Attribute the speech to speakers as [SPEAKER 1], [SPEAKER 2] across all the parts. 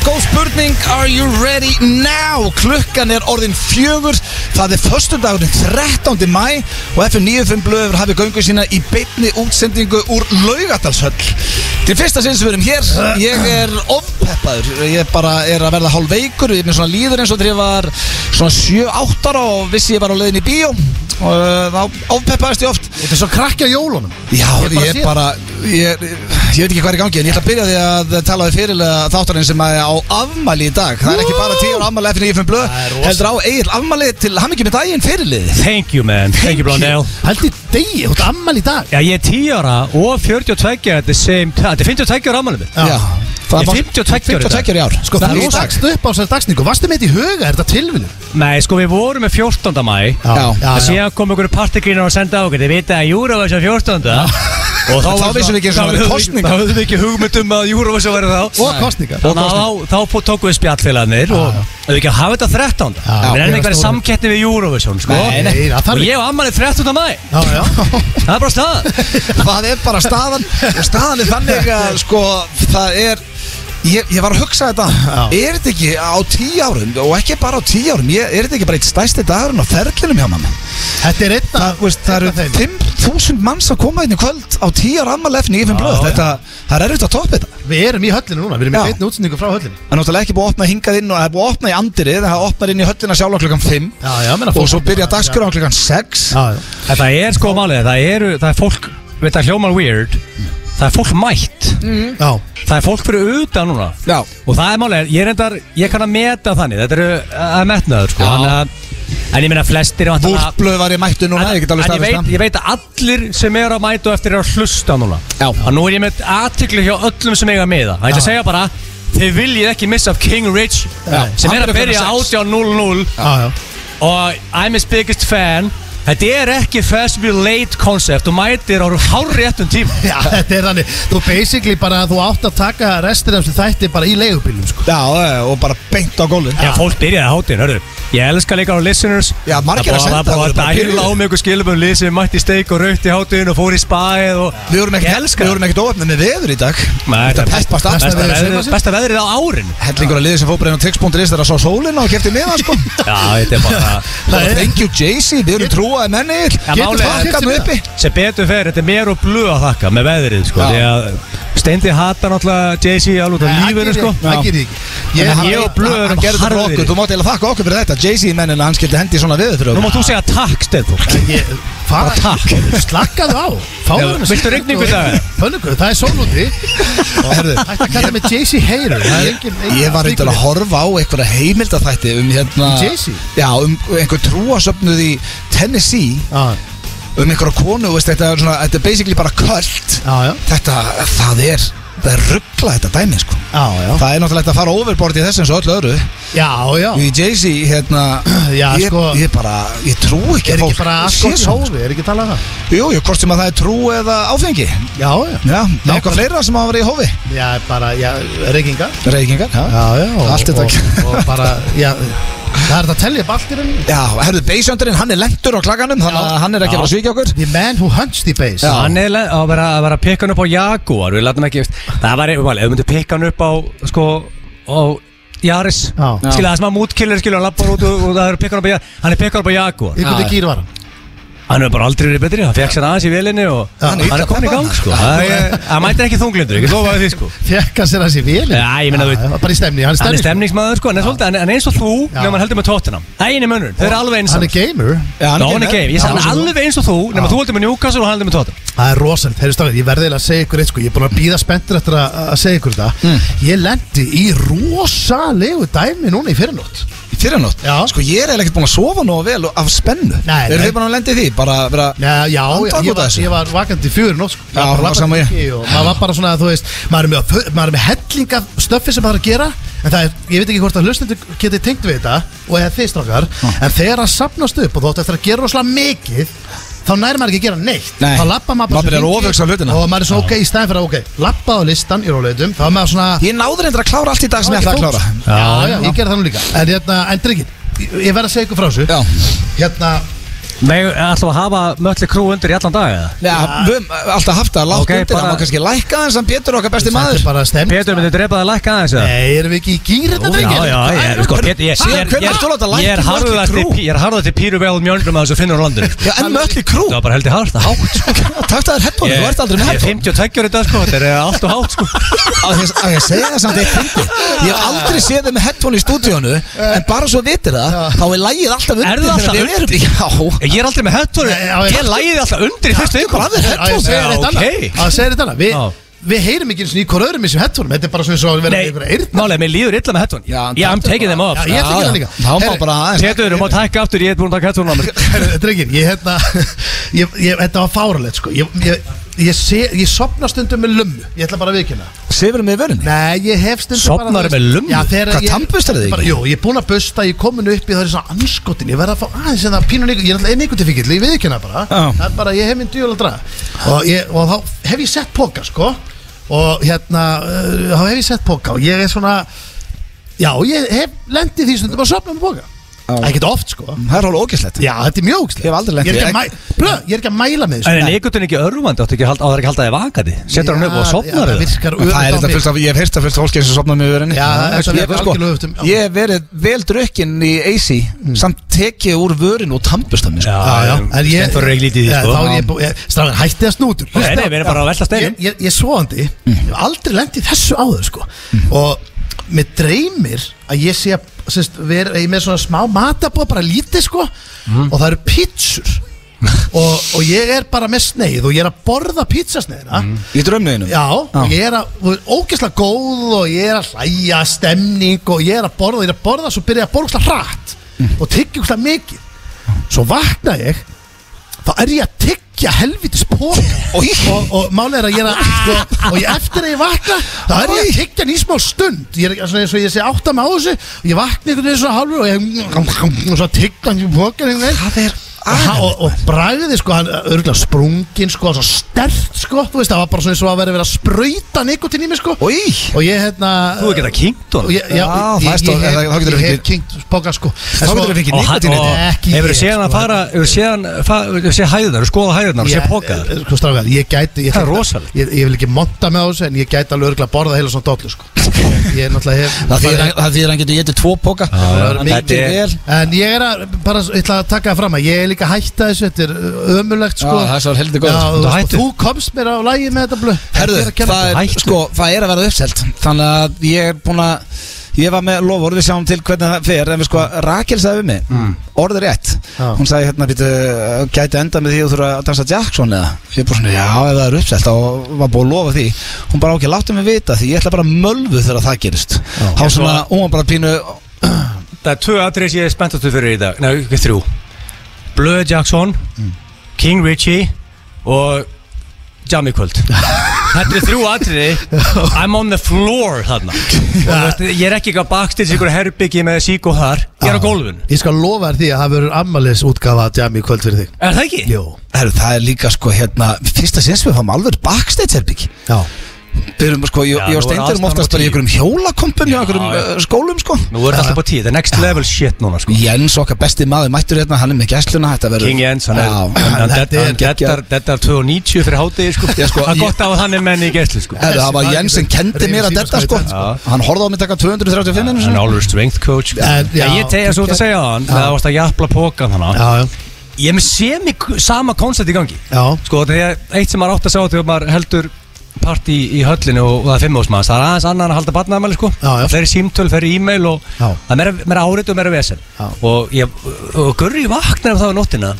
[SPEAKER 1] spurning Are you ready now? Klukkan er orðin fjögur Það er föstudagurinn 13. mæ Og FM 95 blöður hafi göngu sína í beinni útsendingu úr Laugadalshöll Til fyrsta sinn sem við erum hér Ég er ofpeppaður Ég bara er að verða hálf veikur Ég er með svona líður eins og þegar ég var svona 7-8 ára Og vissi ég var á leiðin í bíó Og eh, þá ofpeppaðist ég oft
[SPEAKER 2] Þetta er svo krakki á jólunum
[SPEAKER 1] Já,
[SPEAKER 2] Ég bara
[SPEAKER 1] ég,
[SPEAKER 2] sé
[SPEAKER 1] ég bara, ég, ég veit ekki hvað er í gangi En ég ætla að byrja því að tala við fyrirlega þáttarinn sem er á afmæli í dag Það er ekki bara 10 ára afmæli eftir 95 blöð
[SPEAKER 2] Það er rosa.
[SPEAKER 1] Heldur á Egil afmæli til hammingi með daginn fyrirlið
[SPEAKER 3] Thank you man, thank you Blondell
[SPEAKER 2] Haldi degi, þú ert ammal í dag
[SPEAKER 3] Já, ég er 10 ára og 42 at the same time Þetta er 52 ára ámælum minn
[SPEAKER 2] Já.
[SPEAKER 1] það
[SPEAKER 3] Ég
[SPEAKER 1] var-
[SPEAKER 3] er 52 ára í dag.
[SPEAKER 1] 52 ára í ár
[SPEAKER 2] Sko
[SPEAKER 1] Það
[SPEAKER 2] það
[SPEAKER 1] er
[SPEAKER 2] er
[SPEAKER 1] dag.
[SPEAKER 2] stakst upp á þessari dagsningu Varstu með þetta í huga, er þetta tilviljun?
[SPEAKER 3] Nei, sko við vorum með 14. mæ
[SPEAKER 1] Já.
[SPEAKER 2] já,
[SPEAKER 3] og
[SPEAKER 2] já.
[SPEAKER 3] síðan kom einhverju partigrínar og senda á okkur Þið vita að Eurovision 14. Og
[SPEAKER 1] Þá
[SPEAKER 3] var-
[SPEAKER 1] vissum við ekki eins og
[SPEAKER 3] þá
[SPEAKER 1] það væri
[SPEAKER 3] höfðum-
[SPEAKER 1] kosningar.
[SPEAKER 3] Þá höfðum við ekki hugmyndum að Eurovision væri þá
[SPEAKER 2] Og kostningar
[SPEAKER 3] Þannig að þá- þá fó- tókum við spjallfélagarnir og við ekki að hafa þetta 13.
[SPEAKER 2] Já.
[SPEAKER 3] Við erum ekki
[SPEAKER 2] Gera
[SPEAKER 3] verið
[SPEAKER 2] stóru.
[SPEAKER 3] samkettni við Eurovision, sko
[SPEAKER 2] Nei, nei, það
[SPEAKER 3] Og
[SPEAKER 2] þarf
[SPEAKER 3] ég á ammali 13. mæ,
[SPEAKER 2] Já, já
[SPEAKER 3] það er bara staðan
[SPEAKER 1] Það er bara staðan Og staðan er þannig að sko Það er Ég, ég var að hugsa þetta Er þetta ekki á 10 árum Og ekki bara á 10 árum ég, Er þetta ekki bara eitt stæsti dagurinn á ferlinum hjá mann
[SPEAKER 2] Þetta er einn
[SPEAKER 1] Það,
[SPEAKER 2] af
[SPEAKER 1] þú veist, það
[SPEAKER 2] einn af
[SPEAKER 1] eru
[SPEAKER 2] þeim.
[SPEAKER 1] 5.000 manns að koma inn í kvöld á 10 ára ammali efni í 5
[SPEAKER 2] Já,
[SPEAKER 1] blöð
[SPEAKER 2] já.
[SPEAKER 1] Þetta, það er erfitt að toppa þetta
[SPEAKER 2] Við erum í höllinu núna, við erum í
[SPEAKER 1] Já.
[SPEAKER 2] beinni útsendingu frá höllinu
[SPEAKER 1] Það er náttúrulega ekki búið að opna hingað inn og það er búið að opna í andirið en það opnar inn í höllina sjálf klukkan 5
[SPEAKER 2] Já, já, meina
[SPEAKER 1] og
[SPEAKER 2] fólk-
[SPEAKER 1] svo byrja dagskráðan klukkan 6
[SPEAKER 2] Já, já
[SPEAKER 3] En það er sko málið, það eru, það er fólk, veit það hljómar weird, það er fólk mætt,
[SPEAKER 2] Já,
[SPEAKER 3] það er fólk fyrir utan núna
[SPEAKER 1] Já,
[SPEAKER 3] og það er málið, ég reyndar, ég kann að meta þannig, þetta eru að að metnaður sko,
[SPEAKER 1] Já.
[SPEAKER 3] þannig að, en ég meina flestir er væntanlega-
[SPEAKER 1] búrblöð var ég mættu núna, ég get alveg
[SPEAKER 3] en
[SPEAKER 1] staðfest
[SPEAKER 3] ég veit,
[SPEAKER 1] það
[SPEAKER 3] ég veit að allir sem eru að mæta og eftir eru að hlusta núna
[SPEAKER 1] Já.
[SPEAKER 3] og nú er ég með aðtikli hjá öllum sem eiga með það, það er að segja bara, þið viljið ekki missa af King Rich
[SPEAKER 2] Já.
[SPEAKER 3] sem
[SPEAKER 1] Hann
[SPEAKER 3] er
[SPEAKER 1] er
[SPEAKER 3] að byrja
[SPEAKER 1] klukkan sex.
[SPEAKER 3] 18.00
[SPEAKER 2] já, já
[SPEAKER 3] og I'm his biggest fan Þetta er ekki festival late concept og mætir á hári réttum tíma
[SPEAKER 2] Já, þetta er þannig Þú basically bara, þú átt að taka restir af þessu þætti bara í leigubílum sko.
[SPEAKER 1] Já, eh, og bara beint á gólun
[SPEAKER 3] Já, fólk byrjaði að hátin, hörru Ég elska líka á listeners
[SPEAKER 1] Já, margir að
[SPEAKER 3] Það
[SPEAKER 1] senda
[SPEAKER 3] var bara
[SPEAKER 1] okkur,
[SPEAKER 3] að
[SPEAKER 1] bara
[SPEAKER 3] dæla
[SPEAKER 1] byrjuðu.
[SPEAKER 3] á mig ykkur skilabum lið sem mætti steik og raukt í hátin og fór í spæð og
[SPEAKER 1] Við vorum
[SPEAKER 3] Ég
[SPEAKER 1] ekkert
[SPEAKER 3] elska
[SPEAKER 1] við vorum ekkert óöfnið með veður í dag
[SPEAKER 3] Nei,
[SPEAKER 1] Þetta
[SPEAKER 3] þetta er
[SPEAKER 1] peppast
[SPEAKER 3] besta,
[SPEAKER 1] allt
[SPEAKER 3] besta,
[SPEAKER 1] með veður
[SPEAKER 3] veðrið-
[SPEAKER 1] sumarsins.
[SPEAKER 3] besta veðrið á árin
[SPEAKER 1] Hellingur að liði sem fóbreyðin á tix.is þegar að sá sólina og kefti miða sko
[SPEAKER 3] Já, þetta er bara
[SPEAKER 1] Bara Thank you Jay-Z, við erum trúaði menni Getur
[SPEAKER 3] málið er-
[SPEAKER 1] þakkað mig uppi
[SPEAKER 3] Sem betur fer, þetta er mér og blöð að þakka með veðrið, sko
[SPEAKER 1] Já.
[SPEAKER 3] Því að Steindi hatar náttúrulega Jay-Z alveg út af lífinu, sko
[SPEAKER 2] Það gerir ekki
[SPEAKER 3] Ég-
[SPEAKER 1] En hann-
[SPEAKER 3] ég og
[SPEAKER 1] hann-
[SPEAKER 3] Blöð erum
[SPEAKER 1] Hann gerði þetta fyrir
[SPEAKER 3] harðir.
[SPEAKER 1] okkur, þú mátt eiginlega þakka okkur fyrir þetta Jay-Z mennina, hann skildi hendi í svona veður
[SPEAKER 3] Nú mátt þú segja takk, Steindur
[SPEAKER 2] Ég-
[SPEAKER 3] Bara
[SPEAKER 2] Hvað?
[SPEAKER 3] takk.
[SPEAKER 2] Slakkaðu á
[SPEAKER 3] Já,
[SPEAKER 2] Fáður
[SPEAKER 3] viltu rigningu í dag?
[SPEAKER 2] Pönnugu, það er sól úti Hætti að kalla mig Jay-Z Hater Það er engin engin-
[SPEAKER 1] Ég var reyndar að horfa á einhverja heimildaþætti um hérna
[SPEAKER 2] Um Jay-Z?
[SPEAKER 1] Já, um einhver trúasöfnuð í Tennessee
[SPEAKER 2] Já,
[SPEAKER 1] um einhverja konu, veist, þetta er svona þetta er basically bara kvöld
[SPEAKER 2] já, já,
[SPEAKER 1] Þetta, það er, það er ruggla þetta dæmi, sko
[SPEAKER 2] já, já.
[SPEAKER 1] Það er náttúrulega hægt að fara overboard í þessu eins og öllu öðru
[SPEAKER 2] Já, já,
[SPEAKER 1] Í Jay-Z, hérna
[SPEAKER 2] Já,
[SPEAKER 1] ég,
[SPEAKER 2] sko-
[SPEAKER 1] ég bara, ég trú ekki
[SPEAKER 2] er
[SPEAKER 1] að
[SPEAKER 2] ekki
[SPEAKER 1] fólk
[SPEAKER 2] bara sko allt
[SPEAKER 1] sé
[SPEAKER 2] gott í
[SPEAKER 1] svona.
[SPEAKER 2] hófi, er ekki talað um það?
[SPEAKER 1] Jú, jú, hvort sem að það er trú eða áfengi
[SPEAKER 2] Já, já,
[SPEAKER 1] Já, það er eitthvað fleira sem hafa verið í hófi
[SPEAKER 2] já, bara, já, reykinga
[SPEAKER 1] Reykingar,
[SPEAKER 2] Já, já, og,
[SPEAKER 1] Allt er
[SPEAKER 2] og,
[SPEAKER 1] takk.
[SPEAKER 2] og bara, já, það er þetta að tellja upp allt í rauninni
[SPEAKER 1] Já, herðu, beisjöndurinn, hann er lentur á klaganum Þannig að
[SPEAKER 2] Já.
[SPEAKER 1] hann er ekki að fara að svíkja okkur
[SPEAKER 2] The man who hunts the base
[SPEAKER 1] Já.
[SPEAKER 3] Hann er le- að vera að vera að pikka hann upp á Jaguar Við latum ekki Það var eitthvað Ef við myndum pikka hann upp á Sko Á Jaris
[SPEAKER 2] Já.
[SPEAKER 3] Skilja það sem að mútkillir Skilja hann lappar út og, og það er pikka hann upp á Jaguar Hann er pikka hann upp á Jaguar
[SPEAKER 2] Í hvernig gýr var hann?
[SPEAKER 3] Hann er bara aldrei verið betri Hann fekk sér aðeins í velinni og
[SPEAKER 2] Já.
[SPEAKER 3] Hann er komin í gang sko Það er- Hann mætir ekki þunglindur Ég get lofaði því sko
[SPEAKER 2] Fekka sér að sér vel
[SPEAKER 3] Já, ég meina, þú veit-
[SPEAKER 2] Bara í stemni, hann er
[SPEAKER 3] Hann er
[SPEAKER 2] stemni
[SPEAKER 3] stemningsmaður sko Hann er svolítið hann er- Hann er eins og þú
[SPEAKER 2] Já.
[SPEAKER 3] Nefnum hann heldur með tóttina Það er einu munur Þau eru alveg eins
[SPEAKER 2] Hann er gamer
[SPEAKER 1] Já,
[SPEAKER 3] Ná, hann er geim, ég sagði hann er alveg eins og þú Nefnum þú heldur með Newcastle og hann heldur með tóttina
[SPEAKER 2] Það er rosalit, þeirri stafið, ég verði eiginlega að segja ykkur eitt sko, ég er búin að býða spenntur eftir að, að segja ykkur þetta
[SPEAKER 1] Mm.
[SPEAKER 2] Ég lendi í rosalegu dæmi núna í fyrirnótt
[SPEAKER 1] Í fyrranótt
[SPEAKER 2] Já.
[SPEAKER 1] Sko, ég er eiginlega ekkert búin að sofa nóg vel af spennu
[SPEAKER 2] Nei,
[SPEAKER 1] Eru
[SPEAKER 2] nei.
[SPEAKER 1] þið bara að lenda í því? Bara að vera
[SPEAKER 2] Já, já, ég,
[SPEAKER 1] Andak
[SPEAKER 2] ég,
[SPEAKER 1] út af
[SPEAKER 2] var,
[SPEAKER 1] þessu.
[SPEAKER 2] ég var vakandi í fjörunótt sko.
[SPEAKER 1] Já,
[SPEAKER 2] Ég var
[SPEAKER 1] það var
[SPEAKER 2] vakandi
[SPEAKER 1] sama ég.
[SPEAKER 2] lengi og Maður var bara svona, þú veist, maður er með, að fu- maður er með hellinga stöffi sem maður er að gera En það er, ég veit ekki hvort að hlustendur geti tengt við þetta Og eða þið strákar En þegar það sapnast upp og þú átt eftir að gera rosalega mikið Þá næri maður ekki að gera neitt
[SPEAKER 1] Nei.
[SPEAKER 2] Þá lappa maður
[SPEAKER 1] Maður
[SPEAKER 2] bara
[SPEAKER 1] byrjar að
[SPEAKER 2] hringi
[SPEAKER 1] ofhugsa hlutina.
[SPEAKER 2] Og maður er svona, ok, í stæðin fyrir að, ok, lappa á listan í róleitum Þá er maður svona
[SPEAKER 1] Ég náður reyndar að klára allt í dag sem ég
[SPEAKER 2] Já,
[SPEAKER 1] ætlaði að klára
[SPEAKER 2] ekki fókus. Já, já, ég gerði það nú líka En, hérna, en drengir, ég- ég verð að segja ykkur frá þessu
[SPEAKER 1] Já.
[SPEAKER 2] Hérna,
[SPEAKER 3] Nei, ætlum við að hafa mölli krú undir í allan dag eða?
[SPEAKER 1] Já, við höfum alltaf haft það látt
[SPEAKER 3] Ok,
[SPEAKER 1] undir
[SPEAKER 3] bara-
[SPEAKER 1] Það má kannski lækka það en Pétur er okkar besti
[SPEAKER 2] Þetta
[SPEAKER 1] maður
[SPEAKER 2] er bara stemning
[SPEAKER 3] Pétur, myndið drepa það að lækka aðeins eða?
[SPEAKER 2] Nei, erum við ekki í gýr þetta
[SPEAKER 3] Já,
[SPEAKER 2] drengir?
[SPEAKER 3] já, ég, sko, Pétur, ég,
[SPEAKER 1] Síðan
[SPEAKER 3] ég,
[SPEAKER 1] hvenær ertu að láta
[SPEAKER 3] ég,
[SPEAKER 1] lækka
[SPEAKER 3] ég er
[SPEAKER 1] Mötley
[SPEAKER 3] harðasti,
[SPEAKER 1] Crüe?
[SPEAKER 3] ég er harðasti píru vel mjölnum að þessu finnur á landinu. sko.
[SPEAKER 1] Já, en mölli krú
[SPEAKER 3] Það var bara heldur harðast að hátt, sko.
[SPEAKER 1] Takk það er headphone, þú ert aldrei með
[SPEAKER 3] Ég er
[SPEAKER 1] headphone
[SPEAKER 3] 52 ára í dag, sko, þetta er eh, allt og hátt, sko.
[SPEAKER 1] Á því að ég segja það samt eitt fyndi Ég hef aldrei séð þið með headphone í stúdíónu En bara svo vitir það, þá er lægið alltaf undir
[SPEAKER 3] Er það alltaf
[SPEAKER 1] þegar við erum- Já,
[SPEAKER 3] Ég er aldrei með headphone,
[SPEAKER 2] Nei, já, ég-
[SPEAKER 3] ég læði alltaf undir í fyrstu ykkur.
[SPEAKER 1] hvað er
[SPEAKER 2] Á, ég
[SPEAKER 1] headphone?
[SPEAKER 2] segir þetta
[SPEAKER 3] ok.
[SPEAKER 2] annað Á, ég segir þetta annað Við-
[SPEAKER 3] Já.
[SPEAKER 2] Við heyrum ekki eins og í hvort öðrum í þessum headphone Þetta er bara svo eins og við
[SPEAKER 3] Nei,
[SPEAKER 2] erum yfir eyrna
[SPEAKER 3] málega, mér líður illa með headphone.
[SPEAKER 1] Já, en
[SPEAKER 3] Yeah, I'm
[SPEAKER 1] taktu
[SPEAKER 3] taking them off.
[SPEAKER 2] Já, ég ætla ekki það líka
[SPEAKER 1] Þá má
[SPEAKER 2] Herri,
[SPEAKER 1] bara aðeins
[SPEAKER 3] Pétur, þú mátt hækka aftur, ég er búin að taka headphone á mér.
[SPEAKER 2] Herru, Drengir, ég hérna ég, ég, Þetta var fáralegt sko Ég, ég, ég, sé, ég sopna stundum með lummu Ég ætla bara að viðkynna
[SPEAKER 1] Sefur með vörunni?
[SPEAKER 2] Nei, ég hef stundum
[SPEAKER 3] Sofnar
[SPEAKER 2] bara þú veist-
[SPEAKER 3] með lummu?
[SPEAKER 2] Já, þegar
[SPEAKER 1] Hvað,
[SPEAKER 2] ég-
[SPEAKER 1] tannburstar þig ekki?
[SPEAKER 2] bara- Jú, ég er búin að busta, ég er komin upp Ég það er svona anskotin, ég verð að fá aðeins En það pínu neikur, ég er alltaf neikurtifíkil Ég viðkynna bara,
[SPEAKER 1] Já.
[SPEAKER 2] það er bara, ég hef minn djúl að draga og, ég, og þá hef ég sett póka sko Og hérna, uh, þá hef ég sett póka Og ég er svona Já, ég hef lendið því stundum að sopna með póka
[SPEAKER 1] Já.
[SPEAKER 2] Ekkert oft sko
[SPEAKER 1] Það er alveg ógæslegt
[SPEAKER 2] Já, þetta er mjög ógæslega
[SPEAKER 1] Ég hef aldrei lent
[SPEAKER 2] ég, er
[SPEAKER 1] í-
[SPEAKER 2] ekki að mæ- Blöð, ég er ekki að mæla með
[SPEAKER 3] En
[SPEAKER 2] þessu
[SPEAKER 3] er nekutin ekki örvandi, áttu ekki að halda- á það er ekki að halda þig vakandi? Setur hann upp
[SPEAKER 2] Já,
[SPEAKER 3] og
[SPEAKER 2] já,
[SPEAKER 3] sopnar
[SPEAKER 2] það
[SPEAKER 3] þig?
[SPEAKER 2] virkar
[SPEAKER 1] Það er
[SPEAKER 2] öfugt á
[SPEAKER 1] þetta
[SPEAKER 2] mig.
[SPEAKER 1] fullt af, ég hef heyrt það fullt af fólki eins og sopnað með vörunni
[SPEAKER 2] Já, það er
[SPEAKER 1] Ég-
[SPEAKER 2] alveg
[SPEAKER 1] sko,
[SPEAKER 2] algjörlega öfugt um- já.
[SPEAKER 1] Ég hef verið vel drukkinn í AC Samt tekið úr vörun og tampust af mér sko.
[SPEAKER 2] Já, já, en ég
[SPEAKER 3] Stendur ekki lítið í því,
[SPEAKER 2] Já,
[SPEAKER 3] sko.
[SPEAKER 2] Þá er ég búið, strafin, hætti það snútur
[SPEAKER 3] Nei, nei, við erum bara að velta steinum.
[SPEAKER 2] Ég, ég, ég er svoandi, ég hef aldrei lendið þessu áður, sko Og mér dreymir að ég sé að, sérst, vera, ég er með svona smá matabóð, bara lítið, sko Og það eru pítsur og, og ég er bara með sneið og ég er að borða pítsasneiðina
[SPEAKER 1] Í draumniðinu
[SPEAKER 2] Já, og ég er að, og ógeðslega góð og ég er að hlæja stemning og ég er að borða, ég er að borða svo byrja ég að borða ógeðslega hratt og tyggja ógeðslega mikið svo vakna ég þá er ég að tyggja helvitis póka og, og, og málið er að ég er að sko, og ég eftir að ég vakna þá er ég að tyggja hann í smá stund ég er svona eins og ég sé átta mig á þessu og ég vakna einhvern veginn svona hálfur og ég og svo tyggja hann í pókan
[SPEAKER 1] Það er
[SPEAKER 2] og, hann- og, og bragði sko hann örgulega sprungin sko svo stert sko þú veist það var bara svona eins og að vera verið að spröyta nikotin í mig sko
[SPEAKER 1] Í
[SPEAKER 2] og ég hérna
[SPEAKER 3] Þú hefur getað kynkt
[SPEAKER 2] og
[SPEAKER 3] honum
[SPEAKER 2] ég, já,
[SPEAKER 1] Já, það er stór-
[SPEAKER 2] ég,
[SPEAKER 1] þá- þá
[SPEAKER 2] ég,
[SPEAKER 1] getur þú
[SPEAKER 2] ég, ég hef
[SPEAKER 1] fengið-
[SPEAKER 2] kynkt poka sko
[SPEAKER 1] Þá getur þú fengið
[SPEAKER 3] Og hann-
[SPEAKER 1] nikotín
[SPEAKER 3] og-
[SPEAKER 2] Ekki ég,
[SPEAKER 3] Hefur séð hann að
[SPEAKER 2] sko.
[SPEAKER 3] fara Hefur séð hann fa- Hefur séð hæðunar Skoða hæðunar og séð pokaðar
[SPEAKER 2] Sko strákar, ég gæti ég,
[SPEAKER 3] Það er
[SPEAKER 2] hérna-
[SPEAKER 3] rosalegt.
[SPEAKER 2] ég, ég vil ekki monta með á þessu en ég gæti alveg örgulega borða heila svona dollu sko Ég er náttúrulega hef
[SPEAKER 1] Það þýðir að- það þýðir að hann getur getið tvo póka
[SPEAKER 3] já, þetta
[SPEAKER 1] Mikið
[SPEAKER 3] er-
[SPEAKER 1] vel
[SPEAKER 2] En ég er að, bara, ég ætla að taka það fram að ég er líka að hætta þessu, þetta er ömulegt sko
[SPEAKER 1] Já, það er svo heldur góð.
[SPEAKER 2] Já,
[SPEAKER 1] Þú
[SPEAKER 2] þú,
[SPEAKER 3] hættir.
[SPEAKER 2] sko, þú komst mér á lægið með þetta blöð
[SPEAKER 1] Herðu,
[SPEAKER 2] Ég er að kenna
[SPEAKER 1] það er,
[SPEAKER 3] Hættu.
[SPEAKER 1] sko, það er að verða uppselt Þannig að ég er búin að Ég var með lofur, við sjáum til hvernig það fer En við sko, Rakel sagði við mig mm. Orður rétt,
[SPEAKER 2] Já.
[SPEAKER 1] hún sagði hérna býtu, Gæti enda með því að þú þurfa að dansa Jackson eða Ég er bara svona, já, ef það er uppselt Og var búin að lofa því Hún bara, ok, láttu mig vita því, ég ætla bara að mölvu þegar það gerist Há
[SPEAKER 3] Ég
[SPEAKER 1] svona,
[SPEAKER 3] svo-
[SPEAKER 1] hún var bara pínu
[SPEAKER 3] Það er tvö atrið sem ég er spenntastu fyrir í dag Nei, ekki þrjú Blöð Jackson
[SPEAKER 2] Mm.
[SPEAKER 3] King Richie Og Jammy Kvöld Þetta er þrjú atriði I'm on the floor þarna Og þú veist, Ég er ekki eitthvað bakstil Sigur herbyggi með sík og þar Ég er á gólfun
[SPEAKER 2] Ég skal lofa þér því að það verður ammaliðs útgafa að jam í kvöld fyrir þig
[SPEAKER 3] Er það ekki?
[SPEAKER 2] Jó
[SPEAKER 1] Herðu, það er líka sko, hérna Fyrsta sinns við fáum alveg backstage herbyggi
[SPEAKER 2] Já
[SPEAKER 1] Við erum sko, ég,
[SPEAKER 3] Já,
[SPEAKER 1] ég
[SPEAKER 3] nú
[SPEAKER 1] og Steindir
[SPEAKER 3] er aðstaðan
[SPEAKER 1] erum oftast
[SPEAKER 3] bara
[SPEAKER 1] bara í
[SPEAKER 3] tíu.
[SPEAKER 1] einhverjum hjólakompum Í
[SPEAKER 3] Já,
[SPEAKER 1] einhverjum
[SPEAKER 3] já.
[SPEAKER 1] uh, skólum sko
[SPEAKER 3] Nú er þetta alltaf á tíu Þetta er next level shit núna sko
[SPEAKER 1] Jens okkar besti maður mættur hérna, hann er með gæsluna þetta verður
[SPEAKER 3] King Jens, hann er, hann-
[SPEAKER 1] Já,
[SPEAKER 3] hann-
[SPEAKER 2] þetta er
[SPEAKER 3] hann- þetta
[SPEAKER 1] geggjað.
[SPEAKER 3] er þetta er 2.90 fyrir hátegi sko.
[SPEAKER 1] Já, sko,
[SPEAKER 3] það er
[SPEAKER 1] ég-
[SPEAKER 3] gott að hann er menn í gæslu sko.
[SPEAKER 1] Herru, það var Jens sem kendi mér að þetta sko
[SPEAKER 2] Já.
[SPEAKER 1] Hann horfði á mig taka 235 minnum
[SPEAKER 3] hann er alveg strength coach sko.
[SPEAKER 2] En, já,
[SPEAKER 3] En ég tegja svo út að segja hann það varst að jafla pókan þannig
[SPEAKER 2] Já, já
[SPEAKER 3] ég er með semi sama koncept í gangi
[SPEAKER 2] Já.
[SPEAKER 3] sko þetta er eitt sem maður átt að sjá þegar maður heldur partí í höllinu og, og það er fimm ásmaðs það er aðeins annan að halda barnaðamæli sko
[SPEAKER 2] Já, já.
[SPEAKER 3] það er símtöl, það er e-mail og
[SPEAKER 2] Já.
[SPEAKER 3] það er meira- meira árit og meira vesen
[SPEAKER 2] Já.
[SPEAKER 3] og, ég, og Gurri vaknar af það á nóttina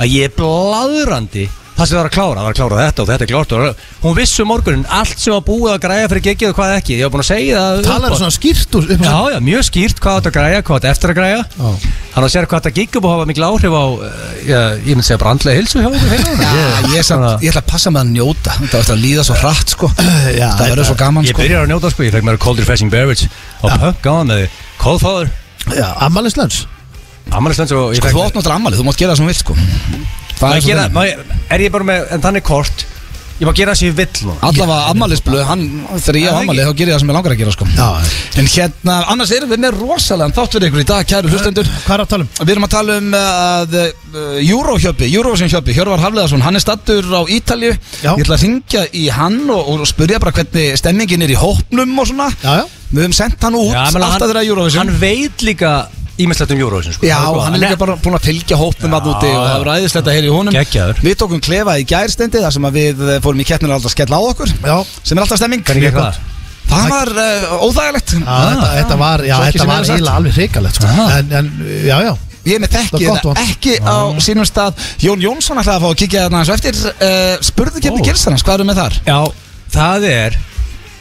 [SPEAKER 3] að ég er bladrandi það sem það var að klára, það var að klára þetta og þetta er klárt og hún vissi um morgunin allt sem var búið að græja fyrir gegið og hvað ekki ég var búin að segja það
[SPEAKER 2] Talar
[SPEAKER 3] upphátt.
[SPEAKER 2] svona skýrt úr upp á
[SPEAKER 3] Já, já, mjög skýrt hvað þetta að græja, hvað þetta eftir að græja
[SPEAKER 2] Já.
[SPEAKER 3] Þannig að sér hvað þetta gigg upp og hafa mikil áhrif á eh, já, Ég myndi segja brandlega hilsu hjá okkur félagunum.
[SPEAKER 1] Já, ég, samt, ég ætla að passa með að njóta Það var eftir að líða svo hrætt sko
[SPEAKER 2] Já,
[SPEAKER 1] Það verður svo gaman
[SPEAKER 3] Ég
[SPEAKER 1] sko
[SPEAKER 3] byrjar að njóta sko, ég fekk mér að cold refreshing beverage Og punk gáðan með kóðfáður
[SPEAKER 2] Já, ammaliðs lands
[SPEAKER 3] Amalislands og ég
[SPEAKER 1] Sko,
[SPEAKER 3] fekk
[SPEAKER 1] Þú átt náttúrulega ammali, þú mátt gera það sem þú vilt sko Það
[SPEAKER 3] Má
[SPEAKER 1] er
[SPEAKER 3] ég
[SPEAKER 1] svo
[SPEAKER 3] gera-
[SPEAKER 1] þannig.
[SPEAKER 3] má ég- Er ég bara með, en þannig kort Ég má gera það sem ég vill núna
[SPEAKER 1] Allavega ammælisblöð, hann, þegar ég á
[SPEAKER 3] það
[SPEAKER 1] ammæli þá gerir ég það sem ég langar að gera sko
[SPEAKER 2] Já.
[SPEAKER 1] En hérna, annars erum við með rosalega þátt fyrir ykkur í dag, kæru hlustendur
[SPEAKER 2] Hvað er að tala um?
[SPEAKER 1] Við erum að tala um að uh, Eurohjöppi, Eurovision hjöppi, Hjörvar Hafleðarsson hann er stattur á Ítalju
[SPEAKER 2] Já.
[SPEAKER 1] Ég ætla að ringja í hann og, og spyrja bara hvernig stemmingin er í hópnum og svona
[SPEAKER 2] Já, já.
[SPEAKER 1] Við höfum sendt hann út
[SPEAKER 3] Já, ég meina,
[SPEAKER 1] alltaf þeirra Eurovision
[SPEAKER 3] Hann veit líka ímestlegt um Eurovision sko.
[SPEAKER 1] Já,
[SPEAKER 3] Það
[SPEAKER 1] hann er líka bara búin að fylgja hópnum að úti og það er ræðislegt að heyra í honum
[SPEAKER 3] Geggjaður.
[SPEAKER 1] Við tókum klefa í gærstendi þar sem að við eh, fórum í keppnir alltaf að skella á okkur
[SPEAKER 2] Já.
[SPEAKER 1] sem er alltaf stemming
[SPEAKER 3] Hvernig gekk það? Ah,
[SPEAKER 1] Það var uh, óþægilegt
[SPEAKER 2] Já, þetta, þetta var, já,
[SPEAKER 1] Svo ekki
[SPEAKER 2] þetta
[SPEAKER 1] sem
[SPEAKER 2] var
[SPEAKER 1] meira sagt. Ah.
[SPEAKER 2] eiginlega alveg hrikalegt sko.
[SPEAKER 1] Já.
[SPEAKER 2] en, en, já, já
[SPEAKER 1] Ég er með
[SPEAKER 2] Það
[SPEAKER 1] þekki
[SPEAKER 2] er gott
[SPEAKER 1] þetta
[SPEAKER 2] vont.
[SPEAKER 1] ekki á sínum stað Jón Jónsson ætlaði að fá að kíkja þarna aðeins og eftir uh, Spurðu kemni
[SPEAKER 3] Ó.
[SPEAKER 1] oh. gerstannans, hvað eru með þar?
[SPEAKER 3] Já, það er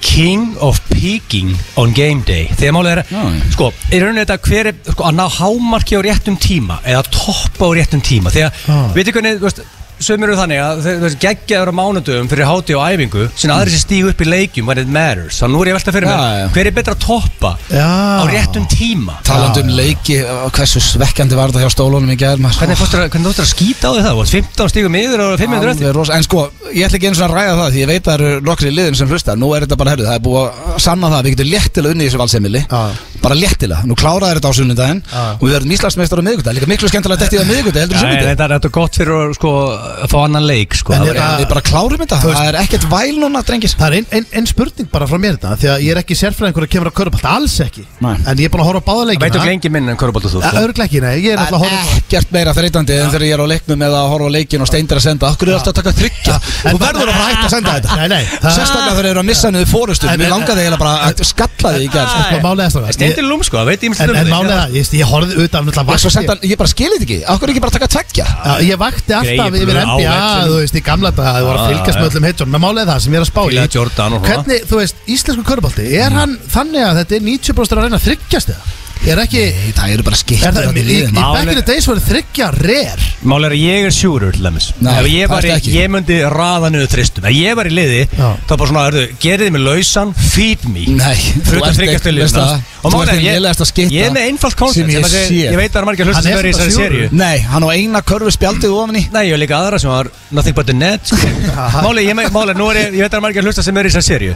[SPEAKER 3] King of Peaking on Game Day Þegar málið er,
[SPEAKER 1] Já, já.
[SPEAKER 3] sko, er raunin þetta hver er, sko, að ná hámarki á réttum tíma eða toppa á réttum tíma Þegar,
[SPEAKER 2] Já.
[SPEAKER 3] veitir hvernig, þú veist, sömur eru þannig að þeir- þú veist, geggjaður á mánudum fyrir háti og æfingu sem aðri sem stígu upp í leikjum when it matters Þannig nú er ég velta fyrir
[SPEAKER 1] Já, já.
[SPEAKER 3] mér, hver er betra að toppa
[SPEAKER 2] Já.
[SPEAKER 3] á réttum tíma
[SPEAKER 1] Talandi um leiki, uh, hversu svekkjandi var þetta hjá stólunum í gær maður.
[SPEAKER 3] Hvernig fórstu að, hvernig fórstu að skýta á því það? Þú varst 15 stígum yfir og 500 eftir
[SPEAKER 1] Alveg rosa- En sko, ég ætla ekki einu svona að ræða það Því ég veit að það eru nokkri liðin sem hlusta Nú er þetta bara herrið, það er búið að sanna það Við getum léttilega unni í þessu valsemili
[SPEAKER 2] Já.
[SPEAKER 1] Bara léttilega, nú kláraði þetta á sunnudaginn
[SPEAKER 2] Já.
[SPEAKER 1] Og við verðum Íslandsmeistar á miðvikudag Líka miklu skemmtilega dættið á miðvikudag heldur
[SPEAKER 3] Já,
[SPEAKER 1] en
[SPEAKER 3] en
[SPEAKER 1] sunnudaginn
[SPEAKER 3] Þetta er- þetta er gott fyrir að, sko, að fá annan leik sko.
[SPEAKER 2] En
[SPEAKER 3] Það
[SPEAKER 2] er
[SPEAKER 3] var-
[SPEAKER 2] þetta-
[SPEAKER 1] Við bara klárum þetta,
[SPEAKER 2] Þú veist-
[SPEAKER 1] það er ekkert væl núna, drengir
[SPEAKER 2] Það er einn ein, ein spurning bara frá mér þetta Því að ég er ekki sérfræðingur að kemur á körpalt Alls ekki
[SPEAKER 1] Nei.
[SPEAKER 2] En ég er búin að horfa á báðaleikina
[SPEAKER 3] Veit okkur engin minn en Körbólta þú sko.
[SPEAKER 2] Örglega ekki, nei Ég er
[SPEAKER 1] Það er
[SPEAKER 2] alltaf að horfa
[SPEAKER 1] ekkert meira þreytandi en þegar ég er á leiknum eða að horfa á leikin og steindir að senda Akkur er alltaf að taka þryggja
[SPEAKER 2] En
[SPEAKER 1] Þú
[SPEAKER 2] það-
[SPEAKER 1] verður að fara að hætta að senda þetta
[SPEAKER 2] Nei, nei
[SPEAKER 1] Sérstaklega þegar þeir eru að missa niður fórustu
[SPEAKER 2] En-
[SPEAKER 1] Mér
[SPEAKER 2] en-
[SPEAKER 1] langaði eiginlega bara að skalla þig í gerð
[SPEAKER 2] sko, málið er strákar,
[SPEAKER 3] Stendir lúm sko, það veit ég
[SPEAKER 2] En, en málega, ég, veist, ég horfði auðvitað náttúrulega
[SPEAKER 1] Og svo
[SPEAKER 2] vakti-
[SPEAKER 1] senda, hann- ég bara skilir þetta ekki Akkur er ekki bara að taka tveggja
[SPEAKER 2] Já, ég vakti alltaf
[SPEAKER 3] Greyið
[SPEAKER 2] yfir
[SPEAKER 3] blöð á
[SPEAKER 2] NBA,
[SPEAKER 3] vellinum.
[SPEAKER 2] þú veist, í gamla daga Það voru
[SPEAKER 3] Já,
[SPEAKER 2] að fylgjast
[SPEAKER 3] já.
[SPEAKER 2] með öllum heitjónum En málega það sem ég er að spá
[SPEAKER 3] Fílaði Jordan
[SPEAKER 2] í
[SPEAKER 3] og Mm. svona.
[SPEAKER 2] Hvernig, þú veist, íslensku körpalti Er hann þannig að þetta er 90% að reyna að þryggjast eða Er ekki
[SPEAKER 1] Nei, það eru bara
[SPEAKER 2] Er
[SPEAKER 1] skiptir
[SPEAKER 2] það, í,
[SPEAKER 1] þarna í
[SPEAKER 2] í, í
[SPEAKER 1] liðinu.
[SPEAKER 3] Mál
[SPEAKER 2] back in the
[SPEAKER 3] er-
[SPEAKER 2] days voru þryggja rare
[SPEAKER 3] Mál er að ég er sjúrur til dæmis
[SPEAKER 1] Nei,
[SPEAKER 3] Ef ég,
[SPEAKER 1] það
[SPEAKER 3] var í,
[SPEAKER 1] ertu ekki.
[SPEAKER 3] ég myndi raða niður tristum Ef ég var í liði,
[SPEAKER 2] Já.
[SPEAKER 3] þá bara svona erðu, Gerið mig lausan, feed me
[SPEAKER 1] Nei, þú
[SPEAKER 3] Fyrir
[SPEAKER 1] ert
[SPEAKER 3] að þryggjastu
[SPEAKER 1] ekki-
[SPEAKER 3] liðin
[SPEAKER 1] veist það, þú
[SPEAKER 3] Og mál
[SPEAKER 1] ert
[SPEAKER 3] er,
[SPEAKER 1] hinn
[SPEAKER 3] ég,
[SPEAKER 1] lélegasta skytta
[SPEAKER 3] ég er með einfalt
[SPEAKER 1] sem
[SPEAKER 3] koncept
[SPEAKER 1] ég
[SPEAKER 3] sem að
[SPEAKER 1] sé.
[SPEAKER 3] segja- Ég veit að það er margir
[SPEAKER 2] Hann
[SPEAKER 3] hlustum
[SPEAKER 2] er
[SPEAKER 3] sem verið í
[SPEAKER 2] samt
[SPEAKER 3] þessari
[SPEAKER 2] sjúrur.
[SPEAKER 3] seríu
[SPEAKER 1] Nei, hann á eina körfu spjaldið ofan í
[SPEAKER 3] Nei, ég var líka aðra sem var Nothing but a net sko. Máli, ég, me- máli, nú er ég, ég veit að það er margir hlusta sem er í þessari seríu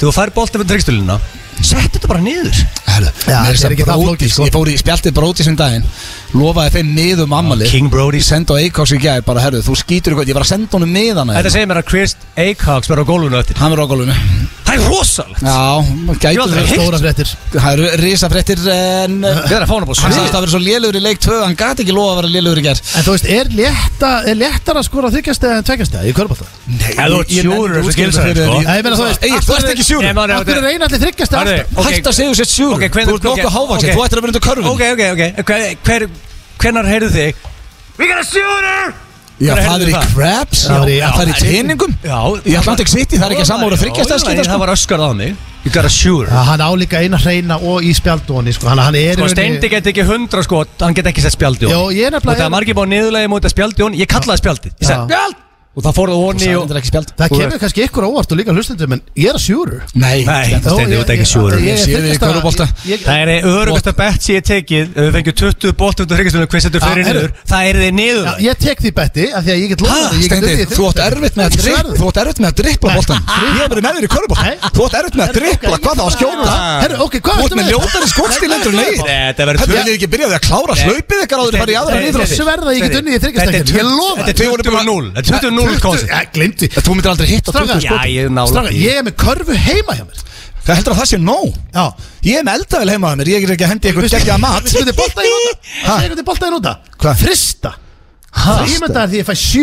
[SPEAKER 3] Þú fær boltið fyrir þryggstulina Sett þetta bara niður
[SPEAKER 1] Herru,
[SPEAKER 2] Já,
[SPEAKER 1] mér er
[SPEAKER 2] þetta er
[SPEAKER 1] sem
[SPEAKER 2] ekki það flókið,
[SPEAKER 1] brótis
[SPEAKER 2] sko.
[SPEAKER 1] Ég fór í spjaldið brótis um daginn Lofaði þeim niðum ammali
[SPEAKER 3] King Brody
[SPEAKER 1] Ég sendi á Eikoks í gær bara, herru, þú skýtur ykkur Ég var að senda honum miðan
[SPEAKER 3] Þetta segir mér að Chris Acox verður á gólfinu eftir
[SPEAKER 1] Hann er á gólfinu
[SPEAKER 3] Það er rosalegt
[SPEAKER 1] Já,
[SPEAKER 3] Ég
[SPEAKER 1] gætur
[SPEAKER 3] aldrei heyrt.
[SPEAKER 2] Stóra fréttir
[SPEAKER 1] Það eru risafrettir en eh,
[SPEAKER 3] Við erum að fá hann upp á
[SPEAKER 1] Hann
[SPEAKER 3] svið
[SPEAKER 1] sagðist að vera svo lélugur í leik 2 Hann gati ekki lofa að vera lélugur í gerð
[SPEAKER 2] En þú veist, er, létta, er léttar að skora þryggjast eða tveggjast eða í körpalta?
[SPEAKER 1] Nei,
[SPEAKER 3] Ef þú ert sjúrur, þessu gilsar, sko.
[SPEAKER 2] Nei, ég meina þú veist,
[SPEAKER 1] Egil,
[SPEAKER 2] af
[SPEAKER 1] þú
[SPEAKER 2] hverju-
[SPEAKER 1] ert ekki sjúrur
[SPEAKER 3] Nei, maður-
[SPEAKER 2] Akkur er eina allir þryggjast eða
[SPEAKER 3] Herðu,
[SPEAKER 2] alltaf?
[SPEAKER 3] ok.
[SPEAKER 1] Hætt að segja þú sett sjúrur
[SPEAKER 3] Ok,
[SPEAKER 1] Þú
[SPEAKER 3] hvenær-
[SPEAKER 1] ert nokkuð
[SPEAKER 3] ok,
[SPEAKER 1] hávaksin,
[SPEAKER 3] ok.
[SPEAKER 1] þú ættir að vera undir körfun
[SPEAKER 3] Ok, ok, ok Hver- hver, Hvenær heyrðu þig? We got a shooter
[SPEAKER 1] Já,
[SPEAKER 3] Hvenær
[SPEAKER 1] það
[SPEAKER 3] heyrðu
[SPEAKER 1] er í
[SPEAKER 3] það?
[SPEAKER 1] Krabs
[SPEAKER 2] Já,
[SPEAKER 1] Það
[SPEAKER 2] já,
[SPEAKER 1] er í teiningum
[SPEAKER 3] Já
[SPEAKER 1] Í Atlantic City, það er ekki saman að þryggjast að skita
[SPEAKER 3] Það
[SPEAKER 1] sko
[SPEAKER 3] var öskar á mig We got a shooter
[SPEAKER 2] Já, Hann á líka eina hreina og í spjaldóni sko. hann, hann er
[SPEAKER 3] Sko, Steindi get ekki hundra sko Hann get ekki sett spjaldi
[SPEAKER 2] Jó, ég er
[SPEAKER 3] Og það er
[SPEAKER 2] nefnilega
[SPEAKER 3] margir búin niðurlega Móta spjaldi hún Ég kallaði spjaldi Ég
[SPEAKER 2] Já.
[SPEAKER 3] segi spjald Og það fór það onni
[SPEAKER 1] Það
[SPEAKER 3] og
[SPEAKER 1] er ekki spjald
[SPEAKER 2] Það kemur kannski ykkur á óvart og líka hlustendum En ég er að sjúru
[SPEAKER 1] Nei,
[SPEAKER 3] Nei,
[SPEAKER 1] það-
[SPEAKER 2] Jó,
[SPEAKER 3] Steindi,
[SPEAKER 2] ég-
[SPEAKER 3] þú ert ekki
[SPEAKER 2] ég-
[SPEAKER 3] sjúrur
[SPEAKER 2] ég-
[SPEAKER 1] Ég sé þig í körfubolta.
[SPEAKER 2] ég-
[SPEAKER 3] Það er örugasta bett sem ég hef tekið ef Við fengjum 20 bótt undir hryggjastunar Hvað settur
[SPEAKER 2] Já,
[SPEAKER 3] fyrir
[SPEAKER 2] heyrðu.
[SPEAKER 3] niður Það er þið
[SPEAKER 2] Já,
[SPEAKER 3] niður
[SPEAKER 2] Ég tek því betti af Því að ég get
[SPEAKER 1] Ha,
[SPEAKER 2] lofað því, ég get
[SPEAKER 1] Steindi,
[SPEAKER 2] unnið í
[SPEAKER 1] þú átt
[SPEAKER 2] þryggjast.
[SPEAKER 1] erfitt með að
[SPEAKER 2] Ég
[SPEAKER 1] dripp-
[SPEAKER 2] sverð.
[SPEAKER 1] þú átt erfitt með að drippla boltan Ég hef verið með þér í
[SPEAKER 2] Nei.
[SPEAKER 1] körfuboltan Þú átt erfitt með að drippla, hvað þá að skjóta
[SPEAKER 2] Herru, ok, hvað
[SPEAKER 1] Þú
[SPEAKER 2] ertu
[SPEAKER 1] ert með
[SPEAKER 2] með?
[SPEAKER 1] ljótari skotskil heldur en leið
[SPEAKER 3] Nei, þetta verður
[SPEAKER 1] Hættu,
[SPEAKER 3] tvö-
[SPEAKER 1] viljið ekki byrjaði að klára hlaupið ykkar áður en farið í aðra
[SPEAKER 3] Nei,
[SPEAKER 2] íþróttir.
[SPEAKER 1] íþróttir?
[SPEAKER 2] sverða að ég get unnið í þriggjastakkinn.
[SPEAKER 3] Þetta er
[SPEAKER 2] Ég lofa
[SPEAKER 3] Þetta er 20-0 Þetta er 20-0 koncept.
[SPEAKER 2] Glimti
[SPEAKER 1] Þú myndir aldrei hitta
[SPEAKER 2] Strákar,
[SPEAKER 1] 20
[SPEAKER 3] Já,
[SPEAKER 1] skot.
[SPEAKER 3] ég er nála
[SPEAKER 2] Strákar, ég er með körfu heima hjá mér
[SPEAKER 1] Það heldur að það sé nóg.
[SPEAKER 2] Já
[SPEAKER 1] Ég er með eldavel heimaða mér, ég er ekki að hendi ykkur geggja mat.
[SPEAKER 2] Veistu hvað þið bolta ég nota? Veistu hvað þið bolta ég nota?
[SPEAKER 1] Hvað?
[SPEAKER 2] Frista Það ég mynda því ég fæ sjö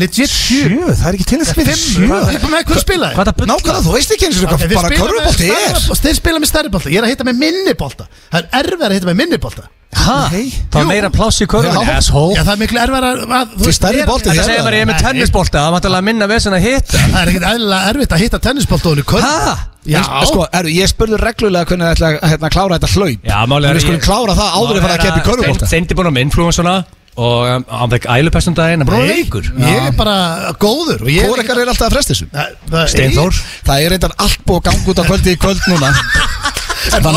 [SPEAKER 2] Legit sjö
[SPEAKER 1] Sjö, það er ekki til þess að
[SPEAKER 2] Fimm
[SPEAKER 1] spila sjö.
[SPEAKER 2] Ég er bara með hverju spila
[SPEAKER 3] Hvað það bull
[SPEAKER 1] Nákvæmlega, þú veist ekki eins og
[SPEAKER 2] Ok,
[SPEAKER 1] hvað
[SPEAKER 2] þeir
[SPEAKER 1] bara
[SPEAKER 2] spila með
[SPEAKER 1] körfubolti
[SPEAKER 2] stærra-
[SPEAKER 1] er.
[SPEAKER 2] Þeir spila með stærri bolta Ég er að hitta með minni bolta Það er erfið að hitta með minni bolta
[SPEAKER 3] Ha?
[SPEAKER 1] Nei.
[SPEAKER 3] Það var meira pláss í körfun
[SPEAKER 1] Já.
[SPEAKER 2] Já
[SPEAKER 3] Asshole
[SPEAKER 2] það er miklu erfið að að-
[SPEAKER 1] Oh.
[SPEAKER 2] þú
[SPEAKER 1] Því
[SPEAKER 2] veist,
[SPEAKER 1] stærri
[SPEAKER 2] ég er-
[SPEAKER 1] bolti
[SPEAKER 3] Þetta
[SPEAKER 1] er
[SPEAKER 3] segir
[SPEAKER 1] það.
[SPEAKER 3] bara ég er með
[SPEAKER 2] Nei.
[SPEAKER 3] tennisbolta Það er vantilega minna vesen að hitta
[SPEAKER 2] Það er ekkert eðlilega erfitt að hitta tennisbolt og hún er körn
[SPEAKER 1] Ha?
[SPEAKER 2] Já
[SPEAKER 1] En Sko, er, ég spurði reglulega hvernig það ætla að hérna, klára þetta hlaup
[SPEAKER 3] Já, málið
[SPEAKER 1] En
[SPEAKER 3] er
[SPEAKER 1] Við skulum
[SPEAKER 3] ég-
[SPEAKER 1] klára það áður en fara að keppa í körfubolta
[SPEAKER 3] Steindi búin að minn flúin svona Og um, hann fekk ælupest um daginn Hann bara
[SPEAKER 2] Nei,
[SPEAKER 3] leikur
[SPEAKER 2] Ég er bara góður og ég er
[SPEAKER 1] Kórekar er alltaf að fresta þessu
[SPEAKER 2] ekkert- Það- það-
[SPEAKER 3] Steinþór
[SPEAKER 1] Það er reyndar allt búið að ganga út á kvöldi í kvöld núna Þannig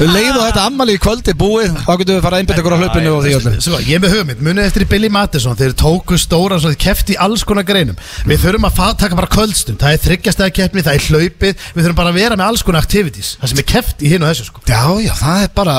[SPEAKER 1] að leið og þetta ammali í kvöldi búið Þá getum við fara að einbytta okkur á hlaupinu og því öllum
[SPEAKER 2] Svo, ég er með hugmynd, munið eftir í Billy Mattisson þeir tóku stóra, svo, þeir kefti í alls konar greinum við þurfum að fa- taka bara kvöldstund það er þryggjastæða keppni, það er hlaupið við þurfum bara að vera með alls konar activities það sem er keft í hinn og þessu sko
[SPEAKER 1] Já, já, það er bara,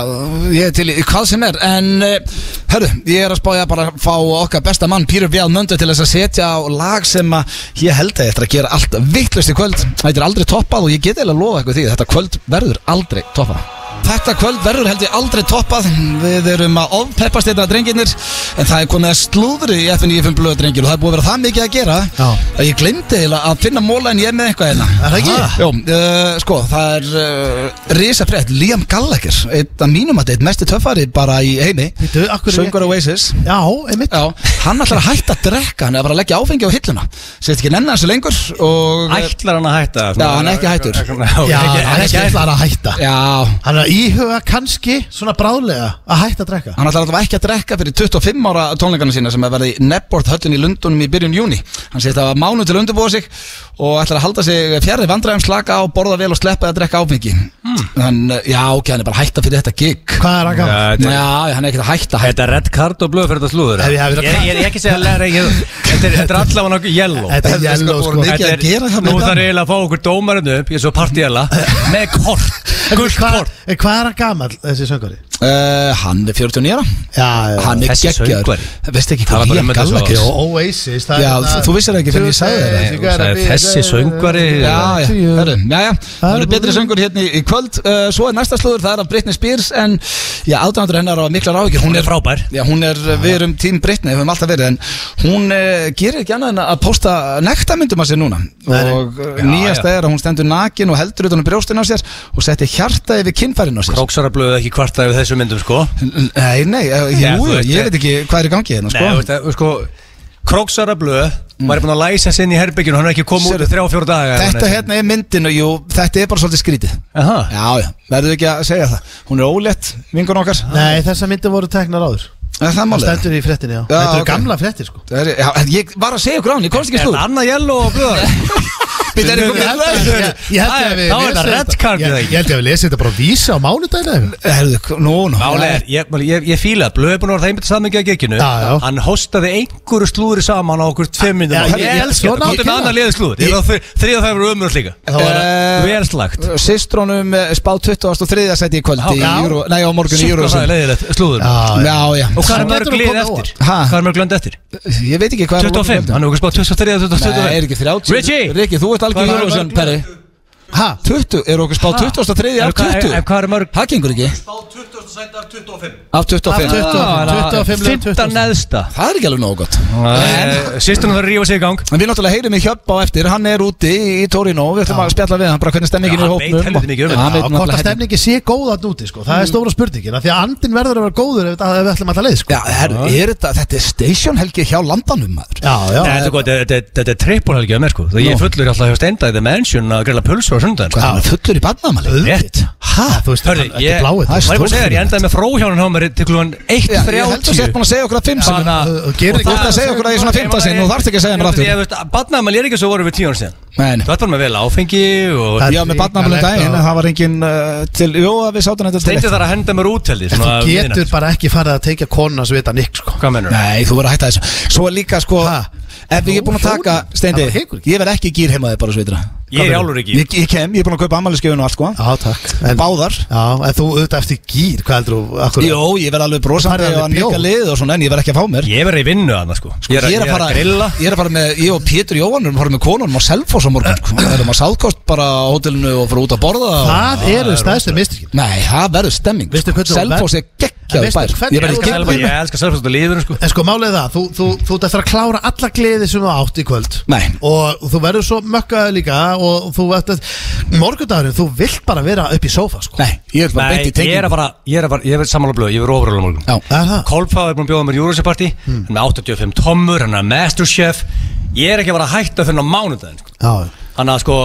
[SPEAKER 1] ég er til í hvað sem er En, uh, herru, ég er að spája bara að fá okkar besta mann Pírur Bjál Möndu til þess að setja á lag sem að Ég held að ég ætla að gera allt vittlust í kvöld Það er aldrei toppað og ég get eiginlega að lofa eitthvað því Þetta kvöld verður aldrei toppað Þetta kvöld verður held ég aldrei toppað Við erum að ofpeppast þetta drengirnir En það er komið að slúðri í FNÍFM blöðu drengir Og það er búið að vera það mikið að gera
[SPEAKER 2] Já.
[SPEAKER 1] Að ég glemdi eiginlega að finna móla en ég er með eitthvað hérna
[SPEAKER 2] Er það ekki?
[SPEAKER 1] Jó, uh, sko, það er uh, risa frétt, Liam Gallagher einn af mínum að þetta, einn mesti töffari bara í heimi
[SPEAKER 2] Bíddu, af hverju-
[SPEAKER 1] Söngur Oasis
[SPEAKER 2] Já, einmitt
[SPEAKER 1] Já, hann ætlar að hætta að drekka, hann er bara að leggja áfengi á hilluna Sett ekki nennan þessu lengur og
[SPEAKER 3] Ætlar hann að hætta?
[SPEAKER 1] Já, hann er ekki hættur.
[SPEAKER 3] Já,
[SPEAKER 2] Já,
[SPEAKER 3] ekki-
[SPEAKER 2] hann er
[SPEAKER 3] ekki
[SPEAKER 2] skillar að hætta
[SPEAKER 1] Já,
[SPEAKER 2] Hann er að íhuga kannski svona bráðlega að hætta að drekka
[SPEAKER 1] hann ætlar allavega ekki að drekka fyrir 25 ára tónleikana sína sem er verið í Nebworth höllin í Lundunum í byrjun júni Hann segist að mánu til að undirbúa sig og ætlar að halda sig fjarrir vandræðum slaka á, borða vel og sleppa að drekka áfengi Þann, Já, ok, hann er bara að hætta fyrir þetta gig
[SPEAKER 2] Hmm. Hvað er hann
[SPEAKER 3] Já,
[SPEAKER 2] gaman?
[SPEAKER 3] þetta er-
[SPEAKER 1] Já, hann er ekkert að hætta, hætta
[SPEAKER 3] Þetta er red card og blöð fyrir þetta slúður
[SPEAKER 2] Ef ég hafi verið að-
[SPEAKER 3] Ég ég er ekki að segja að læra ég- Þetta er- þetta er allavega nokkuð yellow
[SPEAKER 2] Þetta er
[SPEAKER 1] Þetta er sko
[SPEAKER 2] yellow
[SPEAKER 1] bara
[SPEAKER 2] sko
[SPEAKER 1] mikið-
[SPEAKER 2] Þetta
[SPEAKER 1] að
[SPEAKER 3] Þetta er-
[SPEAKER 1] gera hérna
[SPEAKER 3] Nú
[SPEAKER 1] í dag.
[SPEAKER 3] þarf eiginlega að fá okkur dómarinn upp Ég er svo partíela Með kort
[SPEAKER 2] er-
[SPEAKER 3] Gult
[SPEAKER 2] hvað-
[SPEAKER 3] kort
[SPEAKER 2] eh, Hvað er hann gaman þessi söngari?
[SPEAKER 1] uh, Hann er 49 ára
[SPEAKER 2] Já, já
[SPEAKER 1] Hann er
[SPEAKER 3] Þessi
[SPEAKER 1] geggjaður
[SPEAKER 3] söngvari.
[SPEAKER 1] Veist ekki
[SPEAKER 3] Það var
[SPEAKER 1] hvað
[SPEAKER 3] bara
[SPEAKER 1] ég
[SPEAKER 3] um með þessu
[SPEAKER 1] galla
[SPEAKER 2] Jó,
[SPEAKER 1] ekki
[SPEAKER 2] Oasis
[SPEAKER 1] Já, þú- þú vissir það ekki fyrr en ég sagði þér það.
[SPEAKER 2] You
[SPEAKER 3] Þú
[SPEAKER 2] gotta
[SPEAKER 3] sagðir,
[SPEAKER 2] be-
[SPEAKER 3] þessi söngvari-
[SPEAKER 1] Já, já,
[SPEAKER 2] Tíu.
[SPEAKER 1] herru, já, já, það eru
[SPEAKER 2] er
[SPEAKER 1] betri
[SPEAKER 2] búið.
[SPEAKER 1] söngur hérna í, í kvöld uh, Svo er næsta slúður, það er af Britney Spears En já, aðdæmandur hennar á miklar áhyggjur
[SPEAKER 3] Hún er frábær.
[SPEAKER 1] Já, hún er, eh, við erum tím Britney, við höfum alltaf verið En hún uh, gerir ekki annað en að posta nektamyndum að sér núna
[SPEAKER 2] Nei, nei.
[SPEAKER 1] Og uh,
[SPEAKER 3] Já,
[SPEAKER 1] nýjasta
[SPEAKER 3] já.
[SPEAKER 1] er að hún stendur nakin og heldur utan um brjóstin á sér Og setti hjarta yfir kinnfærin á sér
[SPEAKER 3] Króksara blöð ekki kvarta yfir þessu myndum sko
[SPEAKER 1] Nei, nei, eh, jú,
[SPEAKER 3] Já, þú
[SPEAKER 1] jú,
[SPEAKER 3] veist,
[SPEAKER 1] ég
[SPEAKER 3] eh,
[SPEAKER 1] veit ekki hvað er í gangi hérna,
[SPEAKER 3] Nei,
[SPEAKER 1] sko Mm.
[SPEAKER 3] þú veist að, sko Króksara blöð Var búin að læsa sinni í herbygginu Hann er ekki komið út
[SPEAKER 1] Sérðu,
[SPEAKER 3] í þrjá fjóra daga
[SPEAKER 1] Þetta hérna er myndin og jú, þetta er bara svolítið skrítið
[SPEAKER 3] Aha.
[SPEAKER 1] Já, já, verður ekki að segja það Hún er ólett, vingun okkar
[SPEAKER 2] Nei, þessa myndi voru teknar áður
[SPEAKER 1] Er Það er
[SPEAKER 2] Það
[SPEAKER 1] málega
[SPEAKER 2] stendur í fréttinni, já
[SPEAKER 1] Já,
[SPEAKER 2] Þetta
[SPEAKER 1] ok.
[SPEAKER 2] eru gamla fréttir, sko
[SPEAKER 1] Já, ég var að segja okkur á hann, ég komst ekki
[SPEAKER 3] Er
[SPEAKER 1] slúð
[SPEAKER 3] það annað jello og blöð
[SPEAKER 1] Bíddu, er ég
[SPEAKER 2] Ég
[SPEAKER 1] kominn
[SPEAKER 2] held
[SPEAKER 1] í-
[SPEAKER 2] að- ég- ég held
[SPEAKER 3] Það
[SPEAKER 2] að
[SPEAKER 3] er-
[SPEAKER 2] við
[SPEAKER 3] þá er þetta
[SPEAKER 2] lesum
[SPEAKER 3] red
[SPEAKER 2] þetta-
[SPEAKER 3] card,
[SPEAKER 2] ég-
[SPEAKER 3] eða ekki?
[SPEAKER 2] Ég held að við lesum þetta bara á vísa á mánudaginu eða
[SPEAKER 1] Eh,
[SPEAKER 2] eitthvað.
[SPEAKER 1] Herðu, nú, nú
[SPEAKER 3] Málega er, ég, máli- ég, ég fíla að Blöð er búin að vera það einmitt samingi að gekinu
[SPEAKER 2] Já, já.
[SPEAKER 3] Hann hostaði einhverju slúðri saman á okkur tveim myndum
[SPEAKER 2] Já,
[SPEAKER 3] áður.
[SPEAKER 2] ég-
[SPEAKER 3] Ég elska
[SPEAKER 2] svona
[SPEAKER 3] þetta, komdu með
[SPEAKER 2] ákveða.
[SPEAKER 3] annar liði slúður Ég er á þriða það verið umröð líka
[SPEAKER 2] Þá er það-
[SPEAKER 1] Eh,
[SPEAKER 3] Vel slagt
[SPEAKER 1] Sistrónum eh, spá 23. seti í kvöldi
[SPEAKER 3] Já.
[SPEAKER 1] Nei, á morgun í
[SPEAKER 3] Sjúkla það er
[SPEAKER 1] Júruvísum
[SPEAKER 3] leiðilegt, slúður
[SPEAKER 2] Já, já.
[SPEAKER 1] Já, já
[SPEAKER 3] Og hvað
[SPEAKER 2] Hann
[SPEAKER 3] er mörg
[SPEAKER 2] getur nú
[SPEAKER 3] lið
[SPEAKER 2] komið
[SPEAKER 3] eftir?
[SPEAKER 2] óvart.
[SPEAKER 1] Ha?
[SPEAKER 3] Hvað er mörg lönd eftir?
[SPEAKER 1] Ég veit ekki hvað er á morgun
[SPEAKER 3] 25,
[SPEAKER 1] kvöldi.
[SPEAKER 3] hann er okkur spáð 23
[SPEAKER 1] Nei, er
[SPEAKER 3] 25
[SPEAKER 1] ekki 30
[SPEAKER 3] Richie!
[SPEAKER 1] Rikki, þú ert algjör
[SPEAKER 3] Hvað er
[SPEAKER 1] Júruvísum,
[SPEAKER 3] mörg lið?
[SPEAKER 1] Perri
[SPEAKER 2] Ha?
[SPEAKER 1] 20, er okkur spá 23. af
[SPEAKER 3] En hvað-
[SPEAKER 1] 20
[SPEAKER 3] en hvað eru mörg-
[SPEAKER 1] Það gengur ekki
[SPEAKER 4] Spá 20. sæti af 25
[SPEAKER 1] Af 25
[SPEAKER 2] Af 20. 25 lönd,
[SPEAKER 3] 15
[SPEAKER 2] 20.
[SPEAKER 3] neðsta
[SPEAKER 1] Það er ekki alveg nógu gott
[SPEAKER 3] Sýstunum þarf að rífa sig í gang
[SPEAKER 1] En við náttúrulega heyrum í Hjöpp á eftir, hann er úti í Torino Við ætlum að spjalla við hann, bara hvernig
[SPEAKER 3] Já,
[SPEAKER 1] stemningin er í
[SPEAKER 3] hann
[SPEAKER 1] hópnum
[SPEAKER 3] veit helviti mikið um
[SPEAKER 1] Já,
[SPEAKER 3] þetta.
[SPEAKER 1] hann
[SPEAKER 2] Já,
[SPEAKER 1] veit
[SPEAKER 2] hvort
[SPEAKER 1] náttúrulega
[SPEAKER 2] að
[SPEAKER 1] helviti-
[SPEAKER 2] stemningi sé góð að núti sko.
[SPEAKER 3] Mm.
[SPEAKER 2] það er stóra spurningin af því að andin verður að vera góður ef, ef við ætlum alltaf leið sko.
[SPEAKER 1] Já, herru, er þetta, þetta er station helgi hjá landanum maður
[SPEAKER 2] já, já,
[SPEAKER 3] Nei, Þetta er gott, þetta- þetta- þetta er trippulhelgi að mér sko Ég er fullur alltaf hjá Stenda í The Mansion að grilla pulsur á sundan
[SPEAKER 1] Hvað, hann er fullur í barnaðamæli?
[SPEAKER 3] Rétt
[SPEAKER 2] ha, þú veist,
[SPEAKER 3] Hörðu,
[SPEAKER 2] þetta
[SPEAKER 3] ég-
[SPEAKER 2] er bláið
[SPEAKER 1] Það er
[SPEAKER 3] Maður er búin að segja
[SPEAKER 1] stórfurðulegt.
[SPEAKER 3] þér, ég endaði með fróhjónan hjá mér til klúan
[SPEAKER 1] Já, ég held að
[SPEAKER 3] 1.30
[SPEAKER 1] sett búin að um segja okkur að fimm sem
[SPEAKER 3] Þannig að-
[SPEAKER 2] og gerir ekki
[SPEAKER 3] og
[SPEAKER 1] gott að
[SPEAKER 3] það-
[SPEAKER 1] segja okkur að ég svona fimmta sinn, þú þarft ekki að segja mér aftur.
[SPEAKER 3] Ég veist, badnaðamæli er ekki svo voru við tíu ára síðan
[SPEAKER 1] Nei, nei.
[SPEAKER 3] Þú ætti bara með vel áfengi og
[SPEAKER 2] Það-
[SPEAKER 1] Já, með barnaðamæli
[SPEAKER 2] Ríkalegt
[SPEAKER 1] daginn,
[SPEAKER 2] að-
[SPEAKER 1] það var engin uh, til Jó, að við sátum þetta til
[SPEAKER 3] Steindi
[SPEAKER 1] eitt.
[SPEAKER 3] þar að henda mér út heldur
[SPEAKER 2] En þú getur bara ekki farið að teikja konuna sem vita nikk sko.
[SPEAKER 3] Hvað mennur?
[SPEAKER 1] Nei, þú verður að hætta þessu Svo er líka, sko,
[SPEAKER 2] Ha?
[SPEAKER 1] ef ég er búin að
[SPEAKER 2] Fjórir?
[SPEAKER 1] taka Steindi,
[SPEAKER 2] Það var heykur ekki.
[SPEAKER 1] ég verð ekki í gýr heima á þig bara sveitra
[SPEAKER 3] Ég er álur ekki
[SPEAKER 1] Ég ég kem, ég er búin að kaupa ammælisgjöfun og allt, sko
[SPEAKER 2] já, takk en,
[SPEAKER 1] Báðar
[SPEAKER 2] já, en þú auðvitað eftir gýr hvað heldur þú akkur,
[SPEAKER 1] Jó, ég verð alveg brosandi
[SPEAKER 2] Farið alveg
[SPEAKER 1] og að neka
[SPEAKER 2] bjór.
[SPEAKER 1] lið og svona En ég verð ekki að fá mér
[SPEAKER 3] Ég verði í vinnu að það sko
[SPEAKER 1] Ég er, að fara,
[SPEAKER 3] grilla
[SPEAKER 1] ég er að fara með, ég og Pétur Jóhann erum að fara með konunum á Selfoss á morgun sko. Við erum að sáðkost bara á hótelinu og fara út að borða og...
[SPEAKER 2] það eru stæðstu mistrykkin
[SPEAKER 1] Nei, það verður stemming sko.
[SPEAKER 2] Veistu hvernig þú-
[SPEAKER 1] Selfoss er
[SPEAKER 2] En
[SPEAKER 1] geggjaður
[SPEAKER 2] veistu
[SPEAKER 1] bær
[SPEAKER 2] hvernig-
[SPEAKER 1] Ég verði
[SPEAKER 2] Ég-
[SPEAKER 3] Selva-
[SPEAKER 1] ekki
[SPEAKER 3] Ég elskar sérfæst á lífinu sko
[SPEAKER 2] En sko málið er það, þú, þú, þú, þú ættir að klára alla gleði sem þú átt í kvöld
[SPEAKER 1] Nei.
[SPEAKER 2] Og þú verður svo mökkaður líka og þú ættir, morgundagurinn, þú vilt bara vera upp í sófa sko
[SPEAKER 1] Nei, ég er bara
[SPEAKER 3] Nei,
[SPEAKER 1] beint í
[SPEAKER 3] ég er
[SPEAKER 1] tenging
[SPEAKER 3] að fara Ég er að fara, ég verði sammála blöð Ég verði ofurölu á morgun
[SPEAKER 1] Já,
[SPEAKER 2] Það er það
[SPEAKER 3] Kolpá er búin að bjóða mér Eurovision party
[SPEAKER 1] Hmm.
[SPEAKER 3] Hann er með 85 tommur, hann er masterchef Ég er ekki að fara að hætta fyrir á mánudaginn sko.
[SPEAKER 2] Já,
[SPEAKER 3] Þannig að sko,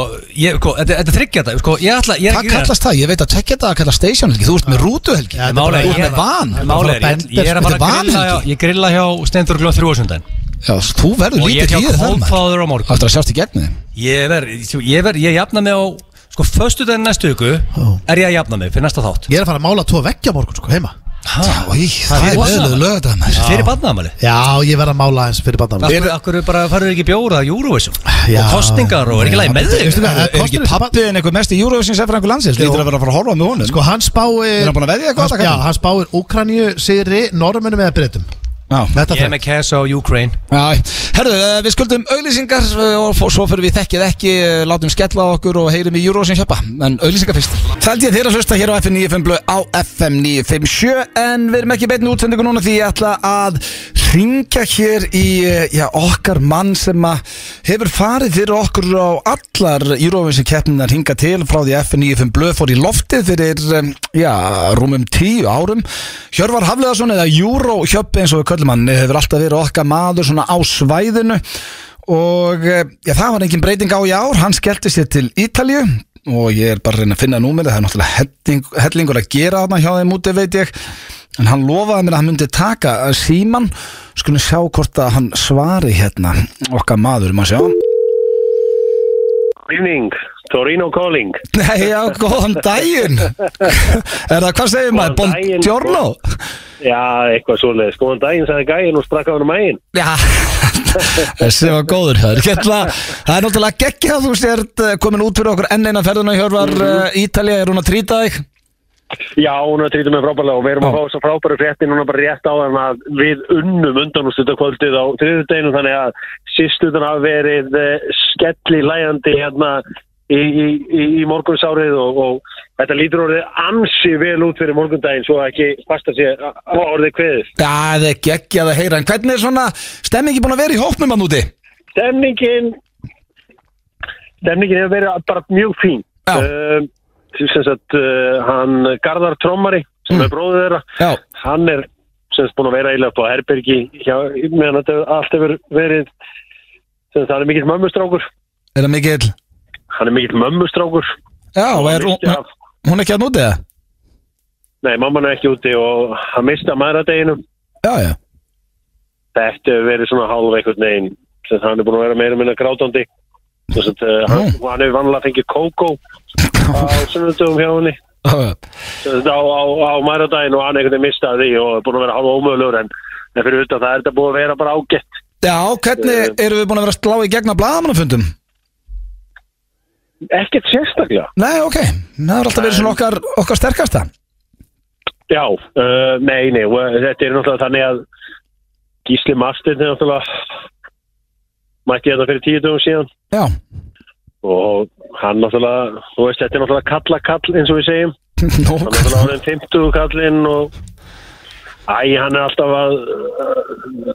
[SPEAKER 3] ég, sko þetta, þetta þryggja þetta sko, Ég ætla, ég er
[SPEAKER 1] Hvað
[SPEAKER 3] ekki
[SPEAKER 1] kallast það? Ég veit að tekja það að kalla station helgi Þú ert með rútu helgi
[SPEAKER 2] Já, þetta er
[SPEAKER 3] Málega,
[SPEAKER 1] Þú ert
[SPEAKER 3] ég
[SPEAKER 1] með van
[SPEAKER 3] Málega, ég, ég er að
[SPEAKER 1] Þetta er
[SPEAKER 3] fara að grilla hjá,
[SPEAKER 1] vanhelgi.
[SPEAKER 3] Ég grilla hjá Steindur Glóð þrjóðsundaginn
[SPEAKER 1] Já, þú verður
[SPEAKER 3] Og ég
[SPEAKER 1] lítið í
[SPEAKER 3] er hjá
[SPEAKER 1] það maður Þú
[SPEAKER 3] Kolpáður á morgun sko,
[SPEAKER 1] ættir að sjást í gegnum þið
[SPEAKER 3] Ég verð, ég verð, ég jafna mig á Sko, föstu daginn næstu viku
[SPEAKER 2] Ó.
[SPEAKER 3] er ég að jafna mig fyrir næsta þátt
[SPEAKER 2] Ég er að fara að mála tvo veggja á morgun sko heima
[SPEAKER 1] Í, það
[SPEAKER 3] er
[SPEAKER 1] er
[SPEAKER 3] vona.
[SPEAKER 1] veðlöðu lögðað mér
[SPEAKER 3] Fyrir barnaðamæli
[SPEAKER 2] Já, ég verð að mála eins fyrir bandamæli
[SPEAKER 3] Akkur, akkur bara farur ekki bjóra að Eurovision
[SPEAKER 2] Já.
[SPEAKER 3] Og kostningar og er ekki læg með þig
[SPEAKER 2] Veistu hvað,
[SPEAKER 1] Er er ekki
[SPEAKER 2] kosturinn-
[SPEAKER 1] pappiðin einhver mest í Eurovision sem fyrir einhver landsins?
[SPEAKER 2] Jú.
[SPEAKER 1] Lítur að vera að fara að horfa með honum
[SPEAKER 2] Sko hann spáir
[SPEAKER 1] Er hann búinn að veðja eitthvað,
[SPEAKER 2] Hann-
[SPEAKER 1] þetta
[SPEAKER 2] Já,
[SPEAKER 1] kallinn?
[SPEAKER 2] hann spáir Úkraníu, Sigri, Norrmönum eða Bretum
[SPEAKER 1] Já,
[SPEAKER 2] Þetta
[SPEAKER 3] Ég er
[SPEAKER 2] þrennt.
[SPEAKER 3] með Kesa og Ukraine
[SPEAKER 1] já Herðu, eh, við skuldum auglýsingar eh, og fó- svo fyrir við þekkið ekki eh, látum skella á okkur og heyrum í Eurovision hjöpa en auglýsingar fyrst Þaldi ég þeirra hlusta hér á FM 95 blöð á FM 957 en við erum ekki beitin útsendingu núna því ég ætla að ringja hér í eh, já, okkar mann sem að hefur farið fyrir okkur á allar Eurovision keppninar hinga til frá því FM 95 blöð fór í loftið fyrir eh, em, já, rúmum tíu árum Hjörvar Hafleðarsson eða Euro Hjöppi eins og við köllum hann hefur alltaf verið okkar maður svona á svæðinu og eh, já, það var engin breyting á í ár, hann skellti sér til Ítalju og ég er bara að reyna að finna númerið, það er náttúrulega helling, hellingur að gera þarna hjá þeim úti veit ég en hann lofaði mér að hann myndi taka síman, skulum sjá hvort að hann svari hérna okkar maður, maður sjá
[SPEAKER 5] Evening, Torino calling.
[SPEAKER 1] Nei, já, góðan daginn Er það, hvað segir maður,
[SPEAKER 5] Góðan daginn,
[SPEAKER 1] Bondjórnó?
[SPEAKER 5] Já, eitthvað svoleiðis. Góðan daginn, sagði gæinn og strakka hann um æginn.
[SPEAKER 1] Já, þessi var góður hör. Hérna, það er náttúrulega geggja þú sért eh, komin út fyrir okkur enn eina ferðina Hjörvar mm Ítalía, er hún að trýta þig?
[SPEAKER 5] Já, hún er trítið mig frábælega og við erum að
[SPEAKER 1] Já.
[SPEAKER 5] fá þess að frábæru frétti núna bara rétt á þann að við unnum undan úr kvöldið á þriðudeginu þannig að sýstuðan hafi verið eh, skelli lægandi hérna í, í, í, í morgunsárið og, og þetta lítur orðið ansi vel út fyrir morgundaginn svo að ekki fasta sér á orðið kveðið.
[SPEAKER 1] Já, það er geggjað að heyra En hvernig er svona stemmingi búin að vera í hópnum hann úti?
[SPEAKER 5] Stemningin Stemningin hefur verið bara mjög fín
[SPEAKER 1] Já.
[SPEAKER 5] um, sem sagt uh, hann Garðar Trommari sem
[SPEAKER 1] Mm.
[SPEAKER 5] er bróðið þeirra
[SPEAKER 1] Já,
[SPEAKER 5] hann er sem sagt búin að vera eiginlega upp á Herbergi hjá, meðan þetta hefur allt hefur verið sem sagt hann er mikill mömmustrákur
[SPEAKER 1] er það mikill?
[SPEAKER 5] hann er mikill mömmustrákur
[SPEAKER 1] Já, og er,
[SPEAKER 5] Mikill
[SPEAKER 1] hún,
[SPEAKER 5] af-
[SPEAKER 1] hún er ekki að núti það?
[SPEAKER 5] Nei, mamman er ekki úti og hann mista maðuradeginum
[SPEAKER 1] Já, já
[SPEAKER 5] þetta hefur verið svona hálf einhvern veginn sem sagt, hann er búin að vera meira og minna grátandi sem sagt uh, hann, hann hefur vanlega fengið kókó á sunnundum hjá henni
[SPEAKER 1] Já,
[SPEAKER 5] á, á, á mæradaginn og hann einhvern veginn mistaði því og er búin að vera halva ómögulegur en, en fyrir utan það er þetta búið að vera bara ágætt
[SPEAKER 1] Já, hvernig eru við búin að vera að slá í gegna blaðamannafundum?
[SPEAKER 5] ekkert sérstaklega
[SPEAKER 1] Nei, ok, það er alltaf verið svona okkar, okkar sterkasta
[SPEAKER 5] já, uh, nei, nei, og þetta er náttúrulega þannig að Gísli Martin er náttúrulega mætti þetta fyrir tíu dögum síðan
[SPEAKER 1] Já,
[SPEAKER 5] og hann náttúrulega, þú veist, þetta er náttúrulega kalla kall eins og við segjum hann er
[SPEAKER 1] nóg
[SPEAKER 5] náttúrulega orðin 50 kallinn og æ, hann er alltaf að uh,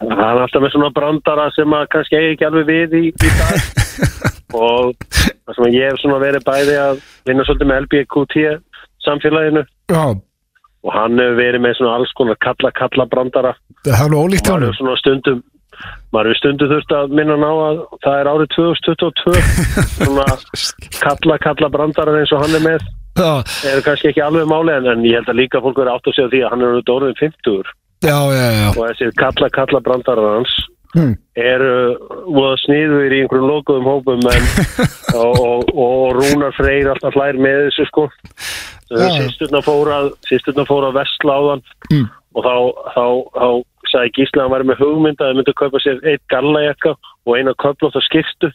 [SPEAKER 5] hann er alltaf með svona brandara sem að kannski eigi ekki alveg við í, í dag og það sem ég hef svona verið bæði að vinna svolítið með LBQT samfélaginu
[SPEAKER 1] Já,
[SPEAKER 5] og hann hefur verið með svona alls konar kalla kalla brandara
[SPEAKER 1] það er alveg ólíkt
[SPEAKER 5] maður
[SPEAKER 1] honum
[SPEAKER 5] hefur svona stundum maður hefur stundum þurft að minna hann á að það er árið 2022 svona kalla kalla brandara eins og hann er með
[SPEAKER 1] Já,
[SPEAKER 5] er kannski ekki alveg máli en, en ég held að líka fólk verið átt að segja því að hann er auðvitað orðin 50
[SPEAKER 1] já, já, já
[SPEAKER 5] og þessi kalla kalla brandarar hans
[SPEAKER 1] Hmm.
[SPEAKER 5] eru voða sniður í einhverjum lokuðum hópum en, og, og, og Rúnar Freyr alltaf hlær með þessu sko
[SPEAKER 1] Já.
[SPEAKER 5] sýsturna fóra sýsturna fóra vestla á þann
[SPEAKER 1] Mm.
[SPEAKER 5] og þá, þá, þá sagði Gísla að hann væri með hugmynd að þau myndu að kaupa sér eitt gallajakka og eina köflótt að skiptu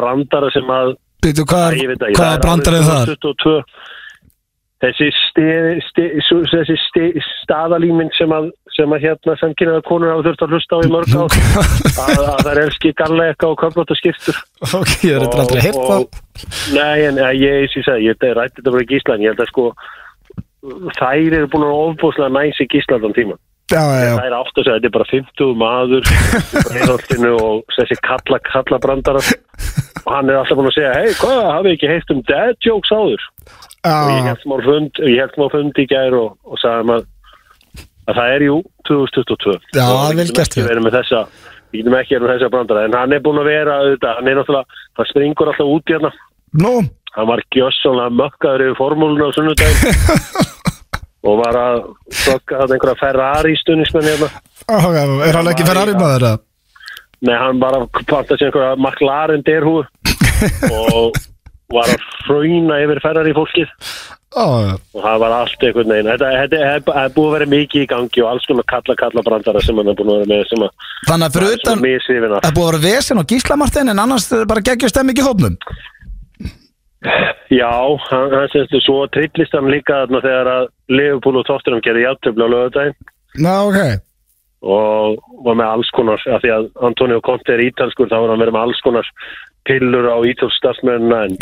[SPEAKER 5] brandara sem að
[SPEAKER 1] Býtu,
[SPEAKER 5] Æ, ég veit
[SPEAKER 1] hvað
[SPEAKER 5] ekki, það
[SPEAKER 1] hvaða
[SPEAKER 5] er
[SPEAKER 1] brandar er
[SPEAKER 5] árið
[SPEAKER 1] það?
[SPEAKER 5] 22. Þessi, sti, sti, sú- þessi sti, staðalímynd sem að, sem að hérna samkynnaða konur hafa þurft að hlusta á í mörg á að, að það er elski gallega og köflóta skiptur
[SPEAKER 1] Ok, ég er eitthvað aldrei hirt það
[SPEAKER 5] Og- Nei, en eh, ég, ég, ég, sagði, ég, ég rætti þetta bara í Gísland ég held að sko þær eru búin að ofbúslega næs í Gísland án tíma
[SPEAKER 1] Já, já, já
[SPEAKER 5] þær átt að segja, þetta er bara 50 maður í Breiðholtinu og þessi kalla kalla brandarar og hann er alltaf búin að segja, hei, hvað, hafið ekki heilt um dad jokes áður? og ég
[SPEAKER 1] Já,
[SPEAKER 5] held smá fund, ég held smá fund í gær og, og sagði maður að það er jú 2022
[SPEAKER 1] Já,
[SPEAKER 5] Og
[SPEAKER 1] vel
[SPEAKER 5] getum
[SPEAKER 1] gert,
[SPEAKER 5] ekki
[SPEAKER 1] já.
[SPEAKER 5] verið með þessa við getum ekki verið með þessa brandara en hann er búin að vera auðvitað, hann er náttúrulega hann springur alltaf út í hérna
[SPEAKER 1] nú
[SPEAKER 5] hann var gjössanlega mökkaður yfir formúluna á sunnudaginn og var að sökka þetta einhverja Ferrari stuðnismenn hérna
[SPEAKER 1] Ok, er hann ekki Ferrari maður það?
[SPEAKER 5] Nei, hann bara panta sér einhverja McLaren derhú og, var að fröyna yfir ferðar í fólkið
[SPEAKER 6] Já, já.
[SPEAKER 5] og það var allt einhvern veginn þetta, þetta er b- er búið að vera mikið í gangi og alls konar kalla kalla brandara sem hann er búin að vera með sem að
[SPEAKER 1] Þannig að fyrir utan
[SPEAKER 5] misifina
[SPEAKER 1] Það er búið að vera vesen á gíslamartin en annars er bara geggjast þeim ekki hópnum
[SPEAKER 5] Já, hann, hann semstu svo trillist hann líka þarna þegar að Leopold og Tottenham gerði játtöfla á lögadaginn
[SPEAKER 6] Ná, ok.
[SPEAKER 5] og var með alls konar af því að Antonio Conte er ítalskur þá var hann verið með alls konar pillur á ítalsstafsmennina en,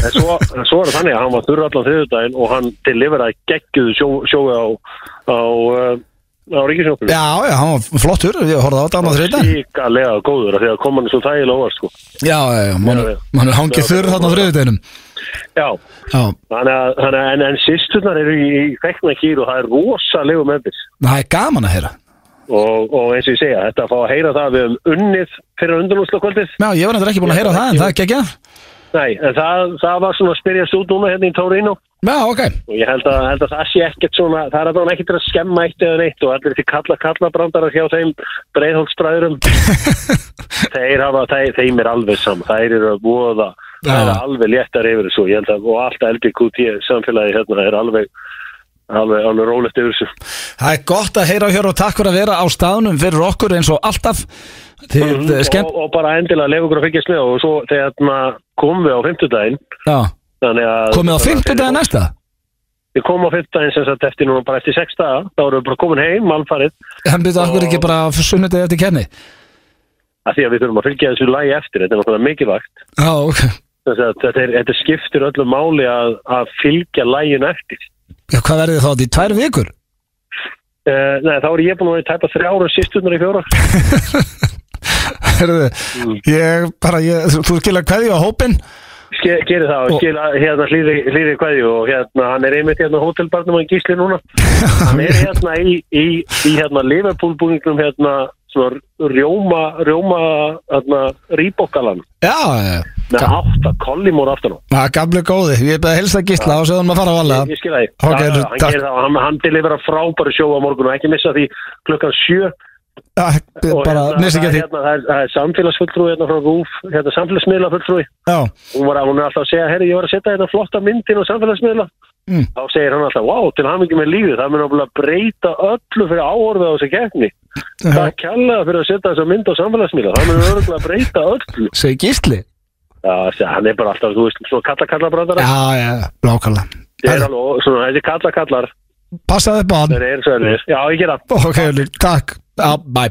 [SPEAKER 5] en svo, en svo er það þannig að hann var þurra allan þriðudaginn og hann deliveraði geggjuðu sjó, sjói á á, uh, á ríkisjóknum
[SPEAKER 1] Já, já, hann var flottur, ég horfði á þetta annað þriðdæn
[SPEAKER 5] Sýkalega góður af því að kom hann svo þægilega óvart sko.
[SPEAKER 1] Já, já, já, mann
[SPEAKER 5] Já, já.
[SPEAKER 1] man er hangið þurr þarna á þriðdænum
[SPEAKER 5] Já,
[SPEAKER 1] Já,
[SPEAKER 5] þannig að, þannig að en, en sýsturnar eru í, í fekna kýr og það er rosalegu meðbis
[SPEAKER 1] það er gaman að heyra
[SPEAKER 5] og, og eins og ég segja, þetta að fá að heyra það að við höfum unnið fyrir undanúsla kvöldið
[SPEAKER 1] Já, ég var nefnir ekki búin að heyra það en það er geggja
[SPEAKER 5] Nei, en það, það var svona að spyrja svo núna hérna í Tórinu
[SPEAKER 1] Já, ok,
[SPEAKER 5] og ég held að, held að það sé ekkert svona það er alveg ekkert að skemma eitt eða neitt og allir til kalla kalla brandarar hjá þeim breiðholtsbræðurum þeir hafa, þeir, þeim er alveg saman þeir eru að voða það er
[SPEAKER 1] Já.
[SPEAKER 5] alveg léttar yfir þessu ég held að, og allt LGQT samfélagi hérna er alveg alveg, alveg rólegt yfir þessu
[SPEAKER 1] það er gott að heyra hér og takk fyrir að vera á staðnum fyrir okkur eins og alltaf Þið, mm
[SPEAKER 5] Mhm. og, og bara endilega lefa okkur að fylgjast með og svo þegar hérna, komum við á fimmtudaginn
[SPEAKER 1] já,
[SPEAKER 5] Þannig að
[SPEAKER 1] komið á fimmtudaginn
[SPEAKER 5] Þannig að-
[SPEAKER 1] næsta
[SPEAKER 5] Við komum á fimmtudaginn sem sagt eftir núna bara eftir sex daga Þá erum við bara komin heim, alfarið
[SPEAKER 1] Hann byrði okkur ekki bara sunnudegi eftir kenni
[SPEAKER 5] af Því að við þurfum að fylgja þessu lagi eftir Þetta er náttúrulega mikilvægt
[SPEAKER 1] Já, ok,
[SPEAKER 5] Þess að Þetta, er, þetta skiptir öllu máli að, að fylgja lægin eftir
[SPEAKER 1] já, hvað verði þá þetta í tvær vikur?
[SPEAKER 5] uh, Nei, þá er ég búin að vera í tæpa þrjára sýsturnar í fjóra
[SPEAKER 1] Herðu, ég bara, ég, þú- þú skilja hverju á hópin
[SPEAKER 5] Gerir það
[SPEAKER 1] Og-
[SPEAKER 5] og gera hérna hlýði, hlýði kvæði Og hérna, hann er einmitt hérna á hótelbarnum og gísli núna Hann er hérna í, í, í hérna Liverpool-búningnum hérna Svona rjóma, rjóma hérna, rýbokkalan
[SPEAKER 1] Já, já,
[SPEAKER 5] með átta kollum úr aftan á
[SPEAKER 1] já, gamli góði, ég beði helst að gísla og séðan maður fara á
[SPEAKER 5] Ég,
[SPEAKER 1] alla
[SPEAKER 5] ég skil það,
[SPEAKER 1] Ok,
[SPEAKER 5] okay,
[SPEAKER 1] þú-
[SPEAKER 5] hann
[SPEAKER 1] takk.
[SPEAKER 5] gerir það og hann, hann delivera frábæru sjó á morgun og ekki missa því klukkan sjö
[SPEAKER 1] Já,
[SPEAKER 5] og
[SPEAKER 1] bara, missi ekki
[SPEAKER 5] það, er,
[SPEAKER 1] að því
[SPEAKER 5] hérna, það, er, það er samfélagsfulltrúi hérna frá RÚF, hérna samfélagsmiðlafulltrúi
[SPEAKER 1] Já,
[SPEAKER 5] hún, var, hún er alltaf að segja, herri ég var að setja hérna flotta myndin á samfélagsmiðla
[SPEAKER 1] Mm.
[SPEAKER 5] þá segir hann alltaf, wow, til hamingi með lífið það mun að breyta öllu fyrir áorfið á þessu keppni það er kjallega fyrir að setja þessa mynd á samfélagsmiðla það mun örgulega að breyta öllu
[SPEAKER 1] segi gísli
[SPEAKER 5] Já, þessi- hann er bara alltaf, þú veist, svona kalla-kalla-brandara
[SPEAKER 1] Já, já, lákala
[SPEAKER 5] Þeir eru alveg, svona, þessi kalla-kallar,
[SPEAKER 1] Passaði upp á hann
[SPEAKER 5] þeir eru svo erfis. Já, ég gera.
[SPEAKER 1] Ok, Ulrik, takk Já, bæ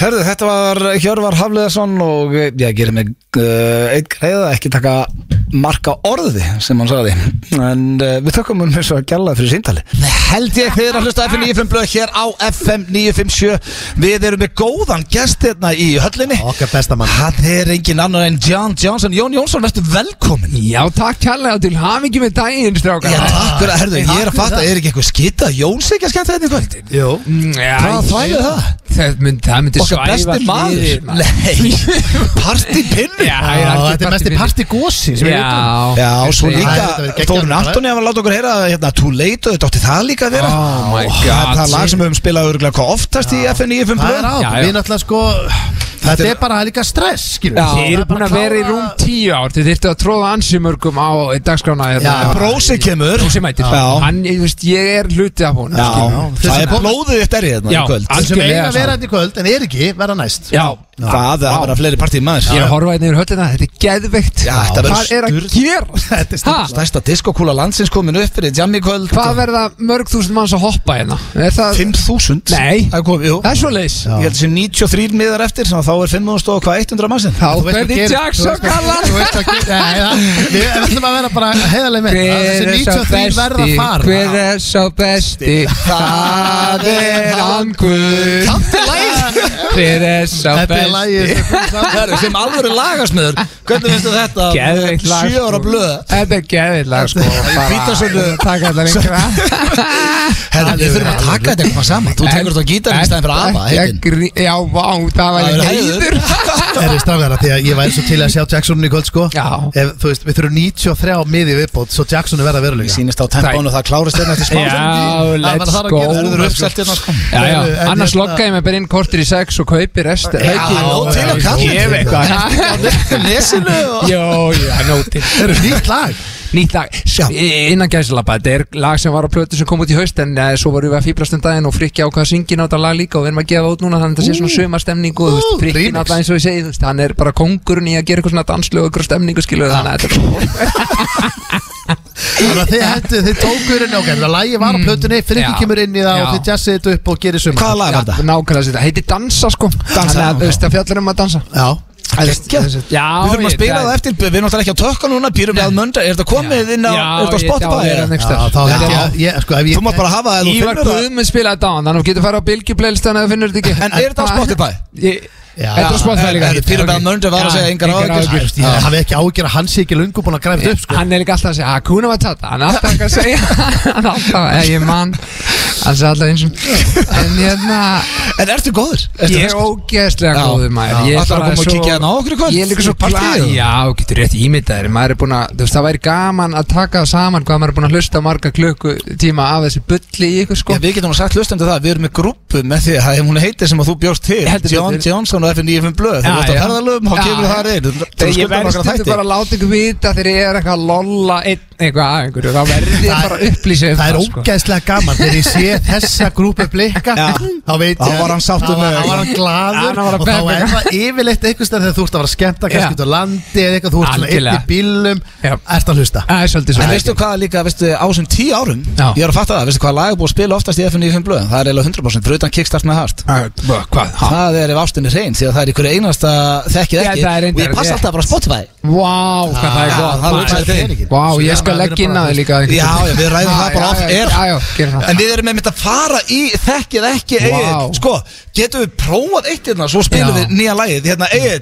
[SPEAKER 1] Herðu, þetta var Hjörvar Hafleðarsson og eh, ég gerir mig uh, eitt greiða ekki taka marka orði sem hann sagði en uh, við tökum hún með svo að gjalla fyrir síntali Held ég þeir að hlusta FM 95 blöð hér á FM 957 Við erum með góðan gest hérna í höllinni
[SPEAKER 2] Okkar besta mann
[SPEAKER 1] Það er engin annar en John Johnson Jón Jónsson, verður velkomin
[SPEAKER 7] Já, takk kærlega og til hafingi með daginn, strákar
[SPEAKER 1] Já, takk fyrir að, herðu, ég er að
[SPEAKER 2] takk fyrir
[SPEAKER 1] fatta,
[SPEAKER 2] það.
[SPEAKER 1] er ekki eitthvað skita Jóns ekki að skemmta þetta í kvöld?
[SPEAKER 2] Jú
[SPEAKER 7] Mm, Já,
[SPEAKER 1] Hvaða þvæla er það?
[SPEAKER 7] Það myndi, það myndi
[SPEAKER 1] Okkar
[SPEAKER 7] svæfa
[SPEAKER 1] besti maður Nei, partypinnu
[SPEAKER 7] Já,
[SPEAKER 2] Já,
[SPEAKER 7] ég er
[SPEAKER 2] þetta er
[SPEAKER 7] algjör
[SPEAKER 2] mesti
[SPEAKER 7] partypinni.
[SPEAKER 2] parti gósi sem ég veit um.
[SPEAKER 7] Já,
[SPEAKER 1] Já, og svo
[SPEAKER 7] Ég-
[SPEAKER 2] Það er- þetta
[SPEAKER 1] líka
[SPEAKER 2] verður geggjað
[SPEAKER 1] Þórun
[SPEAKER 2] bara.
[SPEAKER 1] Antoni var að láta okkur heyra hérna, Too late og þetta átti það líka að vera
[SPEAKER 7] Oh my
[SPEAKER 1] Og
[SPEAKER 7] God,
[SPEAKER 1] Það er það lag
[SPEAKER 7] sí.
[SPEAKER 1] sem við höfum spilað örgulega hvað oftast í FN 95
[SPEAKER 2] Það er á,
[SPEAKER 1] blöð
[SPEAKER 7] Já, já.
[SPEAKER 2] við náttúrulega sko Þetta er bara líka stress, skilur
[SPEAKER 7] Þið eru búin að vera í rúm tíu ár Þið þyrftu að tróða ansi mörgum á dagskrána
[SPEAKER 2] Já,
[SPEAKER 1] Brósi kemur
[SPEAKER 7] Brósi mætir
[SPEAKER 1] Já,
[SPEAKER 7] Hann, ég veist, ég er hluti af hún
[SPEAKER 1] já það er blóðið þetta er hérna í þarna í
[SPEAKER 7] Já,
[SPEAKER 1] kvöld
[SPEAKER 7] alls-
[SPEAKER 2] Sem eiga
[SPEAKER 7] Algjörlega
[SPEAKER 2] að vera þetta í kvöld, en er ekki, verða næst
[SPEAKER 7] Já,
[SPEAKER 1] Það er að vera fleiri partíð maður
[SPEAKER 7] ég er að horfa einnig yfir höllina Þetta er geðveikt
[SPEAKER 1] Já, þetta verður
[SPEAKER 7] Hvað er að
[SPEAKER 1] sturlað.
[SPEAKER 7] gera?
[SPEAKER 2] Þetta er
[SPEAKER 7] Ha?
[SPEAKER 1] Stærsta diskokúla landsins komin upp fyrir jam í kvöld
[SPEAKER 7] Hvað verða mörg þúsund manns að hoppa hérna? Er það,
[SPEAKER 1] 5.000
[SPEAKER 7] Nei.
[SPEAKER 1] Það kom, jú
[SPEAKER 7] það er svo leis
[SPEAKER 1] Ég held að sé 93 miðar eftir þannig að Þá er 5.000 og hvað 100 mannsinn
[SPEAKER 7] Þá
[SPEAKER 2] Þú veist hvað
[SPEAKER 7] verði
[SPEAKER 2] gerir-
[SPEAKER 7] Jackson
[SPEAKER 2] þú veist hvað-
[SPEAKER 7] kallar
[SPEAKER 2] Þú veist hvað gerir- Nei, það- Við við ætlum að vera bara heiðarlega með Þessi 93 verða að
[SPEAKER 7] Hver er sá besti,
[SPEAKER 2] fara
[SPEAKER 7] hver er sá besti, það er hann Guð Hver er sá
[SPEAKER 2] Þetta er
[SPEAKER 7] besti,
[SPEAKER 2] lægið
[SPEAKER 1] Herru, sem alvöru lagasmiður Hvernig finnst þér þetta?
[SPEAKER 7] Geðveikt lag,
[SPEAKER 1] Sjö ára
[SPEAKER 7] sko.
[SPEAKER 1] blöð
[SPEAKER 7] þetta er geðvill lag sko
[SPEAKER 1] Í Vítasölu.
[SPEAKER 7] Takk allar yngra
[SPEAKER 1] Herra, við þurfum að taka þetta eitthvað saman Þú tekur þetta á gítarinn í staðin fyrir afa
[SPEAKER 7] Ég
[SPEAKER 1] heitinn.
[SPEAKER 7] grí- Já, vá, það var
[SPEAKER 1] Það er
[SPEAKER 7] heiður
[SPEAKER 2] Er þið strafgar að því að ég væri svo til að sjá Jacksonin í kvöld sko
[SPEAKER 7] Já.
[SPEAKER 2] Ef, Þú veist, við þurfum 93 miði viðbót Svo Jackson er verið að vera
[SPEAKER 1] Ég
[SPEAKER 2] líka
[SPEAKER 1] sýnist á tempánu og það klárist þetta eftir smá
[SPEAKER 7] Já, let's go
[SPEAKER 1] Það verður uppselt hérna sko
[SPEAKER 7] Já, já,
[SPEAKER 2] En- en-
[SPEAKER 7] annars lokka ég mig bara inn kortir í sex og kaupi rest Já,
[SPEAKER 1] nóg til að kalla
[SPEAKER 7] Ég veit hvað
[SPEAKER 1] Lesinu og
[SPEAKER 7] Jó, já, nóti
[SPEAKER 2] Er það nýtt lag?
[SPEAKER 7] Nýtt lag, s- í- innan gæslappa Þetta er lag sem var á plötu sem kom út í haust En uh, svo varum við að fýblast um daginn og frikki ákvað að syngja Nátt að lag líka og við erum að gefa út núna Þannig að þetta sé svona sömastemning og
[SPEAKER 2] ú,
[SPEAKER 7] frikki
[SPEAKER 2] remix.
[SPEAKER 7] nátt eins og ég segi þú veist, Hann er bara kongurinn í að gera eitthvað svona danslög og eitthvað stemningu skilur Þannig að þetta er
[SPEAKER 2] Þannig að þið hættu, þið tókur inn Ok, þannig að lagi var á plötunni Frikki
[SPEAKER 7] Já.
[SPEAKER 2] kemur inn í það og
[SPEAKER 7] Já.
[SPEAKER 2] þið jazzið þetta upp og gerir sumar
[SPEAKER 1] Hvaða lag
[SPEAKER 7] Já,
[SPEAKER 1] var þetta?
[SPEAKER 7] nákvæmlega þetta, heitir dansa sko Þannig að
[SPEAKER 1] já.
[SPEAKER 7] þú veist, það fjallar um að dansa
[SPEAKER 2] Já
[SPEAKER 7] Það er-
[SPEAKER 1] Geggjað.
[SPEAKER 7] þessi- Já,
[SPEAKER 1] Við þurfum að
[SPEAKER 7] ég-
[SPEAKER 1] spila það eftir, við erum náttúrulega ekki á tökka núna, býrum við að mönda, er þetta komið inn á,
[SPEAKER 7] Já,
[SPEAKER 1] er þetta á
[SPEAKER 7] ég-
[SPEAKER 1] Spotify?
[SPEAKER 7] já, er
[SPEAKER 1] eða?
[SPEAKER 7] hann einhvers
[SPEAKER 2] Já,
[SPEAKER 7] staðar.
[SPEAKER 2] þá
[SPEAKER 1] Já.
[SPEAKER 2] hætti ég, ég, sko, ef ég
[SPEAKER 1] Þú mátt bara hafa það ef þú
[SPEAKER 7] Ívar
[SPEAKER 1] finnur það.
[SPEAKER 7] Guðmund spilaði þetta á hann, þannig að þú getur að fara á Bilgi Playlist þannig að þú finnur þetta ekki
[SPEAKER 1] En er þetta á Spotify?
[SPEAKER 7] Ég-
[SPEAKER 2] Já.
[SPEAKER 7] Þetta er á Spotify
[SPEAKER 1] En-
[SPEAKER 7] líka
[SPEAKER 1] en fyrir meðan Möndu var að
[SPEAKER 7] Já,
[SPEAKER 1] segja engar áhyggjur.
[SPEAKER 2] Æ, veist, Ég hafi ekki ágjör að hann sé ekki lungu búin að græfa þetta upp sko
[SPEAKER 7] Hann er líka alltaf að segja Hakuna Matata Hann er alltaf að segja Hann er alltaf að Ég man Hann segja alltaf eins og En hérna
[SPEAKER 1] En ertu góður? Ertu
[SPEAKER 7] Ég er
[SPEAKER 1] ferskur?
[SPEAKER 7] ógeðslega
[SPEAKER 1] Já,
[SPEAKER 7] góður maður
[SPEAKER 1] já.
[SPEAKER 7] Ég er
[SPEAKER 1] Ætlarðu að koma
[SPEAKER 7] bara
[SPEAKER 1] og
[SPEAKER 7] svo-
[SPEAKER 1] kíkja hérna á okkur í kvöld?
[SPEAKER 7] Ég er líka svo
[SPEAKER 1] Partíið?
[SPEAKER 7] glad Já, þú getur rétt ímyndað þér Maður er búin að Þú veist, það væri gaman að taka það saman Hvað maður er búin að hlusta á marga klukkutíma Af þessi bulli í ykkur
[SPEAKER 1] Já,
[SPEAKER 7] sko
[SPEAKER 1] við getum nú sagt hlustandi það, við erum með grúpu með því að hún heitir sem að þú bjóst til
[SPEAKER 7] Ég heldur
[SPEAKER 1] John
[SPEAKER 7] betur.
[SPEAKER 1] Johnson og FN95 Blöð, þú
[SPEAKER 7] Já,
[SPEAKER 1] veist að
[SPEAKER 7] já.
[SPEAKER 1] ferðalöfum, þá
[SPEAKER 7] Já,
[SPEAKER 1] kemur
[SPEAKER 7] já.
[SPEAKER 1] það reyn
[SPEAKER 7] Þegar ég verðst þetta bara að láta ykkur vita þegar ég er eitthvað að lolla einn eitthvað að einhverju þá verði ég bara að upplýsa um
[SPEAKER 2] Það er
[SPEAKER 7] sko.
[SPEAKER 2] ógeðslega gaman þegar ég sé þessa grúpu blikka
[SPEAKER 1] Já.
[SPEAKER 2] þá veit ég
[SPEAKER 1] Þá var hann sáttur
[SPEAKER 2] þá var-
[SPEAKER 1] með
[SPEAKER 2] þá var hann
[SPEAKER 7] Hann var
[SPEAKER 2] gladur
[SPEAKER 7] að
[SPEAKER 2] og þá
[SPEAKER 7] peppa.
[SPEAKER 2] er það yfirleitt einhvers stær þegar þú ert að fara að skemmta
[SPEAKER 7] Já.
[SPEAKER 2] kannski út á landi eða eitthvað þú ert svona einn í
[SPEAKER 7] Algjörlega.
[SPEAKER 2] bílum
[SPEAKER 7] Já.
[SPEAKER 2] ert að hlusta
[SPEAKER 7] Það er svolítið
[SPEAKER 1] En
[SPEAKER 7] svona
[SPEAKER 1] veistu hvað líka, veistu, á sem tíu árum
[SPEAKER 7] Já.
[SPEAKER 1] Ég er að fatta það, veistu hvað lag er búið að spila oftast í FN95 Blöð Það er eiginlega 100% fyrir utan kickstart með hart
[SPEAKER 7] Hvað? Hvað? Ha?
[SPEAKER 1] Það er ef ástinni hrein, því að það er ykkur einasta þekkið
[SPEAKER 7] Já,
[SPEAKER 1] ekki
[SPEAKER 7] það
[SPEAKER 1] Og
[SPEAKER 7] er
[SPEAKER 1] ég
[SPEAKER 7] reyndar,
[SPEAKER 1] passa
[SPEAKER 7] ég-
[SPEAKER 1] alltaf bara á Spotify
[SPEAKER 7] Vá, hvað það er
[SPEAKER 1] Já,
[SPEAKER 7] gott
[SPEAKER 1] Ah, það er
[SPEAKER 7] maður.
[SPEAKER 1] hugsaði peningin.
[SPEAKER 7] Vá, ég skal leggja inn að þið líka
[SPEAKER 1] Já, já, við ræðum það bara off air.
[SPEAKER 7] Já, já, gerum það
[SPEAKER 1] En við erum einmitt að fara í þekkið ekki
[SPEAKER 7] Vá.
[SPEAKER 1] Egil Sko, getum við prófað eitt hérna Svo spilum
[SPEAKER 7] Já.
[SPEAKER 1] við nýja lagið Hérna Egil,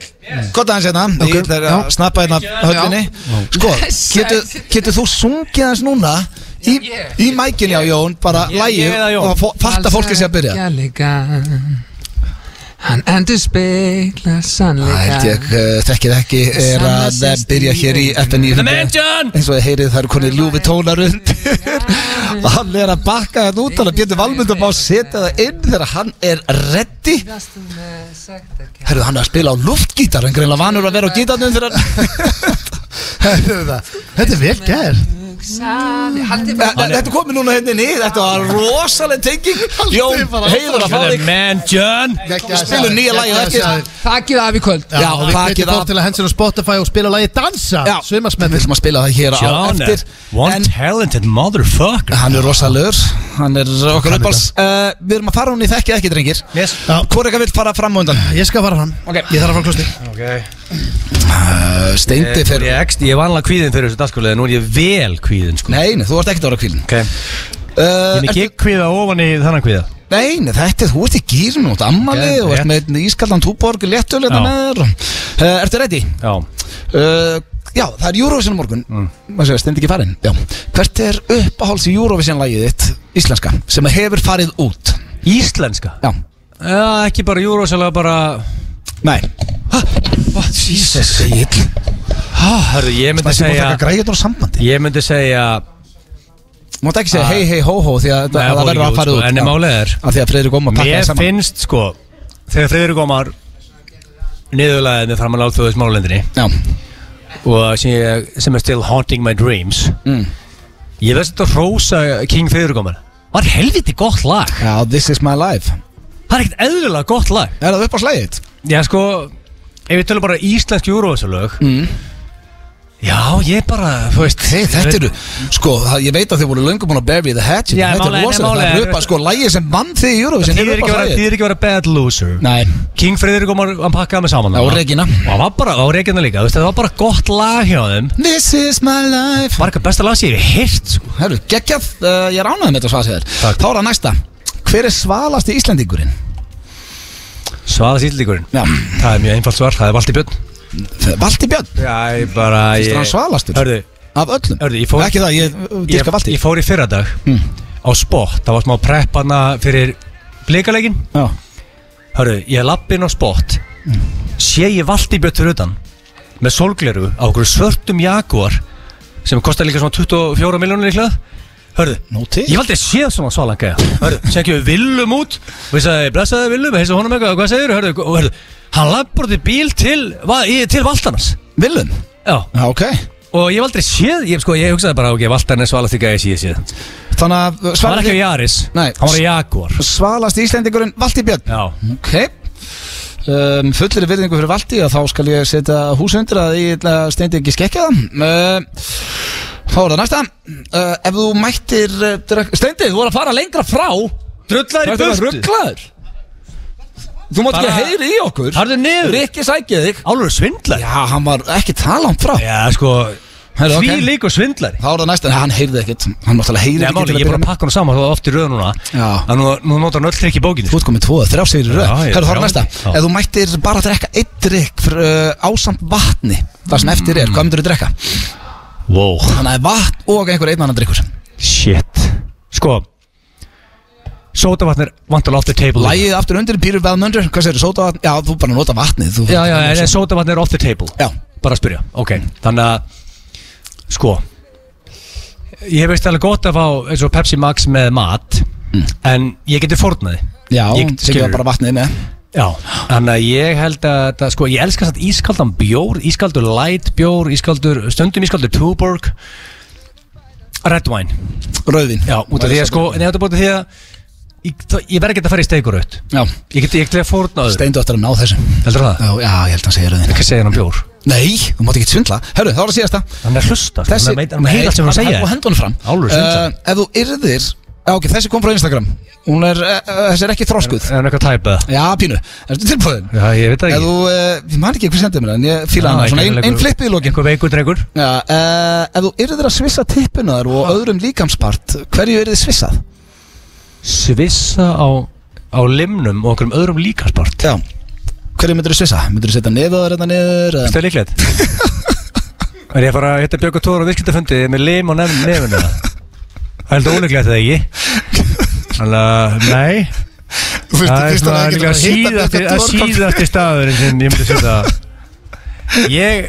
[SPEAKER 1] gott aðeins hérna
[SPEAKER 7] Ok,
[SPEAKER 1] Egil er að
[SPEAKER 7] já.
[SPEAKER 1] snappa hérna höllinni Sko, getur getu þú sungið aðeins núna Í,
[SPEAKER 7] ég-
[SPEAKER 1] í mækin já Jón, bara
[SPEAKER 3] Ég- ég
[SPEAKER 1] lagið
[SPEAKER 3] eða Jón?
[SPEAKER 1] Og fó- fatta fólkið sé að byrja
[SPEAKER 7] Já, líka Hann endur speikla
[SPEAKER 1] Það
[SPEAKER 7] sannleika
[SPEAKER 1] held ég, eh, þekkið ekki er að eh, byrja hér í FNI
[SPEAKER 3] The Mansion!
[SPEAKER 1] eins og þið heyrið það eru konið ljúfi tónar undir og hann er að bakka þetta út hann að Pétur Valmundur má setja það inn þegar hann er reddi Herðu hann er að spila á luftgítar hann er greinlega vanur að vera á gítarnum þegar hann
[SPEAKER 2] Þetta er vel gær
[SPEAKER 1] Eh, eh, Þetta er komið núna hérna inn í þetta var rosaleg tenging Jón, heiður að fá
[SPEAKER 3] The
[SPEAKER 1] þig
[SPEAKER 3] Mansion
[SPEAKER 1] spilum nýja lagi og eftir
[SPEAKER 7] Takið af í kvöld
[SPEAKER 2] Já,
[SPEAKER 1] Já,
[SPEAKER 2] og við
[SPEAKER 1] takið
[SPEAKER 2] hvetjum
[SPEAKER 1] það.
[SPEAKER 2] fólk til að hendur á Spotify og spila lagið Dansa
[SPEAKER 1] Já. Við
[SPEAKER 2] Sumarsmennir
[SPEAKER 1] viljum að spila það hér á
[SPEAKER 3] John, uh,
[SPEAKER 1] eftir
[SPEAKER 3] one
[SPEAKER 1] En-
[SPEAKER 3] talented motherfucker
[SPEAKER 1] Hann er rosalur, hann er okkar uppáls uh, Við erum að fara hún í þekki ekki drengir
[SPEAKER 3] Yes
[SPEAKER 2] Já.
[SPEAKER 1] Hvor eitthvað vil fara fram og undan?
[SPEAKER 2] Ég skal fara fram
[SPEAKER 1] Ok.
[SPEAKER 2] Ég þarf að fara á klostið
[SPEAKER 3] okay.
[SPEAKER 1] Uh, steindi
[SPEAKER 3] Ég,
[SPEAKER 1] fyrir
[SPEAKER 3] ég, ekst, ég var alveg kvíðin fyrir þessu dagskóli en Nú er ég vel kvíðin sko
[SPEAKER 1] Nei, nei, þú ert ekkert að vera kvílin
[SPEAKER 3] okay.
[SPEAKER 1] uh,
[SPEAKER 3] Ég er
[SPEAKER 1] ertu-
[SPEAKER 3] ekki kvíða ofan í þannan kvíða
[SPEAKER 1] Nei, nei, þetta er, þú ert í gýrun og ammali
[SPEAKER 3] Geðveikt.
[SPEAKER 1] og ert með einn ískaldan túborg léttulegna
[SPEAKER 3] Já.
[SPEAKER 1] með þér uh, Ertu ready?
[SPEAKER 3] Já
[SPEAKER 1] Uh, já, það er Eurovision á morgun
[SPEAKER 3] Mm.
[SPEAKER 1] Maður segja, steindi ekki farin já. Hvert er uppáháls í Eurovision lagið þitt íslenska sem hefur farið út?
[SPEAKER 3] Íslenska
[SPEAKER 1] Já,
[SPEAKER 3] Já, ekki bara júrósalega bara
[SPEAKER 1] nei What? Jesus, ég ill
[SPEAKER 3] Hörðu, ég myndi
[SPEAKER 1] Það sé búin að
[SPEAKER 3] segja
[SPEAKER 1] taka græðið úr sambandi
[SPEAKER 3] Ég myndi segja
[SPEAKER 1] Þú mátt ekki segja hei hei hó hó því að
[SPEAKER 3] Ah. Nei,
[SPEAKER 1] það
[SPEAKER 3] fór
[SPEAKER 1] verður
[SPEAKER 3] ekki
[SPEAKER 1] að
[SPEAKER 3] út,
[SPEAKER 1] fara
[SPEAKER 3] sko,
[SPEAKER 1] út
[SPEAKER 3] en
[SPEAKER 1] Já.
[SPEAKER 3] málið er-
[SPEAKER 1] Af því að Freyri kom að pakka
[SPEAKER 3] Mér
[SPEAKER 1] það saman
[SPEAKER 3] finnst sko Þegar Friðrik Ómar Niðurlæðið mig framan á þjóðis málendinni
[SPEAKER 1] Já,
[SPEAKER 3] og sem, ég, sem er still haunting my dreams
[SPEAKER 1] Mm.
[SPEAKER 3] ég veist þetta rosa King Fyrirgómar var helviti gott lag
[SPEAKER 1] já, this is my life
[SPEAKER 3] það er ekkert eðlilega gott lag
[SPEAKER 1] Er það upp á slæðið?
[SPEAKER 3] já sko, ef við tölum bara íslensk júrósalög mm. já ég bara, þú veist
[SPEAKER 1] Hei, þetta eru, sko, það, ég veit að þið voru löngum búin að bury the hatchet
[SPEAKER 3] Já,
[SPEAKER 1] Þetta
[SPEAKER 3] málega,
[SPEAKER 1] er rosalega,
[SPEAKER 3] málega.
[SPEAKER 1] það er upp að, sko, lægið sem vann þið í Eurovision
[SPEAKER 3] þið
[SPEAKER 1] er
[SPEAKER 3] er
[SPEAKER 1] upp
[SPEAKER 3] ekki
[SPEAKER 1] á
[SPEAKER 3] að vera-
[SPEAKER 1] slæðið
[SPEAKER 3] þýðir ekki að vera bad loser
[SPEAKER 1] Nei,
[SPEAKER 3] King Fyrirgómar, hann pakkaði með saman
[SPEAKER 1] á
[SPEAKER 3] þarna.
[SPEAKER 1] Regina
[SPEAKER 3] og hann var bara, á reikina líka, þú veist, það var bara gott lag hjá þeim
[SPEAKER 1] This is my life
[SPEAKER 3] var eitthvað besta lag sem ég hef hirt sko.
[SPEAKER 1] Herru, geggjað, uh, ég ránaði með þetta svað sér
[SPEAKER 3] Takk.
[SPEAKER 1] Þá er það næsta Hver er svalasti Íslendingurinn?
[SPEAKER 3] svaða sýllíkurinn
[SPEAKER 1] Já,
[SPEAKER 3] það er mjög einfalt svar, það er Valdi Björn
[SPEAKER 1] Valdi Björn,
[SPEAKER 3] já, ég bara
[SPEAKER 1] Finnst þér hann svalastur?
[SPEAKER 3] Hörðu,
[SPEAKER 1] af öllum
[SPEAKER 3] Hörðu, ég fór-
[SPEAKER 1] Ekki það, ég uh,
[SPEAKER 3] ég,
[SPEAKER 1] dyrka Valdi
[SPEAKER 3] ég fór í fyrradag á á spott Það var smá preppanna fyrir blikalegin
[SPEAKER 6] Já.
[SPEAKER 3] Hörru, ég lappi inn á spott Sé ég valdi bjött fyrir utan Með sólgleru á okkur svörtum jaguar Sem kostar líka svona 24 miljónir líklega Hörru,
[SPEAKER 1] Nótið
[SPEAKER 3] Ég valdi að séð svona svalanga Hörðu, sem ekki við villum út Og ég sagði, blessaði villum, heilsa honum eitthvað Hvað segir hörðu, og hörðu, hann lappur út í bíl til, va, í, til Valtarnas
[SPEAKER 1] Villum
[SPEAKER 3] Já,
[SPEAKER 1] Já, ok
[SPEAKER 3] og ég valdi að séð Ég, sko, ég hugsaði bara, ok, Valtarnas var alveg því gæði síðan síðan
[SPEAKER 1] Þannig að
[SPEAKER 3] Það var ekki á
[SPEAKER 1] svalast,
[SPEAKER 3] Jaris,
[SPEAKER 1] Nei.
[SPEAKER 3] hann var í Jaguar
[SPEAKER 1] svalast íslendingurinn Valdi Björn
[SPEAKER 3] Já,
[SPEAKER 1] Ok um, Fullir virðingu fyrir Valdi að þá skal ég setja húsundir að ég ætla að steindi ekki skekja það uh, Þá er það næsta uh, Ef þú mættir uh, Steindi, þú voru að fara lengra frá
[SPEAKER 3] drullar í
[SPEAKER 1] Þetta var
[SPEAKER 3] burtu
[SPEAKER 1] rugglaður Þú mátt ekki
[SPEAKER 3] Bara-
[SPEAKER 1] heyri í okkur
[SPEAKER 3] Harðu niður,
[SPEAKER 1] Rikki sækið þig
[SPEAKER 3] álur svindlar
[SPEAKER 1] Já, hann var ekki talant frá
[SPEAKER 3] Já, sko,
[SPEAKER 1] Hörðu, ok.
[SPEAKER 3] því líkur svindlar
[SPEAKER 1] Þá er það næsta, en hann heyrði ekkert Hann náttúrulega heyrði
[SPEAKER 3] Nei,
[SPEAKER 1] ekki
[SPEAKER 3] máli,
[SPEAKER 1] til að
[SPEAKER 3] ég
[SPEAKER 1] byrja
[SPEAKER 3] er bara að
[SPEAKER 1] með.
[SPEAKER 3] pakka hann saman, þú er oft í röð núna
[SPEAKER 1] Já.
[SPEAKER 3] Að Nú, nú notar hann öll trikk í bókinni
[SPEAKER 1] Þú ert komið tvoða, þrjá sigri röð
[SPEAKER 3] Já, ég-
[SPEAKER 1] Hörðu, þá er
[SPEAKER 3] já.
[SPEAKER 1] næsta
[SPEAKER 3] Já.
[SPEAKER 1] Ef þú mættir bara að drekka eitt drikk fyrir, uh, ásamt vatni Það sem eftir
[SPEAKER 3] Mm.
[SPEAKER 1] er, hvað myndir þú drekka?
[SPEAKER 3] Wow
[SPEAKER 1] Þannig að vatn og einhver einn annan drikkur
[SPEAKER 3] Shit Sko Sótavatn er vantulega off the table
[SPEAKER 1] Lægið aftur undir, pýrur veðmöndur Hvað segir þú, sótavatn? Já, þú bara nota vatnið þú,
[SPEAKER 3] Já, já, en sótavatn er off the table
[SPEAKER 1] Já.
[SPEAKER 3] Bara að spyrja, ok Þannig að Sko Ég veist alveg gott að fá eins og Pepsi Max með mat
[SPEAKER 1] Mm.
[SPEAKER 3] En ég geti fórnaði
[SPEAKER 1] Já,
[SPEAKER 3] Ég-
[SPEAKER 1] tekið
[SPEAKER 3] skilur.
[SPEAKER 1] það bara vatnið með
[SPEAKER 3] Já, þannig að ég held að þetta, sko, ég elska samt ískaldan bjór, ískaldur light bjór, ískaldur, stundum ískaldur túborg, red wine,
[SPEAKER 1] Rauðvin
[SPEAKER 3] já, út af því að sko, en ég ætla búin að því að ég, þá- ég verð ekki að fara í steikuröð,
[SPEAKER 1] Já,
[SPEAKER 3] Ég get ekki að fórna öðru
[SPEAKER 1] steindu aftur að ná þessu
[SPEAKER 3] Heldur það?
[SPEAKER 1] Já, já, ég held að hann segir rauðvin
[SPEAKER 3] Hvað segir hann um bjór?
[SPEAKER 1] Nei, þú mátt ekki svindla Hörru, þá er það síðasta
[SPEAKER 3] Hann er að hlusta, sko.
[SPEAKER 1] þessi,
[SPEAKER 3] hann veit, hann heila sem hann segja
[SPEAKER 1] og hendur hún fram
[SPEAKER 3] Álfur, svindlar.
[SPEAKER 1] Eh, ef þú yrðir já, ok, þessi kom frá Instagram hún er, uh, þessi er ekki þroskuð
[SPEAKER 3] Er hann eitthvað tæpað?
[SPEAKER 1] já, pínu, ertu tilbúin
[SPEAKER 3] Já, ég veit það
[SPEAKER 1] ef
[SPEAKER 3] ekki
[SPEAKER 1] þú, uh, ég man ekki hver sendið mér það, en ég fíla hana, svona ein, ein flippið í lokin
[SPEAKER 3] Eitthvað veikur drengur
[SPEAKER 1] já, uh, ef þú yrðir að svissa tippunar og öðrum líkamspart hverju yrðið svissað?
[SPEAKER 3] Svissa á, á limnum og okkur um öðrum líkarsport
[SPEAKER 1] já, hverju myndir þú svissa? myndir þú setja nefðaður þetta niður? eða-
[SPEAKER 3] Þetta er líklegt Er ég að fara að hitta Björg og Tóra á viðskiptafundi með lim og nefn nefnum Það er heldur óleiklegt það ekki Þannig að, nei
[SPEAKER 1] Þú veist,
[SPEAKER 3] Það er
[SPEAKER 1] fyrst að
[SPEAKER 3] svona
[SPEAKER 1] það
[SPEAKER 3] líka
[SPEAKER 1] getur að hitta
[SPEAKER 3] síðasti,
[SPEAKER 1] þetta
[SPEAKER 3] að
[SPEAKER 1] dvorkant.
[SPEAKER 3] síðasti staður sem ég myndi setja Ég,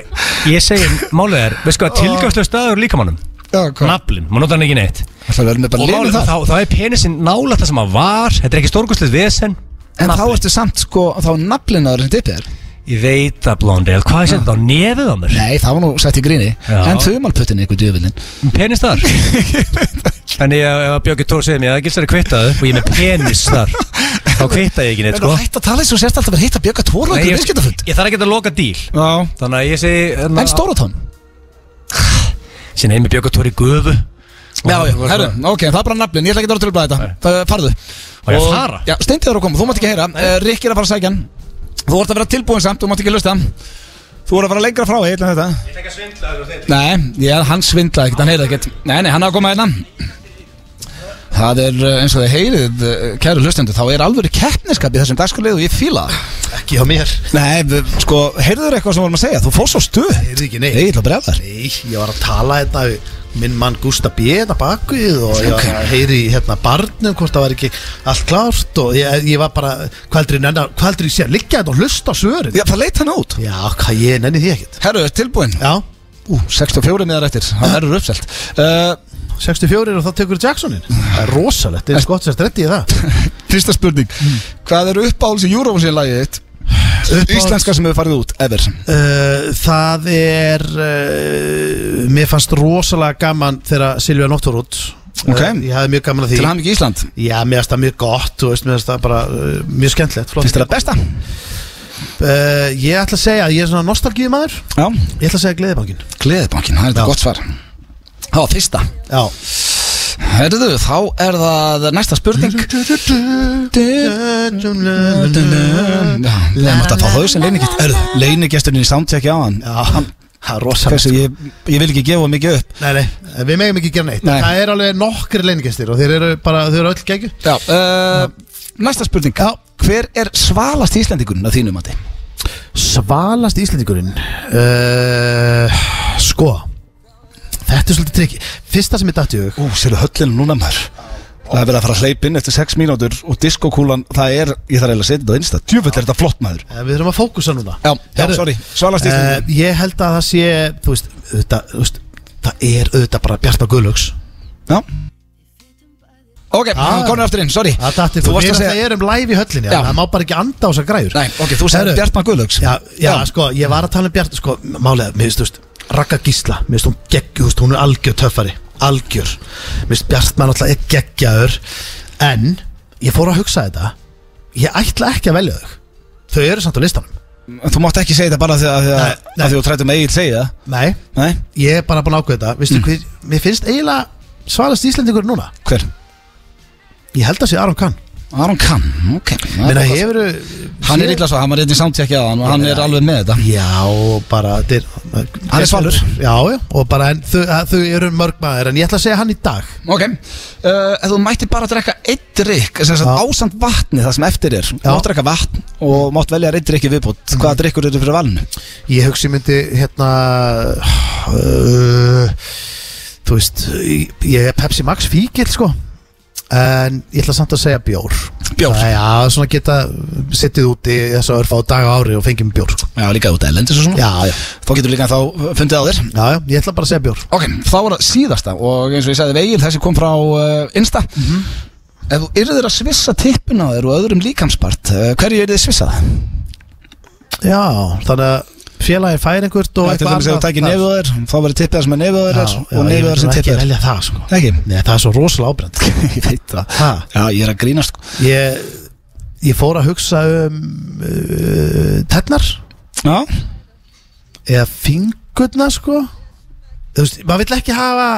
[SPEAKER 3] ég segi, málið er, veist hvað, tilgjöfslega staður líkamannum
[SPEAKER 1] Já, hvað?
[SPEAKER 3] Naflin, maður notar hann ekki neitt
[SPEAKER 1] Það verður með bara
[SPEAKER 3] Og
[SPEAKER 1] liðið
[SPEAKER 3] málið,
[SPEAKER 1] það
[SPEAKER 3] þá, þá er penisinn nálægt það sem hann var Þetta er ekki stórkustlið vesen
[SPEAKER 1] En þá
[SPEAKER 3] naflinn.
[SPEAKER 1] ertu samt sko, þá er naflinaður sem tippið er
[SPEAKER 3] Ég veit það, Blondale, hvað er þetta á nefið á mér?
[SPEAKER 1] Nei, það var nú sett í gríni
[SPEAKER 3] Já.
[SPEAKER 1] En þumalputtin eitthvað djöfilinn
[SPEAKER 3] Penis þar Þannig að ef að Björki Tór segir mér að Gils er að kvitta þau og ég er með penis þar þá kvitta ég ekki neitt,
[SPEAKER 1] Er það
[SPEAKER 3] sko
[SPEAKER 1] hægt að tala eins og sérst alltaf að hitta Björga Tóra
[SPEAKER 3] Nei,
[SPEAKER 1] Nei,
[SPEAKER 3] ég,
[SPEAKER 1] ég,
[SPEAKER 3] ég þarf ekki að loka díl
[SPEAKER 1] Já
[SPEAKER 3] Þannig að ég segi hérna,
[SPEAKER 1] En Stóratón
[SPEAKER 3] Sér nefnir Björki Tór í gufu
[SPEAKER 1] Já, já, herru, ok, það er bara naflin, ég ætla ekki að tröfla þetta Það farðu
[SPEAKER 3] Og ég að fara?
[SPEAKER 1] Já, steindið er að koma, þú mátt ekki heyra uh, Rikki er að fara að sækja hann Þú ert að vera tilbúin samt, þú mátt ekki hlusta Þú ert að fara lengra frá, ég ætla þetta
[SPEAKER 3] Ég tek að svindla þér og þeir
[SPEAKER 1] Nei, ég, hann svindlaði ekkert, hann heyrði ekkert Nei, nei, hann er að koma hérna Það er eh, eins og þið heyrið, eh, kæru hlustendur Þá er alvöru keppniskap í þessum dagskalið og ég fíla það.
[SPEAKER 2] Ekki á mér
[SPEAKER 1] Nei, við- sko, heyrður eitthvað sem við vorum að segja Þú fór svo stuð
[SPEAKER 2] Heyrði ekki neitt.
[SPEAKER 1] Nei, ég ætla að bregða þar
[SPEAKER 2] Nei, ég var að tala hérna við minn mann Gústa B. þetta bakvið og ég var að heyri í, hérna barnum hvort það var ekki allt klárt og ég, ég var bara, hvað heldur ég nenni að- hvað heldur ég sé að liggja þetta og hlusta á svörin
[SPEAKER 1] Já, það leit hann út
[SPEAKER 2] Já, hvað ég nenni því ekkert
[SPEAKER 1] Herru, tilbúin
[SPEAKER 2] Já,
[SPEAKER 1] Ú, 64 miðar eftir, það verður uppselt uh,
[SPEAKER 2] 64 og þá tekur Jacksonin Það er rosalegt, það er eins gott sem stretti ég það
[SPEAKER 1] Fyrsta spurning Hvað er uppáhalds í Eurovision lagið þitt? Íslenska sem hefur farið út, ever
[SPEAKER 2] Uh, það er uh, mér fannst rosalega gaman þegar Silvja Nótt var út
[SPEAKER 1] Ok.
[SPEAKER 2] uh, ég hafði mjög gaman að því
[SPEAKER 1] Til hann ekki Ísland
[SPEAKER 2] já, mér finnst það mjög gott þú veist, mér finnst það bara uh, mjög skemmtilegt flott.
[SPEAKER 1] Finnst þér það besta?
[SPEAKER 2] Uh, ég ætla að segja, að ég er svona nostalgíu maður
[SPEAKER 1] Já
[SPEAKER 2] Ég ætla að segja Gleðibankin
[SPEAKER 1] Gleðibankin, það er þetta
[SPEAKER 2] Já.
[SPEAKER 1] gott svar Það var fyrsta
[SPEAKER 2] Já
[SPEAKER 1] Herðu, þá er það næsta spurning Já, Við erum alltaf að fá þau sem leinigjast Herðu, leinigjasturinn í soundchecki á hann
[SPEAKER 2] Já, það er rosalegt
[SPEAKER 1] Hversu, ég, ég vil ekki gefa mikið upp
[SPEAKER 2] Nei, nei, við megum ekki gera neitt
[SPEAKER 1] Nei.
[SPEAKER 2] Það er alveg nokkri leingestir og þeir eru bara, þau eru öll gegju
[SPEAKER 1] Já, uh, næsta spurning Já. Hver er svalast Íslandingun að þínum mati?
[SPEAKER 2] Svalast Íslendingurinn uh, Sko Þetta er svolítið trikki Fyrsta sem ég datt í hug
[SPEAKER 1] Ú, sérðu höllinu núna maður Það er verið að fara að hleypa inn eftir 6 mínútur og diskokúlan, það er, ég þarf eiginlega að setja þetta á innstætt Tjöfull er þetta flott maður
[SPEAKER 2] Eh, Við þurfum að fókusa núna
[SPEAKER 1] Já, já, sorry. Svala Stífsson.
[SPEAKER 2] Eh, Ég held að það sé Þú veist, auðvitað, þú veist Það er auðvitað bara Bjartna Guðlöks
[SPEAKER 1] Já Ok, ah, konur aftur inn, sorry
[SPEAKER 2] Það datti
[SPEAKER 1] Þú varst að
[SPEAKER 2] Það
[SPEAKER 1] segja
[SPEAKER 2] er um live í höllinni
[SPEAKER 1] Já.
[SPEAKER 2] Það má bara ekki anda á þessar græður
[SPEAKER 1] Nei, ok, þú sagði
[SPEAKER 2] Herru,
[SPEAKER 1] Bjartmann Guðlaugs
[SPEAKER 2] já, já, sko, ég var að tala um Bjart Sko, málega, mér finnst, þú veist Raka Gísla, mér finnst hún geggju Þú veist, hún er algjör töffari Algjör Mér finnst Bjartmann alltaf er geggjaður En, ég fór að hugsa þetta Ég ætla ekki að velja þau Þau eru samt á listanum
[SPEAKER 1] Þú mátt ekki segja þetta bara því að, því að,
[SPEAKER 2] Nei, nei.
[SPEAKER 1] að því þú trættum eigin segja það
[SPEAKER 2] Nei,
[SPEAKER 1] Nei, Mm.
[SPEAKER 2] ég er bara búin að ákveða þetta Vistu, hver, mér finnst eiginlega svalast Íslendingur núna
[SPEAKER 1] hver?
[SPEAKER 2] Ég held að sé Aron Kahn
[SPEAKER 1] Aron Kahn, ok Það
[SPEAKER 2] Meina,
[SPEAKER 1] er gott.
[SPEAKER 2] hefur,
[SPEAKER 1] Hann er illa svo, hann var reyndin samtjekki á hann og hann er alveg með þetta
[SPEAKER 2] Já, bara dyr,
[SPEAKER 1] Hann er svalur.
[SPEAKER 2] Já, já, og bara en, þau, að, þau eru mörg maður En ég ætla að segja hann í dag
[SPEAKER 1] Ok, uh, ef þú mætti bara að drekka eitt drikk sem sagt
[SPEAKER 2] Já.
[SPEAKER 1] ásamt vatni það sem eftir er Þú
[SPEAKER 2] Já.
[SPEAKER 1] mátt drekka vatn og mátt velja eitt drikk í viðbútt
[SPEAKER 2] Mhm.
[SPEAKER 1] Hvaða drikkur eru fyrir valinu?
[SPEAKER 2] Ég hugsi ég myndi hérna uh, Þú veist Ég ég er Pepsi Max fíkil sko En ég ætla samt að segja bjór
[SPEAKER 1] Bjór.
[SPEAKER 2] Það, Já, svona geta sittið úti þess að örfa á dag á ári og fengjum bjór sko.
[SPEAKER 1] Já, líka út elendis og svona
[SPEAKER 2] Já, já,
[SPEAKER 1] Þá getur líka þá uh, fundið á þér
[SPEAKER 2] já, já, ég ætla bara að segja bjór
[SPEAKER 1] Ok, þá var það síðasta og eins og ég sagði við Egil, þessi kom frá uh, Insta
[SPEAKER 2] Mhm.
[SPEAKER 1] Ef þú yrðir að svissa tippin á þér og öðrum líkamspart uh, Hverju yrðið svissað?
[SPEAKER 2] Já, þannig að félagi fær einhvert og
[SPEAKER 1] Til dæmis ef þú tækir
[SPEAKER 2] þar.
[SPEAKER 1] nefið á þér, þá verður tippið það sem er nefið á þér er
[SPEAKER 2] Já, já,
[SPEAKER 1] og
[SPEAKER 2] ég
[SPEAKER 1] nefið á þér
[SPEAKER 2] myndi
[SPEAKER 1] sem
[SPEAKER 2] nú ekki
[SPEAKER 1] tippið er
[SPEAKER 2] velja það sko
[SPEAKER 1] Ekki?
[SPEAKER 2] Nei, það er svo rosalega ábrennt
[SPEAKER 1] ég veit það
[SPEAKER 2] Ha?
[SPEAKER 1] Já, ég er að grínast sko.
[SPEAKER 2] Ég, ég fór að hugsa um uh, Tennar
[SPEAKER 1] Já,
[SPEAKER 2] eða fingurna sko þú veist, maður vill ekki hafa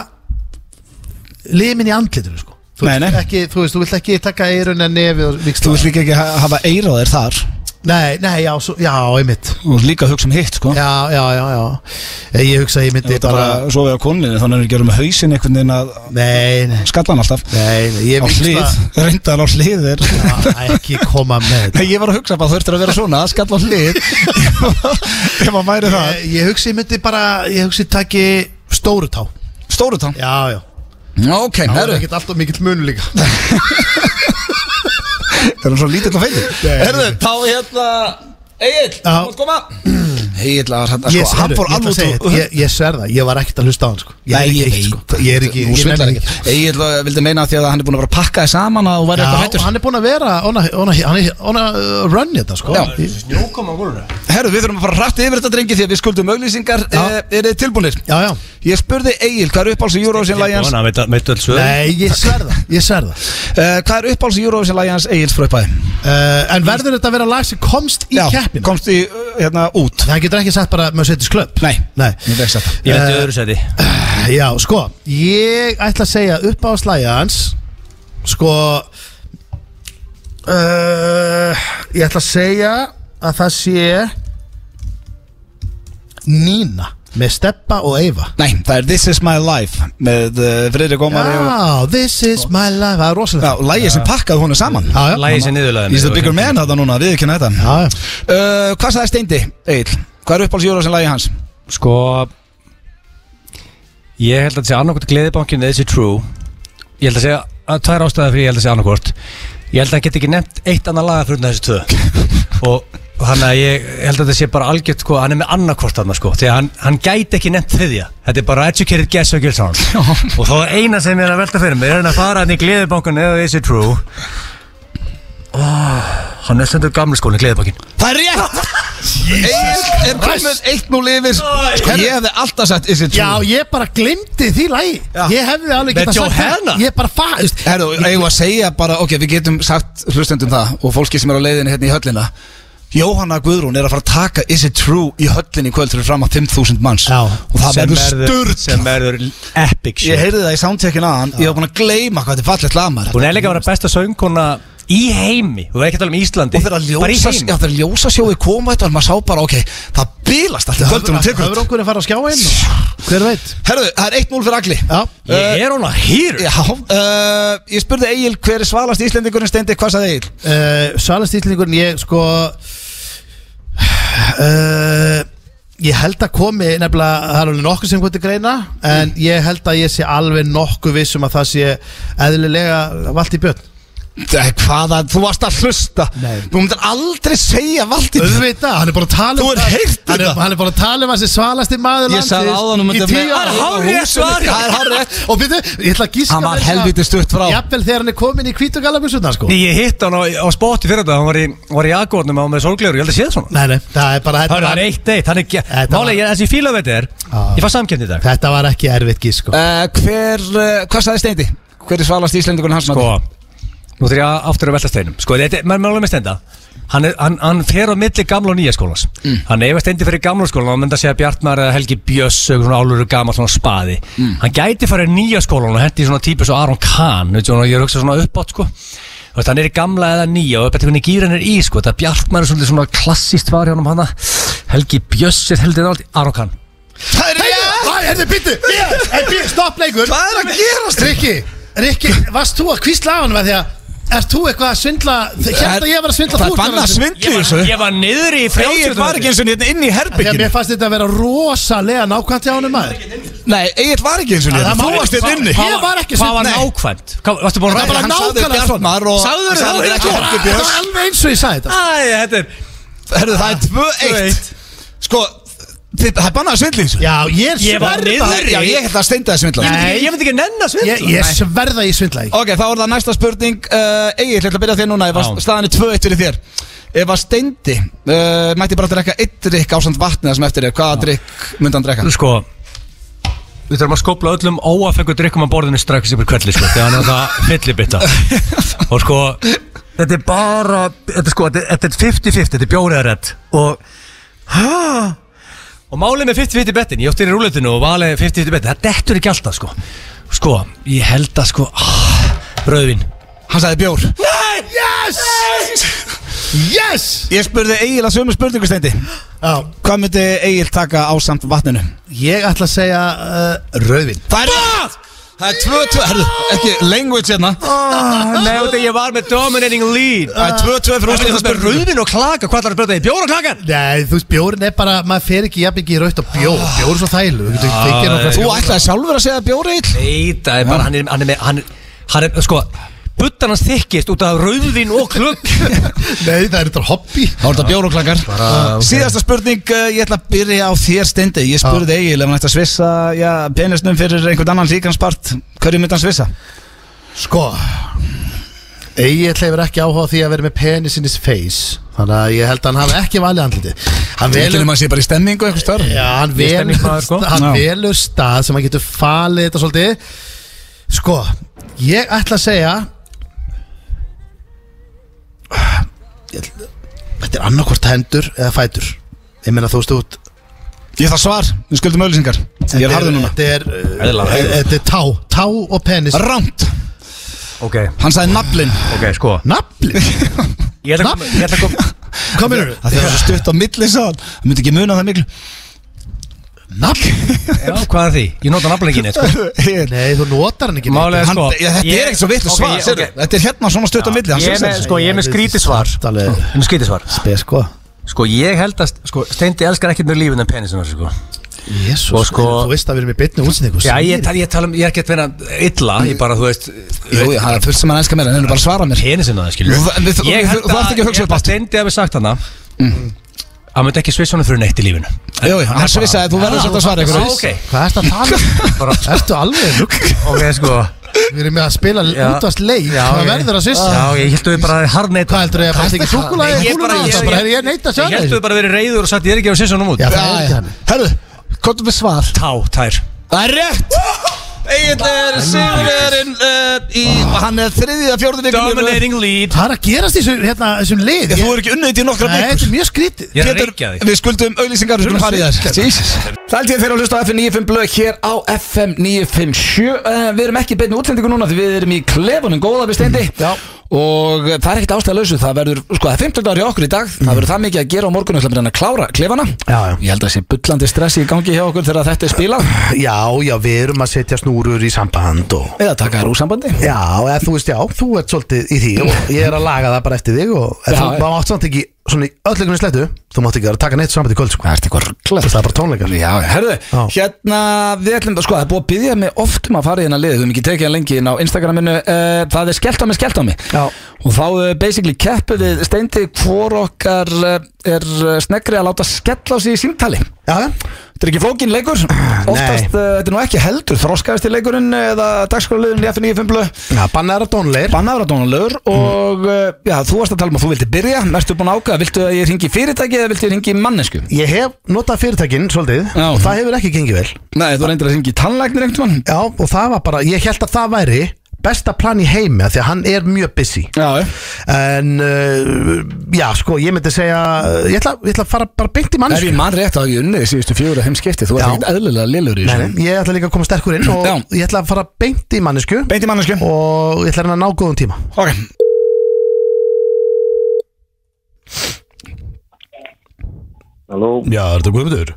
[SPEAKER 2] limin í andlitinu sko þú
[SPEAKER 1] Nei,
[SPEAKER 2] vilt
[SPEAKER 1] nei.
[SPEAKER 2] Ekki, þú veist, þú vilt ekki taka eirun en nefið og
[SPEAKER 1] þú
[SPEAKER 2] viksla
[SPEAKER 1] vilt líka ekki ha- hafa eira á þér þar
[SPEAKER 2] nei, nei, já, svo, já, einmitt
[SPEAKER 1] Þú vilt líka að hugsa um hitt sko
[SPEAKER 2] já, já, já, já ég, ég hugsa að ég myndi
[SPEAKER 1] Þetta bara,
[SPEAKER 2] bara,
[SPEAKER 1] bara sofið á konunni Þannig að við gerum hausin einhvern veginn að
[SPEAKER 2] nei, nei,
[SPEAKER 1] skalla hann alltaf
[SPEAKER 2] nei, nei ég
[SPEAKER 1] Á hlið,
[SPEAKER 2] viksla
[SPEAKER 1] reyndar á hlið er
[SPEAKER 2] Já, ekki koma með þetta.
[SPEAKER 1] Nei, ég var að hugsa bara þú ertur að vera svona að skalla á hlið Ef maður væri það
[SPEAKER 2] Eh, ég, ég hugsa ég myndi bara ég hugsa ég taki stóru tá
[SPEAKER 1] Stóru tán
[SPEAKER 2] já, já,
[SPEAKER 1] Ok,
[SPEAKER 2] það er
[SPEAKER 1] herru
[SPEAKER 2] ekkert alltaf mikill munu líka
[SPEAKER 1] Það er svo lítill og feitur Herru, þá hérna Egil,
[SPEAKER 2] Já.
[SPEAKER 1] mátt koma Egil, var hérna
[SPEAKER 2] Ég,
[SPEAKER 1] sko, hann fór
[SPEAKER 2] alveg
[SPEAKER 1] alveg
[SPEAKER 2] út Ég, ég sver það, ég var ekkert að hlusta á hann sko. Ég er
[SPEAKER 1] Nei,
[SPEAKER 2] ekki
[SPEAKER 1] ég
[SPEAKER 2] eitt
[SPEAKER 1] veit
[SPEAKER 2] sko. Ég er ekki,
[SPEAKER 1] Nú
[SPEAKER 2] ég
[SPEAKER 1] svindlar
[SPEAKER 2] nenni
[SPEAKER 1] ekki
[SPEAKER 2] ekki
[SPEAKER 1] Egil uh, vildi meina því að hann er búin að vera að pakka þið saman að þú væri eitthvað
[SPEAKER 2] Já,
[SPEAKER 1] hættur
[SPEAKER 2] hann er búinn að vera on a, on a, on a, on a uh, run þetta sko
[SPEAKER 1] Já.
[SPEAKER 2] Ég-
[SPEAKER 3] Snjókoma góluna
[SPEAKER 1] Herru, við þurfum að fara rætt yfir þetta drengi því að við skuldum auglýsingar
[SPEAKER 2] Já.
[SPEAKER 1] eh, Er þið tilbúinir?
[SPEAKER 2] já, já.
[SPEAKER 1] Ég spurði Egil, hvað er uppáhalds í Eurovision Lions?
[SPEAKER 3] Vona, veit veit öll sögur
[SPEAKER 2] Nei, ég sver það, ég sver það
[SPEAKER 1] Uh, hvað er uppáhalds í Eurovision Lions Egils frá upphæði?
[SPEAKER 2] uh, En verður þetta að vera lag sem komst í keppinu?
[SPEAKER 1] komst í, uh, hérna, út
[SPEAKER 2] Það getur ekki sagt bara með setjus klöpp
[SPEAKER 1] Nei,
[SPEAKER 2] Nei.
[SPEAKER 1] ég veist þetta
[SPEAKER 3] Ég veit öðru seti
[SPEAKER 2] Já, sko, ég ætla að segja upp á slæja hans Sko uh, Ég ætla að segja að það sé Nína Með Steppa og Eyva
[SPEAKER 1] Nei, það er This is my life með uh, Friðrik Ómari og
[SPEAKER 2] Já, this is my life Það er
[SPEAKER 1] Já,
[SPEAKER 2] rosalega
[SPEAKER 1] lægið sem pakkaði honum saman
[SPEAKER 2] Já, já,
[SPEAKER 3] Lægi sér niðurlega
[SPEAKER 1] He's the bigger man þetta núna, við ekki næta uh,
[SPEAKER 2] já, já.
[SPEAKER 1] Hvað sagði Steindi, Egil? Hvað er uppáhalds Eurovision lagið hans?
[SPEAKER 3] Sko Ég held að þetta sé annarkort gleðibankin eða þessi true Ég held að segja að tvær ástæða fyrir ég held að segja annarkort Ég held að hann geti ekki nefnt eitt annað laga fyrir utan þessi tvö Og þannig að ég held að þetta sé bara algjört sko Hann er með annarkort þarna sko Þegar hann, hann gæti ekki nefnt þriðja Þetta er bara educated guess og gilsán Og þá er eina sem ég er að velta fyrir mig Er hann að fara hann í gleðibankin eða þessi true oh, Hann er stendur gamla skólinn gleðibankin
[SPEAKER 1] Það er rétt! Egil er komin 1-0 yfir Sko, ég hefði alltaf sagt Is it
[SPEAKER 2] já,
[SPEAKER 1] true?
[SPEAKER 2] ég bara glimti því lagi
[SPEAKER 1] Já.
[SPEAKER 2] Ég hefði alveg
[SPEAKER 3] Með
[SPEAKER 2] getað sagt
[SPEAKER 3] Johanna?
[SPEAKER 2] það. Ég bara fa, þú veist,
[SPEAKER 1] Herru, eigum við að segja bara, ok, við getum sagt hlustendum það og fólki sem er á leiðinni hérna í höllina Jóhanna Guðrún er að fara að taka Is it true í höllinni í kvöld fyrir fram að 5.000 manns
[SPEAKER 2] Já.
[SPEAKER 1] og það
[SPEAKER 3] Sem
[SPEAKER 1] verður sturt
[SPEAKER 3] Sem verður epic
[SPEAKER 1] Ég
[SPEAKER 3] shit
[SPEAKER 1] heyrði það í soundcheckin aðan, ég var búin að gleyma hvað þetta er fallegt lamar
[SPEAKER 3] Hún er líka að vera besta söngkona í heimi Þú er ekki að tala um Íslandi
[SPEAKER 1] Og þegar að
[SPEAKER 3] Bara í
[SPEAKER 1] ljósa, já,
[SPEAKER 3] heimi
[SPEAKER 1] þegar ljósasjói koma þetta og maður sá bara, ok, það bilast alltaf kvöldunum tekur
[SPEAKER 2] höfður
[SPEAKER 1] þetta.
[SPEAKER 2] okkur að fara á skjáin Hver veit
[SPEAKER 1] Herðu, það er 1-0 fyrir agli
[SPEAKER 2] Já,
[SPEAKER 3] Ég er hún að hýr
[SPEAKER 1] Já, uh, ég spurði Egil hver er svalast íslendingurinn steindi, hvað sagði Egil?
[SPEAKER 2] Eh, uh, svalastýtlingurinn ég sko uh, Ég held að komi nefnilega, það er alveg nokkuð sem hvað til greina En ég held að ég sé alveg nokkuð vissum að það sé eðlilega valt í björn
[SPEAKER 1] Hvaða, þú varst að hlusta
[SPEAKER 2] Nei.
[SPEAKER 1] Þú myndir aldrei segja valdi
[SPEAKER 2] Auðvitað, hann er bara að tala um
[SPEAKER 1] Þú er heyrt
[SPEAKER 2] hann er-
[SPEAKER 1] þetta?
[SPEAKER 2] Hann er bara að tala um að þessi svalasti maður
[SPEAKER 1] Ég sagði áðan hún myndi
[SPEAKER 2] í tíu
[SPEAKER 1] Það er
[SPEAKER 2] ára
[SPEAKER 1] hárrétt svarað. Það er hárrétt.
[SPEAKER 2] Og byrju, ég ætla að gíska
[SPEAKER 1] Hann var
[SPEAKER 2] meira-
[SPEAKER 1] helvítið stutt frá.
[SPEAKER 2] Jafnvel þegar hann er komin í hvítu galabusutna sko
[SPEAKER 3] Því ég hitt hann á, á spoti fyrir þetta, hann var í, var í agornum á með sorglegur, ég held að sé það svona
[SPEAKER 2] Nei, nei, það er bara
[SPEAKER 3] Það er
[SPEAKER 2] Þetta,
[SPEAKER 3] eitt eitt, hann er ekki,
[SPEAKER 2] Þetta var-
[SPEAKER 3] málega ég, þessi fíla við þetta er,
[SPEAKER 2] Já.
[SPEAKER 3] ég fann samkjönd í dag
[SPEAKER 2] var- þetta var ekki erfitt gís sko
[SPEAKER 1] Uh, hver, uh, hvað sagði Steindi? Hver er svalast Íslendingun hans?
[SPEAKER 3] Sko, nú þurf ég að- aftur að velta steinum Sko, þetta, maður málega með stenda Hann, er, hann, hann fer á milli gamla og nýja skólans
[SPEAKER 1] Mm.
[SPEAKER 3] Hann ef að stendi fyrir gamla skólan Hann myndi að segja Bjartmar eða Helgi Bjöss eitthvað Svona áluru gamall svona spaði
[SPEAKER 1] Mm.
[SPEAKER 3] Hann gæti farið í nýja skólan og hendi svona típu Svo Aron Kahn, veit, svona, ég er að hugsa svona uppátt sko Þú veist, hann er í gamla eða nýja og betur hvernig gýran er í sko, þetta Bjartmar er svolítið svona klassist var hjá hann hana Helgi Bjöss er heldur nátt Aron Kahn
[SPEAKER 1] Það er ég!
[SPEAKER 2] Æ, herðu, byrju, byrju, Eh, stopp leikur
[SPEAKER 1] Hvað er að gerast? hérna?
[SPEAKER 2] Rikki, Rikki, varst þú að hvísla á hann með því að Erst þú eitthvað að svindla Hérna ég var að svindla
[SPEAKER 1] Það
[SPEAKER 2] þú
[SPEAKER 1] er
[SPEAKER 2] ert að
[SPEAKER 1] bannað
[SPEAKER 2] vera
[SPEAKER 1] að svindla í
[SPEAKER 3] Ég var,
[SPEAKER 1] þessu
[SPEAKER 3] ég var niður í
[SPEAKER 1] Egil var ekki
[SPEAKER 3] frjálsjóttum
[SPEAKER 1] eins og hérna inn í
[SPEAKER 2] Þegar
[SPEAKER 1] herbygginu
[SPEAKER 2] mér fannst þetta að vera rosalega nákvæmt hjá honum maður
[SPEAKER 1] Nei, Egil var ekki eins og hérna
[SPEAKER 2] Það
[SPEAKER 1] Þú
[SPEAKER 2] má-
[SPEAKER 1] varst hérna inni
[SPEAKER 2] Ég var ekki
[SPEAKER 3] Hvað var
[SPEAKER 2] svindla
[SPEAKER 3] nákvæmt? Hvað- Varstu búin að
[SPEAKER 1] Það
[SPEAKER 3] ræða
[SPEAKER 1] var
[SPEAKER 2] hann sagði
[SPEAKER 1] nákvæmlega
[SPEAKER 2] Bjartmar
[SPEAKER 1] Bjartmar og
[SPEAKER 3] Sagðirðu það?
[SPEAKER 1] Sagðirðu
[SPEAKER 3] Ekki
[SPEAKER 1] ekki
[SPEAKER 2] Það var alveg eins og ég sagði þetta
[SPEAKER 3] Æ, þetta er
[SPEAKER 1] Herðu, það er 2-1 Sko, þið- það er bannað að svindla í þessu
[SPEAKER 2] Já, ég
[SPEAKER 3] Ég var
[SPEAKER 2] sverða
[SPEAKER 3] niður í-
[SPEAKER 1] Já, ég held að Steindi að svindla
[SPEAKER 2] Nei.
[SPEAKER 3] Ég myndi ekki nenn að svindla
[SPEAKER 2] Ég, ég sverða ég svindla í
[SPEAKER 1] Ok, þá er það næsta spurning uh, Egil, ég ætla að byrja á þér núna Ef að
[SPEAKER 3] Já.
[SPEAKER 1] staðan er 2-1 fyrir þér Ef að steindi uh, Mætti bara að drekka eitt drikk ásand vatnið sem eftir er Hvaða drikk myndi hann drekka?
[SPEAKER 3] Sko Við þurfum að skopla öllum óafengu drikkum á borðinu strax yfir kvelli sko Þegar hann er það fyllibitta Og sko Þetta er bara Þetta er sko Þetta þetta er 50-50 Þetta er bjórið að redd Og Hæ? Og málið með 50-50 betin Ég átti í rúleitinu og valið 50-50 betin Það dettur ekki alltaf sko Sko Ég held að sko ah, Rauðvin
[SPEAKER 1] Hann sagði bjór
[SPEAKER 2] Yes! Yes!
[SPEAKER 1] Ég spurði Egil að sömu spurningu steindi
[SPEAKER 2] Já,
[SPEAKER 1] Hvað myndi Egil taka ásand vatninu?
[SPEAKER 2] ég ætla að segja uh, Rauðvin
[SPEAKER 1] Það er Það er 2-2 Herðu, ekki language hérna
[SPEAKER 3] Nei, þetta ég var með dominating lead
[SPEAKER 1] Það er 2-2 fyrir úrslita
[SPEAKER 3] Rústin það spyrir
[SPEAKER 1] spurningu
[SPEAKER 3] Ah. Rauðvin og klaka Hvað ætlar að spyrja þetta í bjóra klakan?
[SPEAKER 2] Nei, þú veist, bjórin er bara, maður fer ekki jafn ekki í rautt og bjór Bjór er svo þælu, þú getur ekki
[SPEAKER 3] Ah,
[SPEAKER 2] tekið
[SPEAKER 3] nei.
[SPEAKER 2] nokkra
[SPEAKER 1] Þú ætlaði sjálfur að segja bjór Egil?
[SPEAKER 3] Nei, það er bara Hann er, hann er með Hann, hann er, sko Buttan hans þykkist út af rauðvin og klukk
[SPEAKER 2] Nei, það er þetta hobby
[SPEAKER 1] Það voru þetta bjóruklakkar
[SPEAKER 3] Ah.
[SPEAKER 1] okay. Síðasta spurning, uh, ég ætla að byrja á þér steindi Ég spurði Egil ef hann ætti að svissa já, penisnum fyrir einhvern annan líkanspart Hverju myndi hann svissa?
[SPEAKER 2] Sko Egil hefur ekki áhuga á því að vera með penis in his face Þannig að ég held að hann hafi ekki valið andliti Hann velur
[SPEAKER 1] Velum að sé bara í stemmingu einhvers þar
[SPEAKER 2] Já, hann
[SPEAKER 3] Ég er
[SPEAKER 2] velur
[SPEAKER 3] stemningsmaður, sko.
[SPEAKER 2] Hann
[SPEAKER 1] Já.
[SPEAKER 2] velur stað sem hann getur falið þetta svolítið Sko, ég ætla að segja Ég ætla- Þetta er annarkvort hendur eða fætur Ég meina þú veist út
[SPEAKER 1] Ég þarf svar, við skuldum öllisingar Ég er harður núna
[SPEAKER 2] Þetta er,
[SPEAKER 3] Eðla,
[SPEAKER 2] uh,
[SPEAKER 3] eðla.
[SPEAKER 2] þetta er tá, tá og penis
[SPEAKER 1] Rámt,
[SPEAKER 3] Ok,
[SPEAKER 1] hann sagði naflin
[SPEAKER 3] ok, sko
[SPEAKER 2] Nafli,
[SPEAKER 3] Ég ætla að- ég ætla að koma
[SPEAKER 2] hvað meinur
[SPEAKER 1] Það þegar það var svo stutt á milli sá hann Hann myndi ekki muna það miklu Naflin?
[SPEAKER 3] Já, hvað er því? Ég nota nafnleginni, sko
[SPEAKER 1] Egil
[SPEAKER 2] Nei, þú notar hann ekki neitt.
[SPEAKER 3] Málega,
[SPEAKER 1] Hann,
[SPEAKER 3] sko
[SPEAKER 1] ég, þetta er ekkert svo vitlu svar
[SPEAKER 3] Ok,
[SPEAKER 1] okay,
[SPEAKER 3] ok.
[SPEAKER 1] Þetta er hérna svona stutt á milli hann
[SPEAKER 3] Ég er
[SPEAKER 1] svissar
[SPEAKER 3] með,
[SPEAKER 1] þessu.
[SPEAKER 3] sko, ég er með skrítisvar Ég
[SPEAKER 2] Alveg
[SPEAKER 3] er með skrítisvar
[SPEAKER 2] Spes, sko
[SPEAKER 3] Sko, ég held að, sko, Steindi elskar ekkert með lífin en penisinn, hans, sko Og
[SPEAKER 2] Jésús,
[SPEAKER 3] sko-
[SPEAKER 2] þú veist að við erum í byrni útsendingu
[SPEAKER 3] Já, ég,
[SPEAKER 2] segir-
[SPEAKER 3] ég, ég tala um, ég er ekki að vera illa Ég bara, þú veist eh,
[SPEAKER 1] Jú, jú, það er fullt sem hann elskar meira En hann er bara að svara mér
[SPEAKER 3] penisinn að það skilur
[SPEAKER 1] Þú- þú- þú-
[SPEAKER 3] Ég held
[SPEAKER 1] þú- þú ert ekki að hugsa
[SPEAKER 3] ég held
[SPEAKER 1] upp allt.
[SPEAKER 3] Steindi hafi sagt hana Mm. Hann myndi ekki svissa honum fyrir neitt í lífinu
[SPEAKER 1] Jú, jú, hann svissaði, þú verður svolítið að svara ykkur
[SPEAKER 3] Ah, ok,
[SPEAKER 2] Hvað ertu að tala um?
[SPEAKER 3] bara,
[SPEAKER 2] Ertu alveg lukk?
[SPEAKER 3] ok, sko
[SPEAKER 2] Við erum með að spila
[SPEAKER 3] Já.
[SPEAKER 2] útast leik
[SPEAKER 3] Já,
[SPEAKER 2] Það
[SPEAKER 3] ok.
[SPEAKER 2] verður að svissa
[SPEAKER 3] Já, ég held að við bara harneit
[SPEAKER 2] Hvað heldur ég að
[SPEAKER 1] Hvað
[SPEAKER 2] bæta ekki
[SPEAKER 1] ertu-
[SPEAKER 2] súkulaði?
[SPEAKER 3] Nei, um? ég bara- ég-
[SPEAKER 2] Ég bara,
[SPEAKER 3] ég-
[SPEAKER 2] "Heyrðu, ég neitt að
[SPEAKER 3] Ég
[SPEAKER 2] sjá
[SPEAKER 3] held að við
[SPEAKER 2] það
[SPEAKER 3] bara verið reyður og sagt ég er ekki að svissa honum út
[SPEAKER 2] Já,
[SPEAKER 1] Já,
[SPEAKER 2] það er ekki
[SPEAKER 1] já.
[SPEAKER 2] hann
[SPEAKER 1] Herðu, komdu með svar
[SPEAKER 3] Tá, tær
[SPEAKER 1] Það er rétt Egil er sigurverðin uh, í, Hann er þriðið að fjórðin
[SPEAKER 3] Dominating lead
[SPEAKER 2] Það er að gerast í þessu, hérna, þessum lið
[SPEAKER 1] Þú er ekki unnið þetta í nokkra
[SPEAKER 2] Nei, þetta
[SPEAKER 1] vikur
[SPEAKER 2] er mjög skrítið
[SPEAKER 3] Ég er að reykja þig
[SPEAKER 1] Við skuldum auðlýsingar, við skulum fara í þær Jesus. Það held ég að þeirra að hlusta á FM 95 blöð hér á FM 957 uh, Við erum ekki í beinni útsendingu núna því við erum í klefunum góða við steindi
[SPEAKER 2] Já.
[SPEAKER 1] Og eh, það er ekkert ástæða lausu Það verður, sko, það er 15 dagar í okkur í dag Það verður það mikið að gera á morgun Það verður að klára klefana
[SPEAKER 2] Já, já.
[SPEAKER 1] Ég held að það sé bullandi stressi í gangi hjá okkur þegar þetta er spilað
[SPEAKER 2] Já, já, við erum að setja snúrur í samband og
[SPEAKER 1] Eða taka þær úr sambandi
[SPEAKER 2] Já, eða, þú veist, já, þú ert svolítið í því og ég er að laga það bara eftir þig og en
[SPEAKER 1] Já,
[SPEAKER 2] þú
[SPEAKER 1] já.
[SPEAKER 2] mátt samt ekki svona í öll einhvern slettu þú mátt ekki vera að taka neitt samband í kvöld sko.
[SPEAKER 6] Það er eitthvað rugglega
[SPEAKER 2] það er bara tónleikar
[SPEAKER 6] Já, herðu,
[SPEAKER 2] Já.
[SPEAKER 1] Hérna, við ætlum að sko, það er búið að byggja mig oft um að fara í hérna lið, við höfum ekki tekið hann lengi inn á Instagraminu, uh, það er skellt á mig, skellt á mig
[SPEAKER 2] Já.
[SPEAKER 1] og þá uh, basically keppu við steindi hvor okkar uh, er uh, sneggri að láta skella á sig í símtali
[SPEAKER 2] Já, já.
[SPEAKER 1] Þetta er ekki flókin leikur, oftast uh, þetta er nú ekki heldur, þroskaðist í leikurinn eh, eða dagskólaliðin í F95 blöð
[SPEAKER 2] já bannaður að tónleir
[SPEAKER 1] bannaður á dónulegur og uh, já, þú varst að tala um að þú vildi byrja, næstu búin að ákveða, viltu að ég ringi fyrirtæki eða viltu ég ringi mannesku?
[SPEAKER 2] Ég hef notað fyrirtækin svolítið
[SPEAKER 1] Já.
[SPEAKER 2] og það hefur ekki gengið vel
[SPEAKER 1] Nei, þú reyndir að ringi tannlæknir einhvern veginn?
[SPEAKER 2] Já, og það var bara, ég held að það væri besta plan í heimi af því að hann er mjög busy
[SPEAKER 1] Já,
[SPEAKER 2] en uh, já, sko, ég myndi segja ég ætla, ég ætla að fara bara beint í
[SPEAKER 1] ef
[SPEAKER 2] mannsku
[SPEAKER 1] ég mann rétt að ég unnið síðustu fjóra heimskipti, þú ert
[SPEAKER 2] Já.
[SPEAKER 1] ekkert eðlilega lillur í
[SPEAKER 2] Nei,
[SPEAKER 1] þessu.
[SPEAKER 2] nei, ég ætla líka að koma sterkur inn og
[SPEAKER 1] Já.
[SPEAKER 2] ég ætla að fara beint í mannesku
[SPEAKER 1] Beint í mannesku.
[SPEAKER 2] og ég ætla að reyna að ná góðum tíma
[SPEAKER 1] Ok.
[SPEAKER 5] Halló,
[SPEAKER 2] Já, er þetta Guðmundur?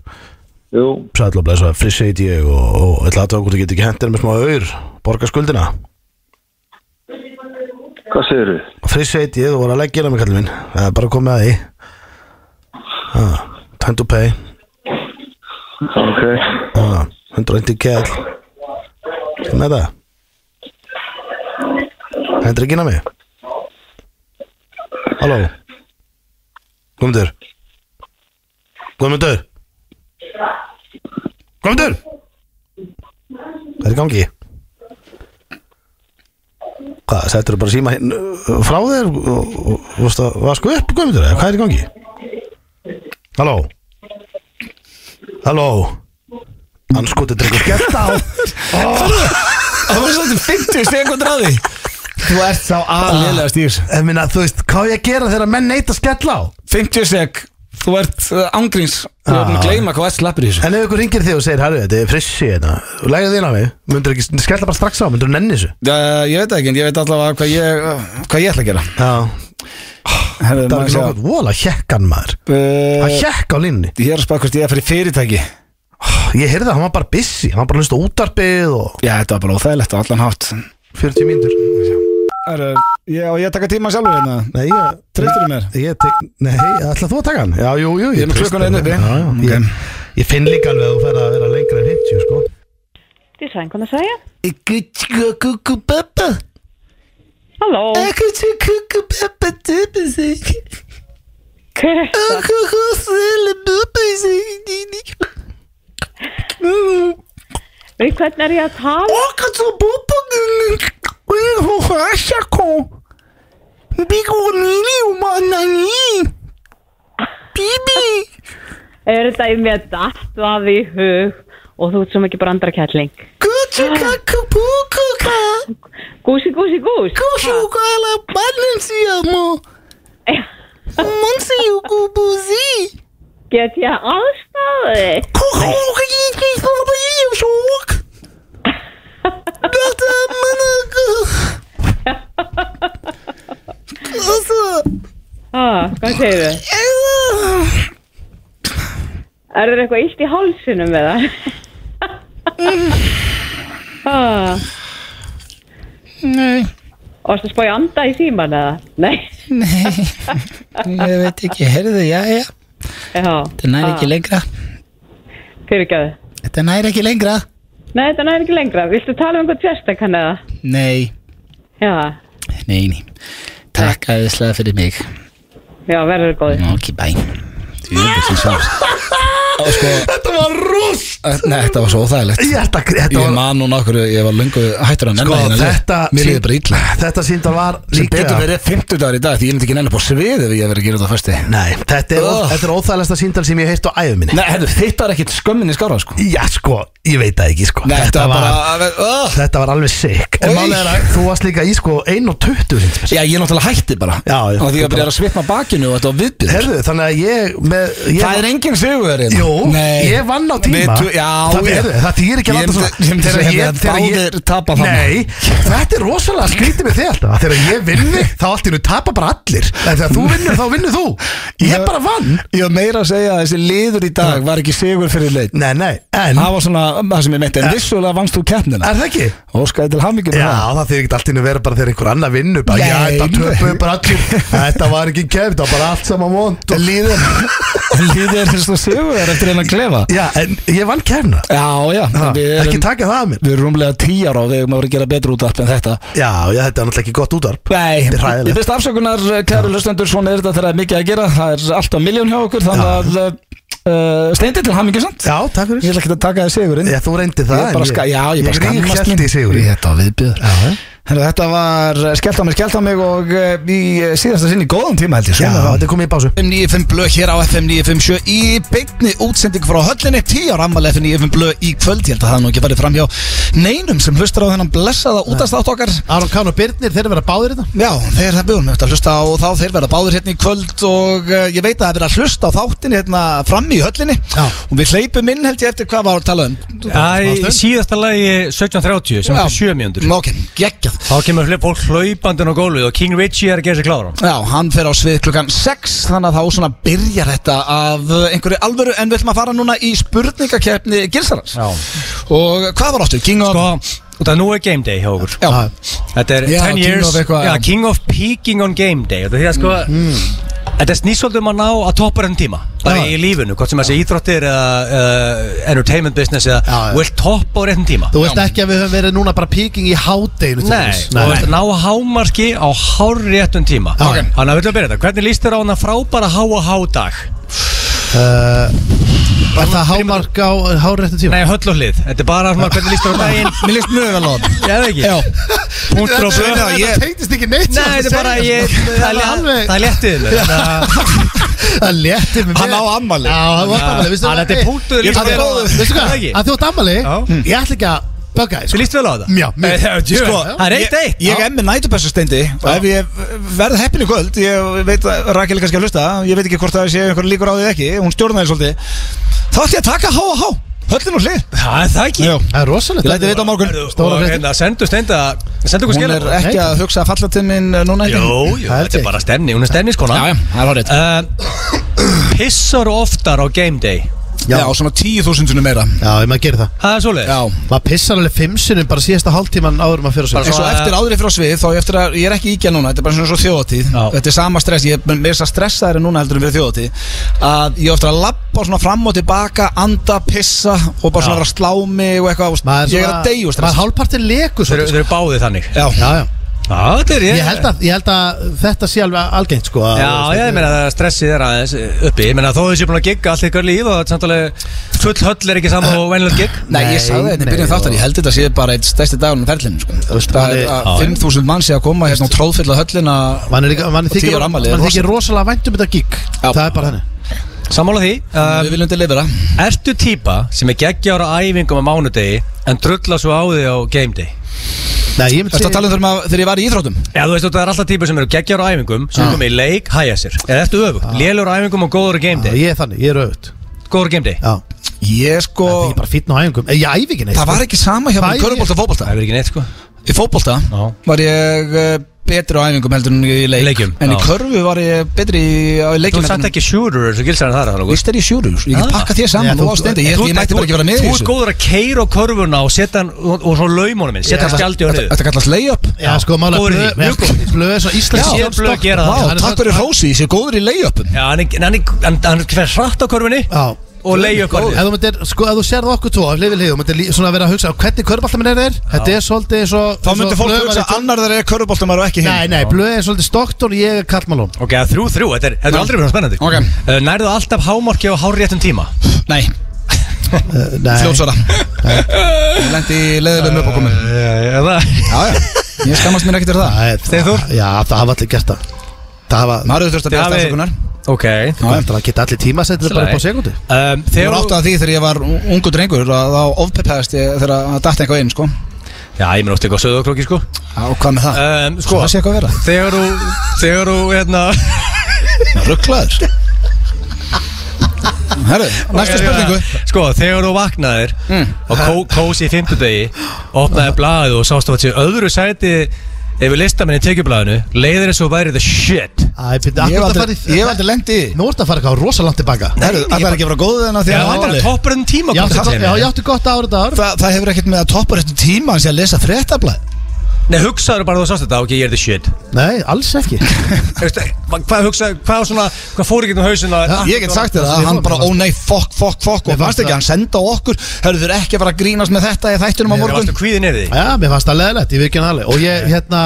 [SPEAKER 5] jú,
[SPEAKER 2] Sæll og blæsa, friss heit ég og, og ætla að það okkur geti ekki hendur með smá auður borga skuldina
[SPEAKER 5] hvað segir þau?
[SPEAKER 2] Friss heit ég, þú voru að leggja hérna með kallum minn það er bara að koma að því ah, Time to pay
[SPEAKER 5] Ok,
[SPEAKER 2] ah, 190 kell Ertu með það Hendur ekki inn á mig Halló Guðmundur Guðmundur Guðmundur Hvað er í gangi? Hvað, settur þú bara síma hinn uh, frá þér og- og og- varstu að vasku upp Guðmundur, eða hvað er í gangi? Halló Halló Anskotu drengur gert á
[SPEAKER 1] Það var svolítið 50 sekund ráði. Þú ert sá aðlilega stýrs.
[SPEAKER 2] En minna, þú veist, hvað á ég að gera þegar menn neitt að skella á?
[SPEAKER 1] 50 sek, þú ert uh, angriðs, þú ert búin að gleyma hvað ert slappir í þessu.
[SPEAKER 2] En ef ykkur ringir þig og segir, herru, þetta er frissi hérna og lægja þín á mig, myndur ekki skella bara strax á, myndur nenni þessu
[SPEAKER 1] Uh, ég veit það ekki, en ég veit allavega hvað ég, uh, hvað ég ætla að gera.
[SPEAKER 2] Já,
[SPEAKER 1] Herðu,
[SPEAKER 2] það var
[SPEAKER 1] maður
[SPEAKER 2] ekki
[SPEAKER 1] sé að-
[SPEAKER 2] nokkuð, vola, hjekkan maður
[SPEAKER 1] Uh,
[SPEAKER 2] Hann hjekk á línni
[SPEAKER 1] Ég er að spaka hvort ég er að fara í fyrirtæki
[SPEAKER 2] Ég heyrði það, hann var bara busy, hann var bara að hlusta á útvarpið og
[SPEAKER 1] Já, þetta var bara óþægilegt á allan hátt
[SPEAKER 2] 40 mínútur
[SPEAKER 1] Æru, ég, Og ég taka tíma sjálfur hérna
[SPEAKER 2] Nei, ég,
[SPEAKER 1] Treystirðu mér?
[SPEAKER 2] Ég tek, nei, ætla þú að taka hann? Já, jú, jú,
[SPEAKER 1] Ég er með klukkuna hérna uppi.
[SPEAKER 2] Já, já, ég, ég finn líka alveg að þú fer að vera lengra en 50, sko
[SPEAKER 8] Design kann das sein?
[SPEAKER 1] Kukukubabba
[SPEAKER 8] Hallo.
[SPEAKER 1] Kukukubabba
[SPEAKER 8] Við hvernig er ég að tala?
[SPEAKER 7] Sko.
[SPEAKER 8] Er þetta í mér dætt að í hug og þú ert svo mikið brandarkjalling?
[SPEAKER 1] Ah.
[SPEAKER 8] Gúsi, gúsi, gús. Gúsi, Get ég aðstæði? Ah, hvað segir þau? Er þér eitthvað illt í hálsinum með það? ah. Nei. Varstu að spá í anda í síman eða? Nei.
[SPEAKER 1] Ég veit ekki, heyrðu, já, já
[SPEAKER 8] Já.
[SPEAKER 1] Þetta næri ekki lengra
[SPEAKER 8] Fyrirgjöðu.
[SPEAKER 1] Þetta næri ekki lengra
[SPEAKER 8] Nei, þetta næri ekki lengra. Viltu tala um einhvern sérstakkan eða?
[SPEAKER 1] Nei,
[SPEAKER 8] Já.
[SPEAKER 1] nei, nei Takk aðeinslega fyrir mig
[SPEAKER 8] Já, verður góðið.
[SPEAKER 1] Ok, bæ Þú veit sem sá
[SPEAKER 2] Þetta var rúst!
[SPEAKER 1] sko, eh, Nei, þetta var svo óþægilegt
[SPEAKER 2] Ég ætla, þetta
[SPEAKER 1] Ég
[SPEAKER 2] var
[SPEAKER 1] man núna okkur, ég var löngu hættur að
[SPEAKER 2] Sko,
[SPEAKER 1] nennan
[SPEAKER 2] þetta
[SPEAKER 1] Mér
[SPEAKER 2] sýn-
[SPEAKER 1] liði bara illa
[SPEAKER 2] Þetta síndar var
[SPEAKER 1] Sem
[SPEAKER 2] líka
[SPEAKER 1] betur verið 50 dagar í dag Því ég myndi ekki nenni upp á sviðið Ef ég verið að gera þetta á fösti
[SPEAKER 2] Nei, þetta er,
[SPEAKER 1] Ugh.
[SPEAKER 2] oh. er óþægilegsta síndar sem ég heirt á æðu minni
[SPEAKER 1] Nei, herru, þetta er ekkit skömminni skára sko.
[SPEAKER 2] Já, sko, ég veit það ekki, sko
[SPEAKER 1] Nei, þetta var bara uh,
[SPEAKER 2] þetta var alveg sick En
[SPEAKER 1] Oj.
[SPEAKER 2] málið er að þú varst líka í, sko, 1.20 síndar
[SPEAKER 1] Já, ég náttúrulega hætti bara
[SPEAKER 2] Já, já.
[SPEAKER 1] Og því ég byrjaði að svitna á bakinu og þetta var viðbyrð
[SPEAKER 2] Herðu, þannig að ég með, ég
[SPEAKER 1] Það er engin sigurverðin
[SPEAKER 2] Jú, Jú,
[SPEAKER 1] Nei.
[SPEAKER 2] ég vann á tíma
[SPEAKER 1] Við tu- já,
[SPEAKER 2] það,
[SPEAKER 1] ég-
[SPEAKER 2] er, það þýðir ekki
[SPEAKER 1] Ég
[SPEAKER 2] að landa
[SPEAKER 1] myndi- ég
[SPEAKER 2] svona
[SPEAKER 1] myndi
[SPEAKER 2] Þegar
[SPEAKER 1] segja að
[SPEAKER 2] þegar
[SPEAKER 1] báðir tapa þarna.
[SPEAKER 2] Nei, þetta er rosalega skrítið með þig alltaf Þegar ég vinni, þá allt í nú tapa bara allir En Þegar þú vinnur, þá vinnur þú Ég bara vann
[SPEAKER 1] Ég var meira að segja að þessi liður í dag var ekki sigur fyrir leitt
[SPEAKER 2] Nei, nei, en
[SPEAKER 1] Það var svona um, það sem ég meinti En
[SPEAKER 2] Ja.
[SPEAKER 1] vissulega vannst þú keppnina
[SPEAKER 2] Er það ekki?
[SPEAKER 1] Óskaði til hamingjum
[SPEAKER 2] Já, það þýðir ekki allt í nú vera bara þegar einhver annar vinnur bara,
[SPEAKER 1] Nei,
[SPEAKER 2] Já, þetta
[SPEAKER 1] nei.
[SPEAKER 2] töpuðu bara allir Þetta var ekki kemd, það var bara allt saman vond og...
[SPEAKER 1] Líður Líður er þess að sigur er eftir henn að klefa
[SPEAKER 2] Já, en ég vann kemna
[SPEAKER 1] Já, já Við
[SPEAKER 2] Ekki
[SPEAKER 1] erum,
[SPEAKER 2] taka það að mér
[SPEAKER 1] við erum rúmlega tíu ára og við erum að vera að gera betur út af en þetta
[SPEAKER 2] Já, já, þetta er náttúrulega ekki gott útvarp
[SPEAKER 1] Nei,
[SPEAKER 2] Þetta er hræðilegt.
[SPEAKER 1] ég finnst afsökunar, eh, kæru lustendur, svona er þetta þegar það er mikið að gera Það er alltaf miljón hjá okkur, þannig að uh, steindi til hamingjusamt
[SPEAKER 2] Já, takk fyrir
[SPEAKER 1] Ég ætla ekki að taka þið sigurinn
[SPEAKER 2] Já, þú reyndi það
[SPEAKER 1] Ég
[SPEAKER 2] en
[SPEAKER 1] bara ska- já, ég bara skammast
[SPEAKER 2] Ég
[SPEAKER 1] mín.
[SPEAKER 2] ríkjætti í sigur
[SPEAKER 1] Ég þetta var viðbjöður Herra, Þetta var eh, skellt á mig, skellt á mig og eh, í eh, síðasta sinni góðan tíma held ég
[SPEAKER 2] Já,
[SPEAKER 1] svona það.
[SPEAKER 2] þetta er komið í básu
[SPEAKER 1] 595 blöð hér á FM 957 í beigni útsending frá höllinni 10 ára ammali FM 95 blöð í kvöld ég held að það hafi nú ekki farið fram hjá neinum sem hlustar á þennan blessaða útastátt okkar
[SPEAKER 2] Aron Kahn og Birnir, þeir eru verið að báðir hérna. þetta
[SPEAKER 1] Já, þeir það bjóðum eftir að hlusta á þá þeir verða báður hérna í kvöld og uh, ég veit að það er verið að hlusta á þáttinni hérna frammi í höllinni
[SPEAKER 2] Já.
[SPEAKER 1] og við hleypum inn held ég eftir hvað var að tala um
[SPEAKER 3] Það er síðasta lagi 1730 sem
[SPEAKER 1] Já.
[SPEAKER 3] er
[SPEAKER 1] Mm,
[SPEAKER 3] 7 mjöndur
[SPEAKER 1] Ok, geggjað
[SPEAKER 3] Þá kemur hlið- fólk hlaupandun á gólfið og King Richie er að gera sér klára
[SPEAKER 1] Já, hann fer á svið klukkan 6 þannig að þá svona byrjar þetta af uh, einhverju alvöru en við ætlum að fara núna í spurningakefni Gilsarans
[SPEAKER 3] Já.
[SPEAKER 1] og hvað var áttu? King of...
[SPEAKER 3] Sko, og það nú er game day hjá okkur
[SPEAKER 1] Já,
[SPEAKER 3] Þetta er
[SPEAKER 1] Já,
[SPEAKER 3] 10
[SPEAKER 1] King
[SPEAKER 3] years
[SPEAKER 1] of eitthvað,
[SPEAKER 3] já,
[SPEAKER 1] já.
[SPEAKER 3] King of peaking on game day Þetta er því að sko Þetta snýst svolítið um að ná að toppa þennan tíma Bara
[SPEAKER 2] Já.
[SPEAKER 3] í lífinu, hvort sem þessi íþróttir eða uh, entertainment business eða
[SPEAKER 2] Já, já.
[SPEAKER 3] Þú vilt toppa á réttin tíma
[SPEAKER 2] Þú veist ekki að við höfum verið núna bara píking í hádeginu til
[SPEAKER 3] Nei,
[SPEAKER 2] dæmis.
[SPEAKER 3] þú vilt ná hámarki á hár réttum tíma
[SPEAKER 2] Já.
[SPEAKER 3] Þannig að við viljum að byrja þetta Hvernig líst þér á hana frábæra há og há dag?
[SPEAKER 2] Er það hámark á háréttu tíma?
[SPEAKER 3] Nei, höll og hlið Þetta er bara svona hvernig líst þér á daginn
[SPEAKER 1] mér líst mjög vel á þetta
[SPEAKER 3] Já, það ekki
[SPEAKER 1] Já.
[SPEAKER 3] Punktur og blöð
[SPEAKER 1] Nei, ég-
[SPEAKER 2] tengdist ekki neitt
[SPEAKER 3] Nei, þetta er bara ég, það, er létt- það er léttið mér
[SPEAKER 2] Það léttir mér
[SPEAKER 1] Hann á afmæli.
[SPEAKER 2] Já, hann á ammali
[SPEAKER 3] Hann, þetta er punktur, þér líst vel á það.
[SPEAKER 2] Vistu
[SPEAKER 3] Það
[SPEAKER 2] hvað,
[SPEAKER 3] ekki?
[SPEAKER 2] að þú átt ammali
[SPEAKER 3] Já.
[SPEAKER 2] Ég ætla ekki að bögga þig sko.
[SPEAKER 3] Þú líst vel á það?
[SPEAKER 2] Já, mjög.
[SPEAKER 3] Eh, djöfull.
[SPEAKER 1] Sko,
[SPEAKER 3] Það er eitt eitt
[SPEAKER 1] Ég, ég er með nætupessusteindi og ef ég verð heppin í kvöld ég veit að Rakel er kannski að hlusta ég veit ekki hvort það sé einhver líkur á því eða ekki hún stjórnaði svolítið þá ætti ég að taka há og há höllin og hlið
[SPEAKER 3] Það er það ekki
[SPEAKER 1] Já.
[SPEAKER 2] Það er rosalegt
[SPEAKER 1] Ég læti vita á morgun
[SPEAKER 2] Stóra
[SPEAKER 3] Og
[SPEAKER 2] fréttir.
[SPEAKER 3] hérna, sendu steinda Sendu okkur
[SPEAKER 1] Hún
[SPEAKER 3] skilja
[SPEAKER 1] er ekki að hugsa að falla til minn núna ekki?
[SPEAKER 3] Jú,
[SPEAKER 2] Það
[SPEAKER 3] jú,
[SPEAKER 2] er
[SPEAKER 3] þetta
[SPEAKER 2] ekki.
[SPEAKER 3] er bara stenni Hún er stenniskona
[SPEAKER 1] Já, já, það er horrið
[SPEAKER 3] Pissar oftar á game day
[SPEAKER 1] Já, svona 10.000 sinni meira
[SPEAKER 2] Já, ég maður gerir það
[SPEAKER 3] Það er svoleiðis
[SPEAKER 1] Já,
[SPEAKER 2] Maður pissar alveg fimm sinnum bara síðasta hálftíman áður en maður fyrir
[SPEAKER 1] En
[SPEAKER 2] að segja
[SPEAKER 1] svo
[SPEAKER 3] Svona-
[SPEAKER 1] eftir áðrið frá svið þá ég eftir að ég er ekki íkja núna, þetta er bara svona svo þjóðatíð
[SPEAKER 3] Já.
[SPEAKER 1] Þetta er sama stress, ég er mér þess að stressa þær núna heldur en fyrir þjóðatíð að ég á eftir að lappa svona fram og tilbaka anda, pissa og bara svona
[SPEAKER 3] Já.
[SPEAKER 1] vera að slá mig og eitthvað, veist,
[SPEAKER 2] Maður
[SPEAKER 1] ég er
[SPEAKER 2] svona-
[SPEAKER 1] að deyja úr
[SPEAKER 2] Maður
[SPEAKER 1] stress
[SPEAKER 2] hálfpartin leku
[SPEAKER 3] Þeir eru-
[SPEAKER 2] svo
[SPEAKER 3] þeir eru báðið þannig
[SPEAKER 1] Já,
[SPEAKER 2] Já, já
[SPEAKER 3] Já, þetta er
[SPEAKER 2] Ég held, að, ég held að þetta sé alveg algengt sko að-
[SPEAKER 3] Já, já, ég meina að stressið er aðeins uppi Ég meina þó þessi búin að gigga allt ykkur líf og samtalið full höll er ekki saman og venlega gigg
[SPEAKER 1] Nei, ég sagði þetta í
[SPEAKER 2] nei,
[SPEAKER 1] byrjun þáttar, ég held þetta sé bara eitt stærsti dagunum ferlinu, sko
[SPEAKER 2] veist,
[SPEAKER 1] Það
[SPEAKER 2] maður-
[SPEAKER 1] er að 5.000 mann sé að koma hérna og tróðfylla höllina
[SPEAKER 2] Man er líka, man
[SPEAKER 1] Og tíu
[SPEAKER 2] þykir,
[SPEAKER 1] ára
[SPEAKER 2] man
[SPEAKER 1] afmæli er
[SPEAKER 2] þykir rosalega vænt um þetta gig
[SPEAKER 1] Já.
[SPEAKER 2] Það er bara þannig
[SPEAKER 3] Sammála því um,
[SPEAKER 1] Við viljum delivera
[SPEAKER 3] Ertu típa sem er geggjára æfingum á mánudegi en drulla svo á því á game day?
[SPEAKER 2] Nei, ég myndi
[SPEAKER 1] Þetta
[SPEAKER 2] segja-
[SPEAKER 1] tala um þegar maður- þegar ég var í íþróttum
[SPEAKER 3] Já, þú veist, það er alltaf típur sem eru geggjar á æfingum
[SPEAKER 1] Ah.
[SPEAKER 3] sem komið í leik, hæja sér eða eftir öfugt, lélur á æfingum og góður á
[SPEAKER 2] Já,
[SPEAKER 3] game day
[SPEAKER 2] Ég er þannig, ég er auðvögt
[SPEAKER 1] Ah.
[SPEAKER 3] góður á game day
[SPEAKER 2] Já,
[SPEAKER 1] Ég sko,
[SPEAKER 2] það er bara fýtn á æfingum Eh, Ég æfi ekki neitt sko.
[SPEAKER 1] það var ekki sama hjá
[SPEAKER 2] Bæði-
[SPEAKER 1] mér körubólta og fótbolta
[SPEAKER 3] Það er ekki neitt, sko
[SPEAKER 1] Í fótbolta
[SPEAKER 3] Já.
[SPEAKER 1] var ég eh, betri á æfingum heldur en í leik
[SPEAKER 3] Leikjum,
[SPEAKER 1] En í
[SPEAKER 3] já.
[SPEAKER 1] körfu var ég betri í- á í
[SPEAKER 3] Þú
[SPEAKER 1] leikjum
[SPEAKER 3] er
[SPEAKER 1] heldur
[SPEAKER 3] samt
[SPEAKER 1] en-
[SPEAKER 3] ekki shooter eins og gilsar en það er það
[SPEAKER 1] Víst er ég sjúrur, ég
[SPEAKER 3] Ah.
[SPEAKER 1] get pakka þér
[SPEAKER 2] Já,
[SPEAKER 1] saman
[SPEAKER 2] þú-
[SPEAKER 1] og ástendi Ég, ég mætti bara ekki sko. vera með í
[SPEAKER 3] Þú ert
[SPEAKER 1] þessu
[SPEAKER 3] góður að keira á körfuna og setja hann og, og svo laumunum minn, setja hann skjaldi á
[SPEAKER 1] Þetta
[SPEAKER 3] niður
[SPEAKER 1] þetta kallast layup
[SPEAKER 2] Já, sko, mála
[SPEAKER 3] Góður í því, mjög góður.
[SPEAKER 2] Blöð er svona
[SPEAKER 3] Ég
[SPEAKER 2] íslensk
[SPEAKER 3] sé
[SPEAKER 2] sjálfsstolti.
[SPEAKER 3] Blöð gera það.
[SPEAKER 2] Já,
[SPEAKER 1] Vá,
[SPEAKER 2] hann er
[SPEAKER 1] takk
[SPEAKER 2] svona-
[SPEAKER 1] fyrir Rósi, ég sé góður í layupum
[SPEAKER 3] Já, hann, er- hann, er- hann, hann fer hratt á körfunni
[SPEAKER 2] Já
[SPEAKER 3] og leiði upp
[SPEAKER 2] Ef þú myndir, sko, ef þú sérð okkur tvo af lifið lið, þú myndir lí- svona vera að hugsa hvernig körbáltaminn er þér, þetta er svolítið eins og
[SPEAKER 1] Þá
[SPEAKER 2] eins og
[SPEAKER 1] myndi fólk
[SPEAKER 2] Blöð var
[SPEAKER 1] hugsa
[SPEAKER 2] í-
[SPEAKER 1] annar þegar ég er körubóltamar og ekki
[SPEAKER 2] Nei,
[SPEAKER 1] hinn
[SPEAKER 2] nei, blöð er svolítið stoktón, ég er kallmálón
[SPEAKER 3] Ok, það er þrjú, þrjú, þetta er, þetta er aldrei verið spennandi
[SPEAKER 1] Ok.
[SPEAKER 3] uh, Nærðu alltaf hámarki á hárréttum tíma
[SPEAKER 1] Nei, Eh,
[SPEAKER 2] Eh, Nei,
[SPEAKER 1] fljótsvara Ég lendi í leiðilegum uppákomum Eh,
[SPEAKER 3] Já, já
[SPEAKER 1] Já, já, ég skammast mér ekkert fyrir það
[SPEAKER 2] Nei,
[SPEAKER 3] Steinþór?
[SPEAKER 2] það- Já, það hafa allir gert það Það hafa,
[SPEAKER 1] Maður þurfti að byrja
[SPEAKER 3] Þið hafið-
[SPEAKER 1] stafsökunar
[SPEAKER 3] Ok
[SPEAKER 2] það geta allir tíma setið bara upp á sekundu
[SPEAKER 3] um,
[SPEAKER 1] Ég var átt
[SPEAKER 3] Þegar
[SPEAKER 1] að því þegar ég var ungu drengur að þá ofpeppaðist ég þegar að datt eitthvað inn sko.
[SPEAKER 3] Já, ég minn átti eitthvað söðoklokki, sko
[SPEAKER 1] Já, og hvað með það?
[SPEAKER 3] um,
[SPEAKER 1] Svo
[SPEAKER 3] Sko,
[SPEAKER 1] það sé eitthvað að vera
[SPEAKER 3] þegar þú, þegar þú, hérna
[SPEAKER 1] Rugglaður Herru, næstu spurningu Hmm.
[SPEAKER 3] Sko, þegar þú vaknaðir mm. og kó, kósi í fimmtudegi opnaði blaðið og sástu að sé öðru sæti yfir listamenni í tekjublaðinu leiðir eins og væri the shit
[SPEAKER 2] Æ, byrju,
[SPEAKER 1] Ég hef
[SPEAKER 2] akkur þetta
[SPEAKER 1] aldrei-
[SPEAKER 2] farið
[SPEAKER 1] ég hef aldrei lengt í því.
[SPEAKER 2] Nú ertu að fara eitthvað rosa langt tilbaka
[SPEAKER 1] Herru, það er ekki að vera góðu en að því
[SPEAKER 3] Já,
[SPEAKER 1] að
[SPEAKER 3] þetta er að
[SPEAKER 1] máli.
[SPEAKER 3] toppur enn tíma
[SPEAKER 2] Ég átti gott- Já, ég átti gott árið þetta ár
[SPEAKER 1] Það, það hefur ekkert með að toppa réttu tíma hans ég að lesa fréttablað
[SPEAKER 3] Nei, hugsaður bara að þú sást þetta, ok, ég er the shit
[SPEAKER 2] Nei, alls ekki
[SPEAKER 3] Veistu, Hvað hugsaður, hvað var svona, hvað fór ekki um hausin að
[SPEAKER 1] Ég get sagt þér að hann bara, ó nei, fokk, fokk, fokk og
[SPEAKER 2] Mér fannst
[SPEAKER 1] fannst ekki
[SPEAKER 2] það-
[SPEAKER 1] að hann senda á okkur Herru, þú er ekki að fara að grínast með þetta í þættunum á
[SPEAKER 3] Það
[SPEAKER 1] morgun
[SPEAKER 3] varstu kvíðin yfir því
[SPEAKER 2] Já, mér fannst það leðilegt, ég virkja hann alveg Og ég, hérna,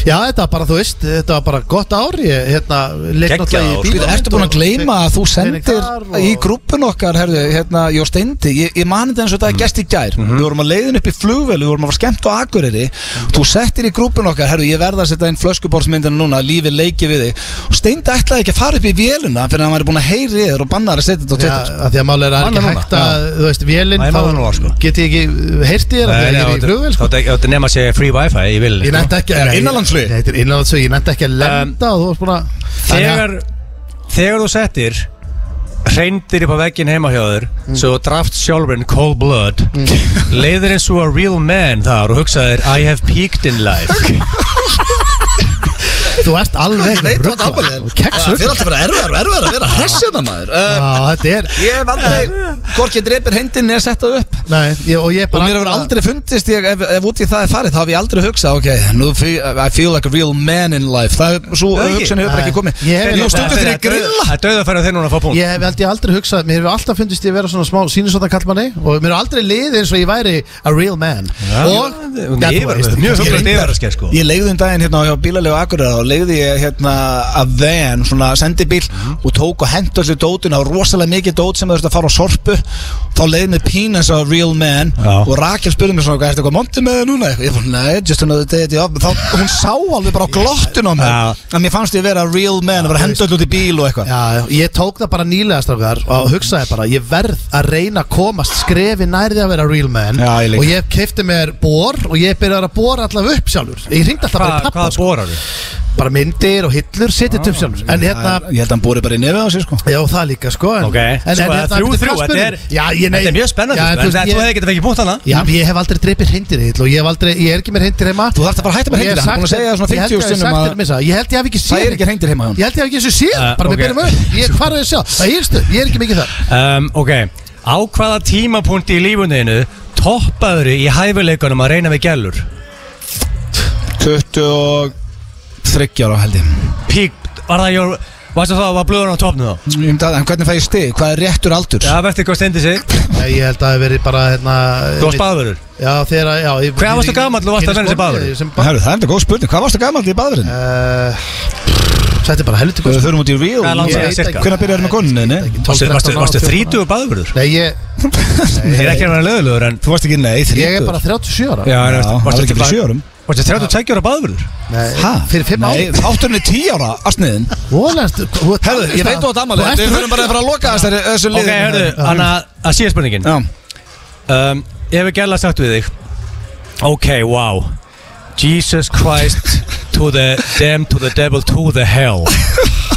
[SPEAKER 2] já, þetta var bara, þú veist Þetta var bara gott ár, ég, hérna leik náttúrulega í
[SPEAKER 3] Geggjað ár.
[SPEAKER 2] bíó-
[SPEAKER 1] Býtu, sko. ertu búin að gleyma að þú sendir
[SPEAKER 2] Peningar og-
[SPEAKER 1] í grúppun okkar, herðu, hérna, Jó Steindi, ég, ég mani þetta eins og
[SPEAKER 2] Mhm.
[SPEAKER 1] þetta er gest í gær Við vorum að leiðin upp í flugvelu, við vorum að fara skemmt á Akureyri
[SPEAKER 2] Mhm.
[SPEAKER 1] Þú settir í grúppun okkar, herðu, ég verða að setja inn flöskuborðsmyndina núna, lífið leiki við þig Og Steindi ætlaði ekki að fara upp í véluna fyrir að hann væri búin að heyri þér og bannar að setja þetta á
[SPEAKER 2] Já,
[SPEAKER 1] Twitter
[SPEAKER 2] af því að málega er að
[SPEAKER 3] Manna
[SPEAKER 2] ekki
[SPEAKER 3] núna,
[SPEAKER 2] hægt að, þú veist, vélinn
[SPEAKER 3] Nei, manna núna, sko.
[SPEAKER 2] Þá get ég ekki heyrt í þér af því að Ég er í flugvél, sko
[SPEAKER 3] Þá þetta nefn að segja free wifi, ég vil sko.
[SPEAKER 2] Ég nætti ekki
[SPEAKER 1] Er
[SPEAKER 2] nei,
[SPEAKER 1] innanlandsflug?
[SPEAKER 2] Nei, þetta er innanlandsflug, ég nætti ekki að lenda og þú varst búin að Þannig
[SPEAKER 3] Þegar, þegar þú settir reyndir upp á veggin heima hjá þér
[SPEAKER 2] Mm.
[SPEAKER 3] svo þú draft sjálfurinn cold blood leiðir eins og a real man þar og hugsaðir I have peaked in life
[SPEAKER 2] að þú ert alveg
[SPEAKER 1] Nei, þú ert
[SPEAKER 2] ruglað.
[SPEAKER 1] alvarlegur.
[SPEAKER 2] Þú kekks
[SPEAKER 1] Það
[SPEAKER 2] rugl.
[SPEAKER 1] er alltaf að vera erfiðar og erfiðar að vera hressina maður Uh,
[SPEAKER 2] Já, þetta er
[SPEAKER 1] Ég hef aldrei, hvorki dreipir hendin eða sett það upp
[SPEAKER 2] Nei, ég, og ég
[SPEAKER 1] Og
[SPEAKER 2] bara
[SPEAKER 1] mér hefur aldrei fundist ég, ef, ef út í það er farið, þá hef ég aldrei hugsað Ok, nú fe- I feel like a real man in life Það er, svo
[SPEAKER 3] Nei,
[SPEAKER 1] hugsun hefur bara
[SPEAKER 2] Nei.
[SPEAKER 1] ekki komið
[SPEAKER 2] Ég hef-
[SPEAKER 1] Jú, stundum þegar ég
[SPEAKER 3] Þetta er dauð-
[SPEAKER 1] grilla
[SPEAKER 3] Það er dauðafæra þeir núna að fá punkt
[SPEAKER 2] Ég hef aldrei, aldrei hugsað, mér hefur alltaf fundist ég vera svona smá sínisvota kallmanni og mér hefur aldrei liðið eins og ég væri a real man og
[SPEAKER 3] Ég-
[SPEAKER 2] That
[SPEAKER 3] ég var
[SPEAKER 2] was-
[SPEAKER 3] mjög
[SPEAKER 1] Ég
[SPEAKER 3] huglega
[SPEAKER 1] reyndar-
[SPEAKER 3] yfirraskar sko
[SPEAKER 1] Ég leiði um daginn hérna á bílalegu Akureyra og leiði ég hérna að van, svona sendibíl og tók og hendt öllu dótinu og rosalega mikið dót sem þú þurfti að fara á sorpu þá leiði mér pínas á real man
[SPEAKER 3] Já.
[SPEAKER 1] og Rakel spurði mér svona, "Hvað, ertu eitthvað montið með það núna? Ég fann, nei, just another day at the office." þá, hún sá alveg bara á glottun á mér
[SPEAKER 3] Já.
[SPEAKER 1] að mér fannst ég vera real man að vera að henda öllu út í bíl og eitthvað
[SPEAKER 2] Já, já, ég tók það bara nýlega strákar og hugsaði bara, ég verð að reyna að komast skrefi nærði að vera real man
[SPEAKER 1] Já, ég líka.
[SPEAKER 2] og ég kefti mér bor og ég byrjaði að bora allavega upp sjálfur ég hringdi alltaf bara í
[SPEAKER 3] Hvað Ah,
[SPEAKER 2] pappa,
[SPEAKER 3] hvaða
[SPEAKER 2] sko.
[SPEAKER 3] borar þú?
[SPEAKER 2] bara myndir og hillur, setið upp sjálfur en hérna,
[SPEAKER 1] Ég held að hann búið bara í nefið á sig sko
[SPEAKER 2] já það líka sko en,
[SPEAKER 3] Ok,
[SPEAKER 2] en,
[SPEAKER 3] sko,
[SPEAKER 2] hérna,
[SPEAKER 3] þrjú,
[SPEAKER 2] bíddu,
[SPEAKER 3] þrjú,
[SPEAKER 2] hvað
[SPEAKER 3] þetta er,
[SPEAKER 2] spurði- já, ég, nei,
[SPEAKER 3] þetta er mjög spennandi
[SPEAKER 2] já,
[SPEAKER 3] sko,
[SPEAKER 2] en,
[SPEAKER 3] en
[SPEAKER 2] þú
[SPEAKER 3] Þú hefði
[SPEAKER 2] veist, ég,
[SPEAKER 3] getið fengið punkt hana
[SPEAKER 2] já, ég hef aldrei dreipið hrindir Egill, og ég, hef aldrei, ég er ekki með hrindir heima
[SPEAKER 1] Þú þarft að bara hætta með
[SPEAKER 2] Ég hef
[SPEAKER 1] hreindýr, hann er
[SPEAKER 2] sagt
[SPEAKER 1] búinn að segja
[SPEAKER 2] þér-
[SPEAKER 1] svona 50
[SPEAKER 2] Ég held ég
[SPEAKER 1] sinnum
[SPEAKER 2] hef
[SPEAKER 1] að-
[SPEAKER 2] sagt þér með það, ég held ég hef ekki séð
[SPEAKER 1] Það er ekki hreindir heima hjá
[SPEAKER 2] Ég held ég hef ekki þessu síðan,
[SPEAKER 3] Eh,
[SPEAKER 2] bara
[SPEAKER 3] ok.
[SPEAKER 2] með byrjum upp Ég hvað er það að sjá, það er stöð, ég er ekki mikið þar
[SPEAKER 3] um, Ok, á hvaða tímapunkti í lífuninu toppaður í hæfileikunum að reyna við gælur?
[SPEAKER 1] 23 ára held ég
[SPEAKER 3] Pík, var það your, varstu þá að var blöður á topnu þá?
[SPEAKER 1] Ég myndi að- En hvernig fæ ég stig? Hvað er réttur aldur?
[SPEAKER 3] Já, veistu hvað stendir sig?
[SPEAKER 2] Nei, Ég held að það hef verið bara hérna
[SPEAKER 3] Þú varst baðurur
[SPEAKER 2] Já, þegar að, já ég-
[SPEAKER 3] Hvað
[SPEAKER 2] ég-
[SPEAKER 3] varstu gamall og varstu að vera þessi
[SPEAKER 2] kynni
[SPEAKER 3] baðurinn?
[SPEAKER 2] skóli sem ba-
[SPEAKER 1] Herru, það er enda góð spurning Hvað varstu gamall í baðurinn?
[SPEAKER 2] Eh, Þetta er bara helviti
[SPEAKER 1] Við
[SPEAKER 2] góð
[SPEAKER 1] þurfum út í real
[SPEAKER 3] Hvað er langt
[SPEAKER 2] Ég
[SPEAKER 3] síðan
[SPEAKER 2] veit
[SPEAKER 3] cirka?
[SPEAKER 2] ekki.
[SPEAKER 1] Hvernig byrjar með koninni?
[SPEAKER 2] Ekki 12,
[SPEAKER 3] Varstu,
[SPEAKER 2] 13
[SPEAKER 3] varstu,
[SPEAKER 2] ára,
[SPEAKER 3] varstu
[SPEAKER 2] 14 ára.
[SPEAKER 3] 30 og baðurður?
[SPEAKER 2] Nei, ég,
[SPEAKER 3] Ég er ekki að vera löðulegur en
[SPEAKER 1] Þú varst ekki nei, þrítur
[SPEAKER 2] ég er bara 37 ára
[SPEAKER 3] Já,
[SPEAKER 1] Já,
[SPEAKER 3] en
[SPEAKER 1] það var
[SPEAKER 3] varstu
[SPEAKER 1] ekki
[SPEAKER 3] ekki
[SPEAKER 1] fyrir
[SPEAKER 3] bara
[SPEAKER 1] sjörum
[SPEAKER 3] Varstu 32 ára baðurður?
[SPEAKER 2] Nei,
[SPEAKER 1] Hæ?
[SPEAKER 2] Fyrir 5 ára
[SPEAKER 1] Nei, þátturinn er 10 ára, arsniðin Herru, ég veit þú að damali Við þurfum bara að fara að loka þessari þessu
[SPEAKER 3] Ok,
[SPEAKER 1] liðinu.
[SPEAKER 3] hörðu, hann að síða spurningin
[SPEAKER 1] Já,
[SPEAKER 3] um, Ég hef gæla sagt við þig Ok, wow Jesus Christ to the damn to the devil to the hell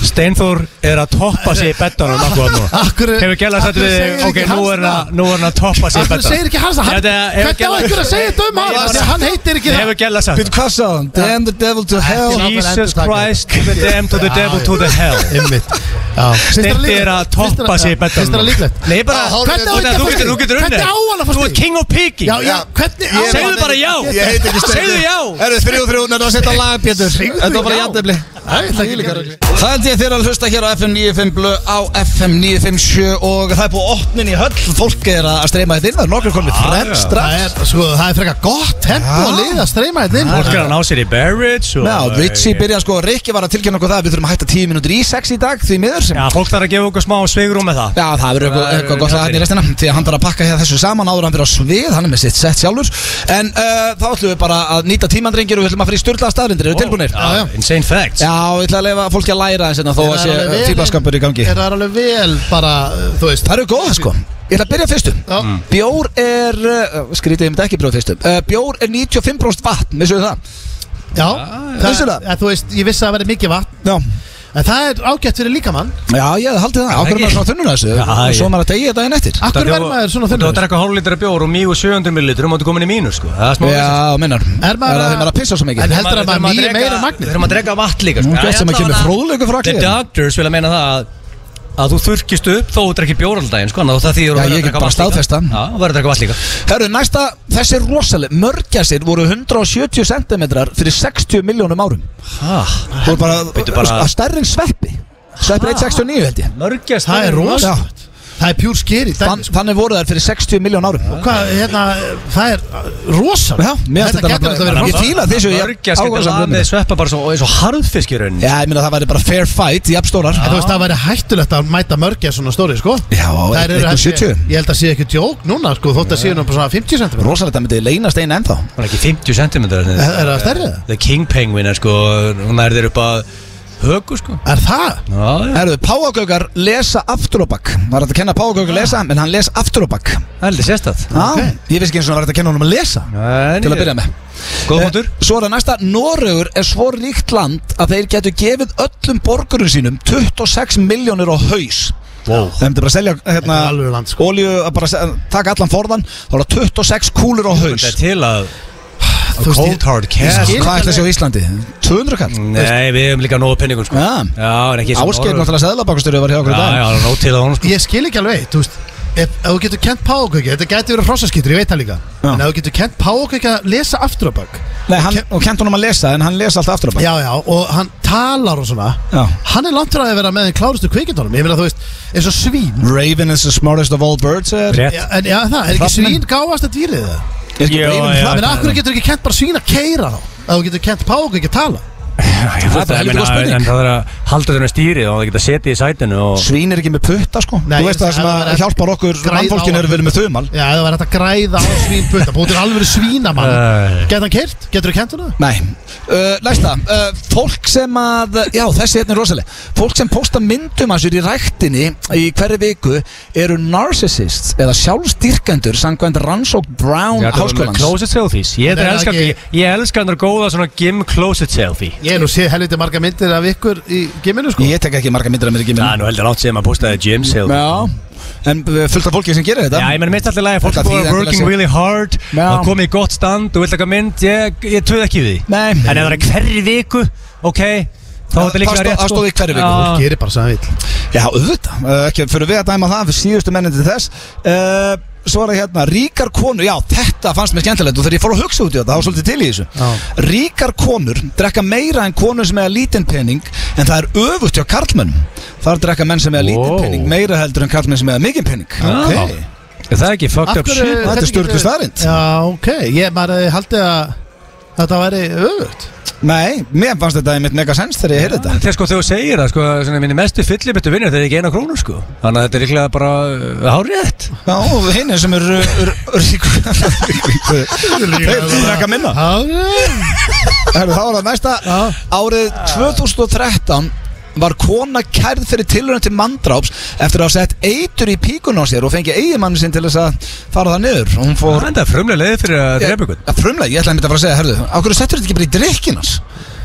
[SPEAKER 3] Steinþór er að toppa sig í bettanum akkur nú
[SPEAKER 2] Akkur-
[SPEAKER 3] Hefur gæla sagt
[SPEAKER 2] akkur
[SPEAKER 3] við þig
[SPEAKER 2] segir
[SPEAKER 3] Ok,
[SPEAKER 2] ekki
[SPEAKER 3] nú
[SPEAKER 2] hans
[SPEAKER 3] er
[SPEAKER 2] það?
[SPEAKER 3] hann nú er hann að toppa sig í
[SPEAKER 2] Akkur
[SPEAKER 3] bettanum
[SPEAKER 2] segir ekki hans að hann Hvernig á einhver að segja þetta um hann Af því að Hann heitir ekki það
[SPEAKER 3] Hefur gæla sagt
[SPEAKER 1] Býttu hvað sagði hann? Damn the devil to hell
[SPEAKER 2] Ekki-
[SPEAKER 3] Jesus Christ to the damn to the devil to the hell
[SPEAKER 2] Einmitt Já. Finnst þér líklegt?
[SPEAKER 3] Steinþór er að
[SPEAKER 2] Finnst þér
[SPEAKER 3] toppa sig í
[SPEAKER 2] já, Finnst
[SPEAKER 3] bettanum
[SPEAKER 2] það líklegt?
[SPEAKER 3] Nei, bara
[SPEAKER 2] Hvernig á þetta
[SPEAKER 3] Þú getur-
[SPEAKER 2] að fá stig?
[SPEAKER 3] Þú getur unnið
[SPEAKER 2] Hvernig á hann að fá
[SPEAKER 3] Þú ert
[SPEAKER 2] stig?
[SPEAKER 3] king of piki
[SPEAKER 2] Já, já, hvernig á
[SPEAKER 1] Ég-
[SPEAKER 3] Segðu bara já
[SPEAKER 1] Ég heiti ekki Steindi.
[SPEAKER 3] Segðu já
[SPEAKER 1] Herru, þrjú, þrjú, þetta var að setja lag, Pétur
[SPEAKER 2] Segðu
[SPEAKER 1] Þetta var bara
[SPEAKER 2] já.
[SPEAKER 1] játefli
[SPEAKER 2] Æ, það er líka rugl.
[SPEAKER 1] Það held ég þeir að hlusta hér á FM 95 blö á FM 957 og það er búið opnin í höll Fólk er að streyma þetta inn, það er nokkur komið fremst
[SPEAKER 2] Það
[SPEAKER 1] strax
[SPEAKER 2] er, sko, það er frekar gott tempo
[SPEAKER 1] Já.
[SPEAKER 2] að liða að streyma þetta inn
[SPEAKER 3] Fólk er að ná sér í Barrage og-
[SPEAKER 1] Já, Richie byrja sko, Rikki var að tilkynna okkur það að Við þurfum að hætta 10 mínútur í 6 í dag því miður sem
[SPEAKER 3] Já, fólk þarf að gefa okkur smá svigrum með það
[SPEAKER 1] Já, það verður eitthvað,
[SPEAKER 3] Það er
[SPEAKER 1] eitthvað gott að hann í restina Því að hann þarf að pakka hér þessu saman áður en hann fyrir á svið Hann er með sitt sett sjálfur En uh, þá ætlum við bara að nýta tímandrengir og við ætlum að fara í styrla staðrindir Eru tilbúinir?
[SPEAKER 3] Já, já. Insane facts
[SPEAKER 1] Já, ég ætla að leifa fólki að læra þess að þó að
[SPEAKER 2] Það
[SPEAKER 1] sé
[SPEAKER 2] er alveg vel-
[SPEAKER 1] fíblaskampur í gangi
[SPEAKER 2] Það er alveg vel bara, uh, þú veist
[SPEAKER 1] Það eru góða sko Ég ætla að byrja fyrstum
[SPEAKER 2] Já. Mm.
[SPEAKER 1] Bjór er, uh, skrítið ég myndi ekki byrja fyrstum uh, Bjór er 95% vatn, vissuðu það?
[SPEAKER 2] Já, eh,
[SPEAKER 1] Vissu það?
[SPEAKER 2] það, að, þú veist, ég vissi að það verið mikið vatn
[SPEAKER 1] Já
[SPEAKER 2] En það er ágætt fyrir líkamann
[SPEAKER 1] Já, ég hefði haldið það, ákveður
[SPEAKER 3] ekki.
[SPEAKER 1] maður svona þunnur þessu
[SPEAKER 3] Já,
[SPEAKER 1] og svo
[SPEAKER 3] ég-
[SPEAKER 1] maður að degja þetta en eftir
[SPEAKER 2] Akkur verður maður svona
[SPEAKER 3] Þú að
[SPEAKER 2] þunnur
[SPEAKER 3] drekka hálf litra bjór og mýgu 700 millilitrum og þú komin í mínus sko Það er smá
[SPEAKER 1] Já, minnar, er
[SPEAKER 2] maður
[SPEAKER 1] það
[SPEAKER 2] að-
[SPEAKER 1] þegar maður að pissa svo
[SPEAKER 2] En
[SPEAKER 1] mikið
[SPEAKER 2] heldur að
[SPEAKER 3] Við þurfum
[SPEAKER 2] maður mýi
[SPEAKER 3] drekka-
[SPEAKER 2] meira
[SPEAKER 3] Við
[SPEAKER 2] magnir
[SPEAKER 3] þurfum að drekka vatn líka sko.
[SPEAKER 1] Nú gæst sem að kemur fróðleikur frá
[SPEAKER 3] The
[SPEAKER 1] allir
[SPEAKER 3] doctors vilja meina það að að þú þurrkist upp þó þú drekkir bjór alltaf eins sko, þannig að það þýður
[SPEAKER 1] Já, ég
[SPEAKER 3] verður
[SPEAKER 1] get
[SPEAKER 3] drekka
[SPEAKER 1] bara
[SPEAKER 3] vatn líka.
[SPEAKER 1] staðfest það.
[SPEAKER 3] Já, og verður að drekka vatn líka
[SPEAKER 1] Herru, næsta, þessi er rosaleg Mörgæsir voru 170 cm fyrir 60 miljónum árum
[SPEAKER 3] Hæ,
[SPEAKER 1] Þú er bara,
[SPEAKER 3] Bíddu bara-
[SPEAKER 1] að stærri en sveppi Sveppi er 169 held ég
[SPEAKER 3] mörgjast
[SPEAKER 2] Það er rosa
[SPEAKER 1] Já.
[SPEAKER 2] Það er pjúr skeri
[SPEAKER 1] Þann, Þannig voru þær fyrir 60 miljón árum
[SPEAKER 2] Hvað, hérna, það er rosa
[SPEAKER 1] Já, mér finnst
[SPEAKER 2] Þetta
[SPEAKER 1] þetta
[SPEAKER 2] getur þetta
[SPEAKER 1] bara- Ég
[SPEAKER 2] verið rosa
[SPEAKER 1] fíla þessu, ég-
[SPEAKER 3] Mörgjast getur
[SPEAKER 1] áhugasamur
[SPEAKER 3] það
[SPEAKER 1] um
[SPEAKER 3] með
[SPEAKER 1] þetta.
[SPEAKER 3] sveppa bara svo, eins og harðfisk í rauninni
[SPEAKER 1] Já, ég meina að það væri bara fair fight, jafnstórar
[SPEAKER 2] En þú veist, það væri hættulegt að mæta mörgja svona stóri, sko
[SPEAKER 1] Já,
[SPEAKER 2] Þær eru
[SPEAKER 1] 1,70.
[SPEAKER 2] held ég- Ég held að sé ekki djók núna, sko, þótt að séu nú bara svona 50 cm
[SPEAKER 1] Rosalega, það myndi leynast einn ennþá
[SPEAKER 3] Hún er ekki 50 cm
[SPEAKER 2] Er það stærri?
[SPEAKER 3] The King Penguin er sko, hún er þeir upp að högu sko
[SPEAKER 2] Er það?
[SPEAKER 3] Já, já,
[SPEAKER 1] Herru, Páagöggar lesa aftur og bakk Það er hægt að kenna Páagöggar lesa, en hann les aftur og bakk
[SPEAKER 3] það er aldrei sérstætt
[SPEAKER 1] Já, ég veist ekki eins og það var hægt að kenna honum að lesa Til að byrja með
[SPEAKER 3] Góð hóttur
[SPEAKER 1] Eh, Svo er það næsta, Noregur er svo ríkt land að þeir getur gefið öllum borgurum sínum 26 miljónir á haus wow. Það myndi bara selja hérna,
[SPEAKER 2] Þetta er alvöru land, sko.
[SPEAKER 1] olíu, að bara se- taka allan forðan þá er það 26 kúlur á haus
[SPEAKER 3] Þetta er til að
[SPEAKER 2] Þú veist,
[SPEAKER 3] Cold
[SPEAKER 2] ég-
[SPEAKER 3] hard
[SPEAKER 1] Hvað
[SPEAKER 3] cash
[SPEAKER 2] skil-
[SPEAKER 1] ætla að sjá á Íslandi? 200 kall?
[SPEAKER 3] Nei, við hefum líka nógu penningum sko
[SPEAKER 1] Já.
[SPEAKER 3] en ekki
[SPEAKER 1] Áskeið náttúrulega seðlabakastöru var hjá okkur í
[SPEAKER 3] Já,
[SPEAKER 1] dag
[SPEAKER 3] já, hann nóg til að hún sko
[SPEAKER 2] Ég skil ekki alveg, þú veist Ef ef þú getur kent páokökja, þetta gæti verið hrossaskýtur, ég veit það líka
[SPEAKER 1] Já.
[SPEAKER 2] En ef þú getur kent páokökja að lesa aftur á bak
[SPEAKER 1] Nei, hann, og kent honum að lesa, en hann lesa alltaf aftur á bak
[SPEAKER 2] Já, já, og hann talar og svona
[SPEAKER 1] Já.
[SPEAKER 2] Hann er langt fyrir að vera með þeim klárustu kvikindunum Ég meina, þú veist, eins og svín
[SPEAKER 1] Raven is the smartest of all birds er,
[SPEAKER 3] Rétt.
[SPEAKER 2] Já, En já, það, er ekki
[SPEAKER 1] Hrafninn.
[SPEAKER 2] svín gáast að dýrið það?
[SPEAKER 1] er ekki
[SPEAKER 3] Já,
[SPEAKER 1] Raven
[SPEAKER 3] já.
[SPEAKER 2] Það menn,
[SPEAKER 3] það
[SPEAKER 2] akkur getur ekki kent bara svín að keira þá Ef þú getur kent páokökja að tala
[SPEAKER 3] Ég
[SPEAKER 1] Það er
[SPEAKER 3] veit
[SPEAKER 1] bara
[SPEAKER 3] það, ég
[SPEAKER 1] helviti góð
[SPEAKER 3] meina,
[SPEAKER 1] spurning.
[SPEAKER 3] en það er að halda þennan stýrið og það geta setið í sætinu og
[SPEAKER 1] Svín er ekki með putta sko
[SPEAKER 2] Nei,
[SPEAKER 1] Þú veist
[SPEAKER 2] ég-
[SPEAKER 1] það sem
[SPEAKER 2] það
[SPEAKER 1] að
[SPEAKER 2] er-
[SPEAKER 1] hjálpar okkur
[SPEAKER 2] Græða
[SPEAKER 1] Mannfólkinu
[SPEAKER 2] á-
[SPEAKER 1] eru verið með þumal
[SPEAKER 2] Já, ef það var hægt að græða á svínputta Búið til alveg svínamann
[SPEAKER 3] Æ.
[SPEAKER 2] Getur hann kert? Getur þú kent hana?
[SPEAKER 1] Nei, uh, læsta uh, Fólk sem að, já þessi hérna er rosaleg Fólk sem posta myndum að sér í ræktinni Í hverju viku Eru narcissists eða sjálfstyrkendur Samkvæmt rannsók Brown
[SPEAKER 3] Já, það var með
[SPEAKER 1] háskólans
[SPEAKER 3] Closet selfies Ég
[SPEAKER 2] Nei,
[SPEAKER 3] elskar
[SPEAKER 2] ekki-
[SPEAKER 3] ég, ég elska hann að góða svona gym closet selfie
[SPEAKER 2] Ég hef nú séð helviti marga myndir af ykkur í giminu sko
[SPEAKER 1] Ég tek ekki marga myndir að mér ekki
[SPEAKER 3] Það er nú heldur átt sem að postaði gym selfie
[SPEAKER 1] Já, en uh, fullt af fólki sem gerir þetta
[SPEAKER 3] Já, ég menn mitt alltaf lægi Fólk
[SPEAKER 1] Þetta
[SPEAKER 3] er búið
[SPEAKER 1] þýðir endilega
[SPEAKER 3] að working
[SPEAKER 1] sem-
[SPEAKER 3] really hard
[SPEAKER 1] Já.
[SPEAKER 3] Það komið í gott stand Þú vilt taka mynd Ég, ég töð ekki við því
[SPEAKER 1] Nei.
[SPEAKER 3] En ef það er hverri viku Ok Þá er
[SPEAKER 1] Það-
[SPEAKER 3] þetta líka
[SPEAKER 1] það stóð-
[SPEAKER 3] rétt sko.
[SPEAKER 1] það stóð í hverri viku.
[SPEAKER 3] Já.
[SPEAKER 2] Fólk gerir bara sem það vil
[SPEAKER 1] Já, auðvitað, uh, ekki fyrir við að dæma það fyrir síðustu mennin til þess uh, Svo er það hérna, ríkar konur, já þetta fannst mér skemmtilegt og þegar ég fór að hugsa út í þetta, það var svolítið til í þessu
[SPEAKER 2] Já.
[SPEAKER 1] Ríkar konur drekka meira en konur sem eiga lítinn pening en það er öfugt hjá karlmönnum Þar drekka menn sem eiga
[SPEAKER 3] Wow.
[SPEAKER 1] lítinn pening meira heldur en karlmenn sem eiga mikinn pening
[SPEAKER 3] Já. Er það ekki fucked up shit
[SPEAKER 1] þetta er stjórnlu staðrind
[SPEAKER 2] Já, ok, ég maður hefði haldið að þetta væri öfugt
[SPEAKER 1] Nei, mér fannst þetta einmitt mega sens þegar ég heyrði þetta
[SPEAKER 3] Þegar sko þegar þú segir það sko svona, Minni mestu fyllibittu vinnur Þegar ekki eina krónu sko Þannig að þetta er líklega bara uh, Hárétt
[SPEAKER 1] Já, og hinn sem eru er, er, Þeir drekka minna
[SPEAKER 2] Já,
[SPEAKER 1] Herru, þá er það næsta Árið 2013 var kona kærð fyrir tilrönd til manndráps eftir að hafa sett eitur í píkun á sér og fengi eigimann sinn til þess að fara það niður og hún fór
[SPEAKER 3] Það er frumlega leið fyrir eh, að drepa ykkur
[SPEAKER 1] Ég- að frumlega, ég ætlaði að mynda að fara að segja, herðu, á hverju settur þetta ekki bara í drikkinans?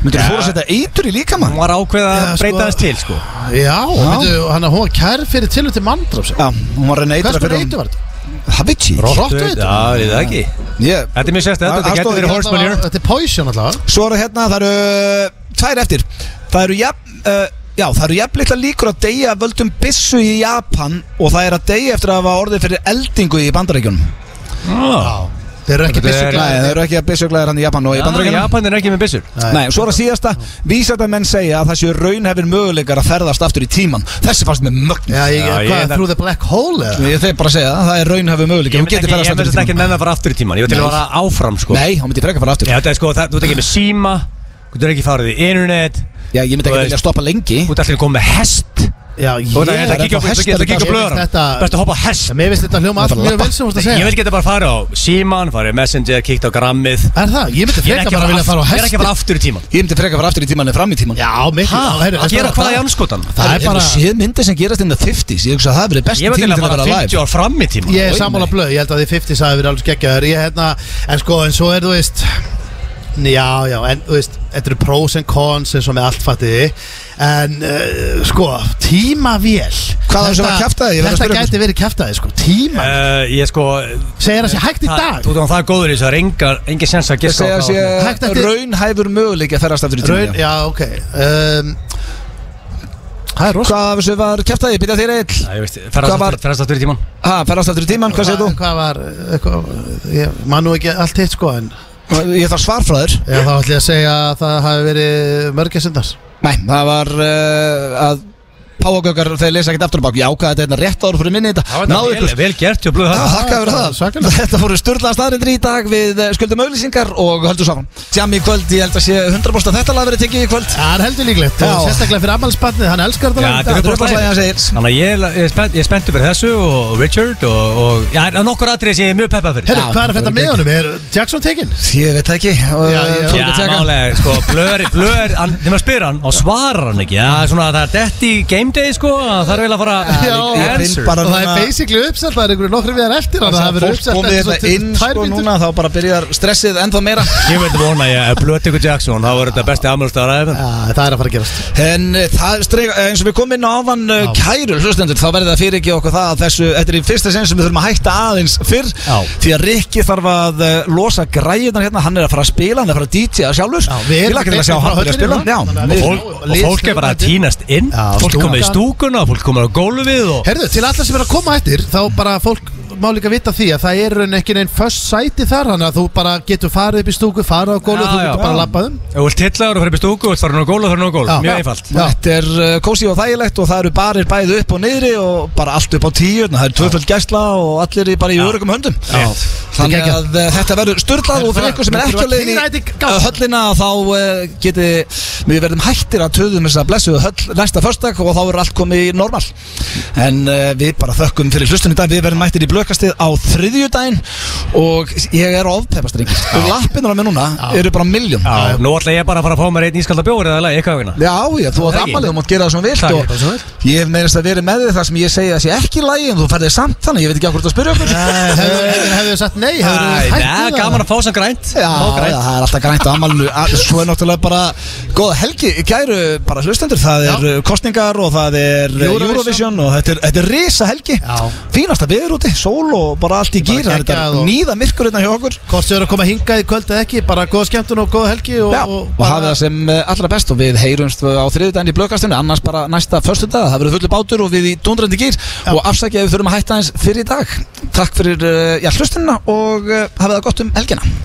[SPEAKER 1] Myndur þú fóra að setja eitur í líkamann?
[SPEAKER 3] Hún var ákveð að
[SPEAKER 2] Já, sko-
[SPEAKER 3] breyta þess til sko
[SPEAKER 2] já, veitu, hann að hún var kær fyrir tilhund til manndráps
[SPEAKER 1] Já, hún var að reyna að
[SPEAKER 2] Hvers
[SPEAKER 1] eitra fyrir
[SPEAKER 2] konar eitur var þetta?
[SPEAKER 1] Það veit ég ekki.
[SPEAKER 2] Rottu eitur?
[SPEAKER 3] Já, ég veit það ekki
[SPEAKER 1] Ég-
[SPEAKER 3] Þetta er mjög sérstætt,
[SPEAKER 1] Það-
[SPEAKER 3] þetta
[SPEAKER 1] það
[SPEAKER 3] getur
[SPEAKER 1] stóð
[SPEAKER 3] verið
[SPEAKER 1] ekki
[SPEAKER 3] horse manure
[SPEAKER 2] Þetta er poison allavega
[SPEAKER 1] Svo eru hérna, það eru uh, tvær eftir Það eru jafn, uh, já, það eru jafn litla líkur að deyja af völdum byssu í Japan og það er að deyja eftir að hafa orðið fyrir eldingu í bandaríkjunum
[SPEAKER 2] Þeir eru ekki
[SPEAKER 3] Þetta er-
[SPEAKER 1] Nei,
[SPEAKER 2] byssuglæðir
[SPEAKER 1] það eru ekki að byssuglæðir hann í Japan og í
[SPEAKER 3] Já,
[SPEAKER 1] bandaríkjunum
[SPEAKER 3] Japan er ekki með byssur
[SPEAKER 1] Nei, svo er að síðasta Vísendamenn segja að það séu raunhefin möguleikar að ferðast aftur í tíman Þessi fannst mér mögn
[SPEAKER 2] Já, ég,
[SPEAKER 3] Já, ég-
[SPEAKER 2] hvað, through the black hole eða?
[SPEAKER 1] Ég þegar bara að segja það, það er raunhefin möguleikar
[SPEAKER 3] Ég
[SPEAKER 1] Hún
[SPEAKER 3] myndi
[SPEAKER 1] getur
[SPEAKER 3] ekki,
[SPEAKER 1] ferðast
[SPEAKER 3] ég
[SPEAKER 1] aftur
[SPEAKER 3] myndi
[SPEAKER 1] í
[SPEAKER 3] ekki
[SPEAKER 1] tíman
[SPEAKER 3] með það fara aftur í tíman Ég vil til að
[SPEAKER 1] Nei.
[SPEAKER 3] vara áfram sko
[SPEAKER 1] Nei, hún myndi frekar fara aftur
[SPEAKER 3] Já, þetta er sko, það, þú ert ekki með síma Þú ert ekki farið í internet
[SPEAKER 1] Já, ég myndi
[SPEAKER 3] Þú
[SPEAKER 1] ekki
[SPEAKER 3] veist-
[SPEAKER 1] vilja stoppa lengi
[SPEAKER 3] Þú ert allir komið með hest
[SPEAKER 2] Já,
[SPEAKER 3] Þú ert
[SPEAKER 2] ég
[SPEAKER 3] ekki að kíkja á- þú ert ekki að kíkja á blöðurum
[SPEAKER 2] Þetta-
[SPEAKER 3] Best að hoppa á hest
[SPEAKER 2] Mér finnst þetta hljóma allt
[SPEAKER 1] Þetta
[SPEAKER 2] mjög
[SPEAKER 1] lappa.
[SPEAKER 2] vel sem þú vorst að
[SPEAKER 3] Ég
[SPEAKER 2] segja
[SPEAKER 3] vil geta bara farið á síman, farið í messenger, kíkt á grammið
[SPEAKER 2] Er það? Ég myndi
[SPEAKER 3] Ég er
[SPEAKER 2] freka
[SPEAKER 3] ekki
[SPEAKER 2] bara
[SPEAKER 3] að
[SPEAKER 2] að vilja fara á
[SPEAKER 3] fara- ég er
[SPEAKER 2] hesti
[SPEAKER 3] ekki að fara aftur í tíman
[SPEAKER 1] Ég myndi frekar fara aftur í tíman en fram í tíman
[SPEAKER 2] Já, mikil
[SPEAKER 3] Ha,
[SPEAKER 2] Já, heyrðu,
[SPEAKER 3] að
[SPEAKER 2] þetta
[SPEAKER 3] gera
[SPEAKER 2] var-
[SPEAKER 3] hvað í
[SPEAKER 2] það-
[SPEAKER 3] anskotan?
[SPEAKER 2] Það er bara
[SPEAKER 1] Ef þú séð myndir sem gerast in the 50s Ég hugsa að það hefur verið besti
[SPEAKER 3] Ég vil til
[SPEAKER 1] tíminn
[SPEAKER 3] að
[SPEAKER 1] til að
[SPEAKER 3] fara
[SPEAKER 1] vera live
[SPEAKER 3] 50 ár fram í tíman
[SPEAKER 2] Ég er
[SPEAKER 1] Oj,
[SPEAKER 2] sammála
[SPEAKER 1] nei.
[SPEAKER 2] blöð, ég held að því 50 sagði verið alveg skeggjaður Ég hérna, en sko, en svo er þú veist Já, já, en þú veist þetta eru pros and cons eins og með allt fattiði en uh, sko, tímavél
[SPEAKER 1] Hvað á þessu
[SPEAKER 2] Þetta-
[SPEAKER 1] var kjaftæði? Ég verð að
[SPEAKER 2] Þetta
[SPEAKER 1] spyrja um ykkur.
[SPEAKER 2] gæti verið kæftæði sko, tíma
[SPEAKER 3] Uh, ég sko
[SPEAKER 2] segir það sé hægt í dag
[SPEAKER 3] Þú veist það er góður í þessu, það er engar, engin sens að
[SPEAKER 1] Ég
[SPEAKER 3] giska
[SPEAKER 1] segja
[SPEAKER 3] á
[SPEAKER 1] að
[SPEAKER 3] hvað var.
[SPEAKER 2] Hægt
[SPEAKER 1] sé
[SPEAKER 2] eftir-
[SPEAKER 1] raunhæfur möguleik að ferast aftur í tíma
[SPEAKER 2] Raun, já, ok um, Það er rosa
[SPEAKER 1] Hvað af þessu var kæftæði? Býta þér eill
[SPEAKER 3] Æ, ég veist,
[SPEAKER 1] Hvað var-
[SPEAKER 3] Ferðast aftur í tíman
[SPEAKER 1] Ha, ferast aftur í tíman, hvað segir þú?
[SPEAKER 2] Hvað var, eitthvað, ég man nú ekki allt hitt sko en
[SPEAKER 1] Ég þarf svar frá þér
[SPEAKER 2] ég, þá ætlum ég að segja að það hafi verið mörgessindar
[SPEAKER 1] Nei, það var uh, að Páagökar, þeir lesa ekkert aftur á bak Já, hvað þetta er hérna rétt áður fyrir minni þetta Náðu ykkur
[SPEAKER 3] vel, vel gert hjá blöðu
[SPEAKER 1] Já,
[SPEAKER 3] það
[SPEAKER 1] þakka fyrir það
[SPEAKER 2] Svakalega.
[SPEAKER 1] Þetta fóru sturlaða staðrindir í dag Við eh, skuldum auðlýsingar og höldum saman Tjami í kvöld, ég held að sé 100% að þetta lag verið tekið í kvöld
[SPEAKER 2] Það er heldur líklegt
[SPEAKER 1] Já.
[SPEAKER 2] og sérstaklega fyrir ammalspatnið, hann elskar
[SPEAKER 3] Já,
[SPEAKER 2] þetta lag.
[SPEAKER 3] þetta er
[SPEAKER 1] þetta er uppáhaldslagið
[SPEAKER 3] uppáhaldslagið.
[SPEAKER 1] hans Egils.
[SPEAKER 3] Þannig að ég, er- ég, er spennt- ég er spenntur fyrir þessu og Richard og, og já, en nokkur atrið sem ég er mjög peppað fyrir
[SPEAKER 2] Herru, hvað er þetta með honum? Er Jackson tekinn?
[SPEAKER 1] Ég veit það ekki og, uh,
[SPEAKER 2] Já, já.
[SPEAKER 1] þú
[SPEAKER 3] Já,
[SPEAKER 1] ert að tjekka.
[SPEAKER 3] málega, sko, blöður, blöður, þegar maður spyr hann og svarar hann ekki, já, svona það er dett í game day, sko, að það er vel að fara
[SPEAKER 2] Já,
[SPEAKER 3] að
[SPEAKER 1] ég finn
[SPEAKER 3] answer.
[SPEAKER 1] bara
[SPEAKER 2] Og það er
[SPEAKER 1] núna-
[SPEAKER 2] basically uppselt, það er einhverju nokkru viðar eftir hann,
[SPEAKER 1] Það
[SPEAKER 2] það hefur verið
[SPEAKER 1] fólk
[SPEAKER 2] uppselt
[SPEAKER 1] komið
[SPEAKER 2] eftir
[SPEAKER 1] þetta
[SPEAKER 3] hérna
[SPEAKER 2] svo
[SPEAKER 1] inn
[SPEAKER 2] tvær
[SPEAKER 1] sko
[SPEAKER 2] mínútur.
[SPEAKER 1] núna Þá bara byrjar stressið ennþá meira
[SPEAKER 3] Ég veit vona ég að blöð ykkur Jackson, það voru þetta besti afmjöldstöðar aðeins.
[SPEAKER 2] Já, það er að fara að gerast
[SPEAKER 1] En eh, það streik, eh, eins og við komum inn á ávan já. kæru hlustendur Þá verður það fyrir ekki okkur það að þessu Þetta er í fyrsta sinn sem við þurfum að hætta aðeins fyrr
[SPEAKER 3] Já.
[SPEAKER 1] Því að Rikki þarf að eh, losa græðunar hérna Hann er að fara að spila, hann er að fara að DJ-a sjálfur
[SPEAKER 2] Já, við
[SPEAKER 1] Ég
[SPEAKER 2] erum
[SPEAKER 1] lakar til
[SPEAKER 2] að
[SPEAKER 1] að sjá
[SPEAKER 2] greina
[SPEAKER 1] hann
[SPEAKER 2] frá
[SPEAKER 1] byrja að
[SPEAKER 2] höllinni
[SPEAKER 1] spila
[SPEAKER 2] núna, þannig að
[SPEAKER 1] Já,
[SPEAKER 2] við-
[SPEAKER 3] Og, og fólk er bara að tínast inn,
[SPEAKER 2] Já,
[SPEAKER 3] fólk
[SPEAKER 2] stúkan.
[SPEAKER 3] komið í stúkuna, fólk komið á gólfið og...
[SPEAKER 2] Herðu, til alltaf sem er að koma eftir, þá bara fólk má líka vita því að það er raun ekki neinn first sæti þar, þannig að þú bara getur farið upp í stúku, farið á gólu,
[SPEAKER 3] Já,
[SPEAKER 2] þú
[SPEAKER 3] já.
[SPEAKER 2] getur bara að lappa um
[SPEAKER 3] Þú vilt tilla og fyrir upp í stúku og þú þarf nú gól og þarf nú gól
[SPEAKER 2] Já.
[SPEAKER 3] Mjög
[SPEAKER 2] Já.
[SPEAKER 3] einfalt
[SPEAKER 2] Já.
[SPEAKER 1] Þetta er uh, kósi og þægilegt og það eru barir bæði upp og niðri og bara allt upp á tíu hérna, Það er tvöföld gæsla og allir í bara í örugum höndum
[SPEAKER 3] Rétt.
[SPEAKER 1] Þannig
[SPEAKER 2] Þetta er
[SPEAKER 1] að uh, þetta verður styrlað og fyrir ykkur sem er ekki á leiðin
[SPEAKER 2] Þetta
[SPEAKER 1] í
[SPEAKER 2] er
[SPEAKER 1] uh,
[SPEAKER 2] gaman.
[SPEAKER 1] höllina þá uh, geti við verðum hættir að töðum þess að blessuðu höll næsta förstak og þá verður allt komið í normal En uh, við bara þökkum fyrir hlustun í dag Við verðum mættir í blökastið á þriðjudaginn og ég er ofpeppast ringist og lappinar á mér núna eru bara miljón
[SPEAKER 3] Já, nú ætla ég bara að fara að fá mér einn ískalda bjóður eða leið, eitthvað vegna
[SPEAKER 1] Já, já, þú átt
[SPEAKER 3] Það ekki.
[SPEAKER 1] afmalið, þú mátt gera það sem þú vilt
[SPEAKER 3] Það er bara
[SPEAKER 1] og
[SPEAKER 3] svo vel.
[SPEAKER 1] ég hef meðist að vera með þig það sem ég segja að sé ekki í lagi en þú ferðið samt þannig, ég veit ekki á hvort að spyrja okkur
[SPEAKER 2] Hefðu sagt nei, hefðu
[SPEAKER 3] Æ,
[SPEAKER 2] hægt
[SPEAKER 3] nei, Gaman að fá sem grænt
[SPEAKER 1] Já,
[SPEAKER 3] Fá
[SPEAKER 1] já,
[SPEAKER 3] grænt.
[SPEAKER 1] það er alltaf grænt á afmalinu Svo er náttúrulega bara góða helgi Gæru bara hlustendur, það er já. kostningar og það er uh, Eurovision,
[SPEAKER 2] Eurovision.
[SPEAKER 1] og þetta er, þetta er risa helgi
[SPEAKER 2] Já.
[SPEAKER 1] Fínasta viður úti, sól og bara allt í
[SPEAKER 2] Bara
[SPEAKER 1] gýr Það er
[SPEAKER 2] geggjað
[SPEAKER 1] þetta
[SPEAKER 2] og-
[SPEAKER 1] nýða myrkur hérna hjá okkur
[SPEAKER 2] Hvort þau eru að koma hingað í kvöld eða ekki, bara góða skemmtun og góða helgi og,
[SPEAKER 1] Já, og, hafa það sem eh, allra best og við heyrumst á þriðudaginn í blökastunni annars bara næsta förstudag, það verður fullu bátur og við í dundrandi gýr og afsækja ef við þurfum að hætta eins fyrir í dag. Takk fyrir eh, já, hlustunina og eh, hafið það gott um helgina.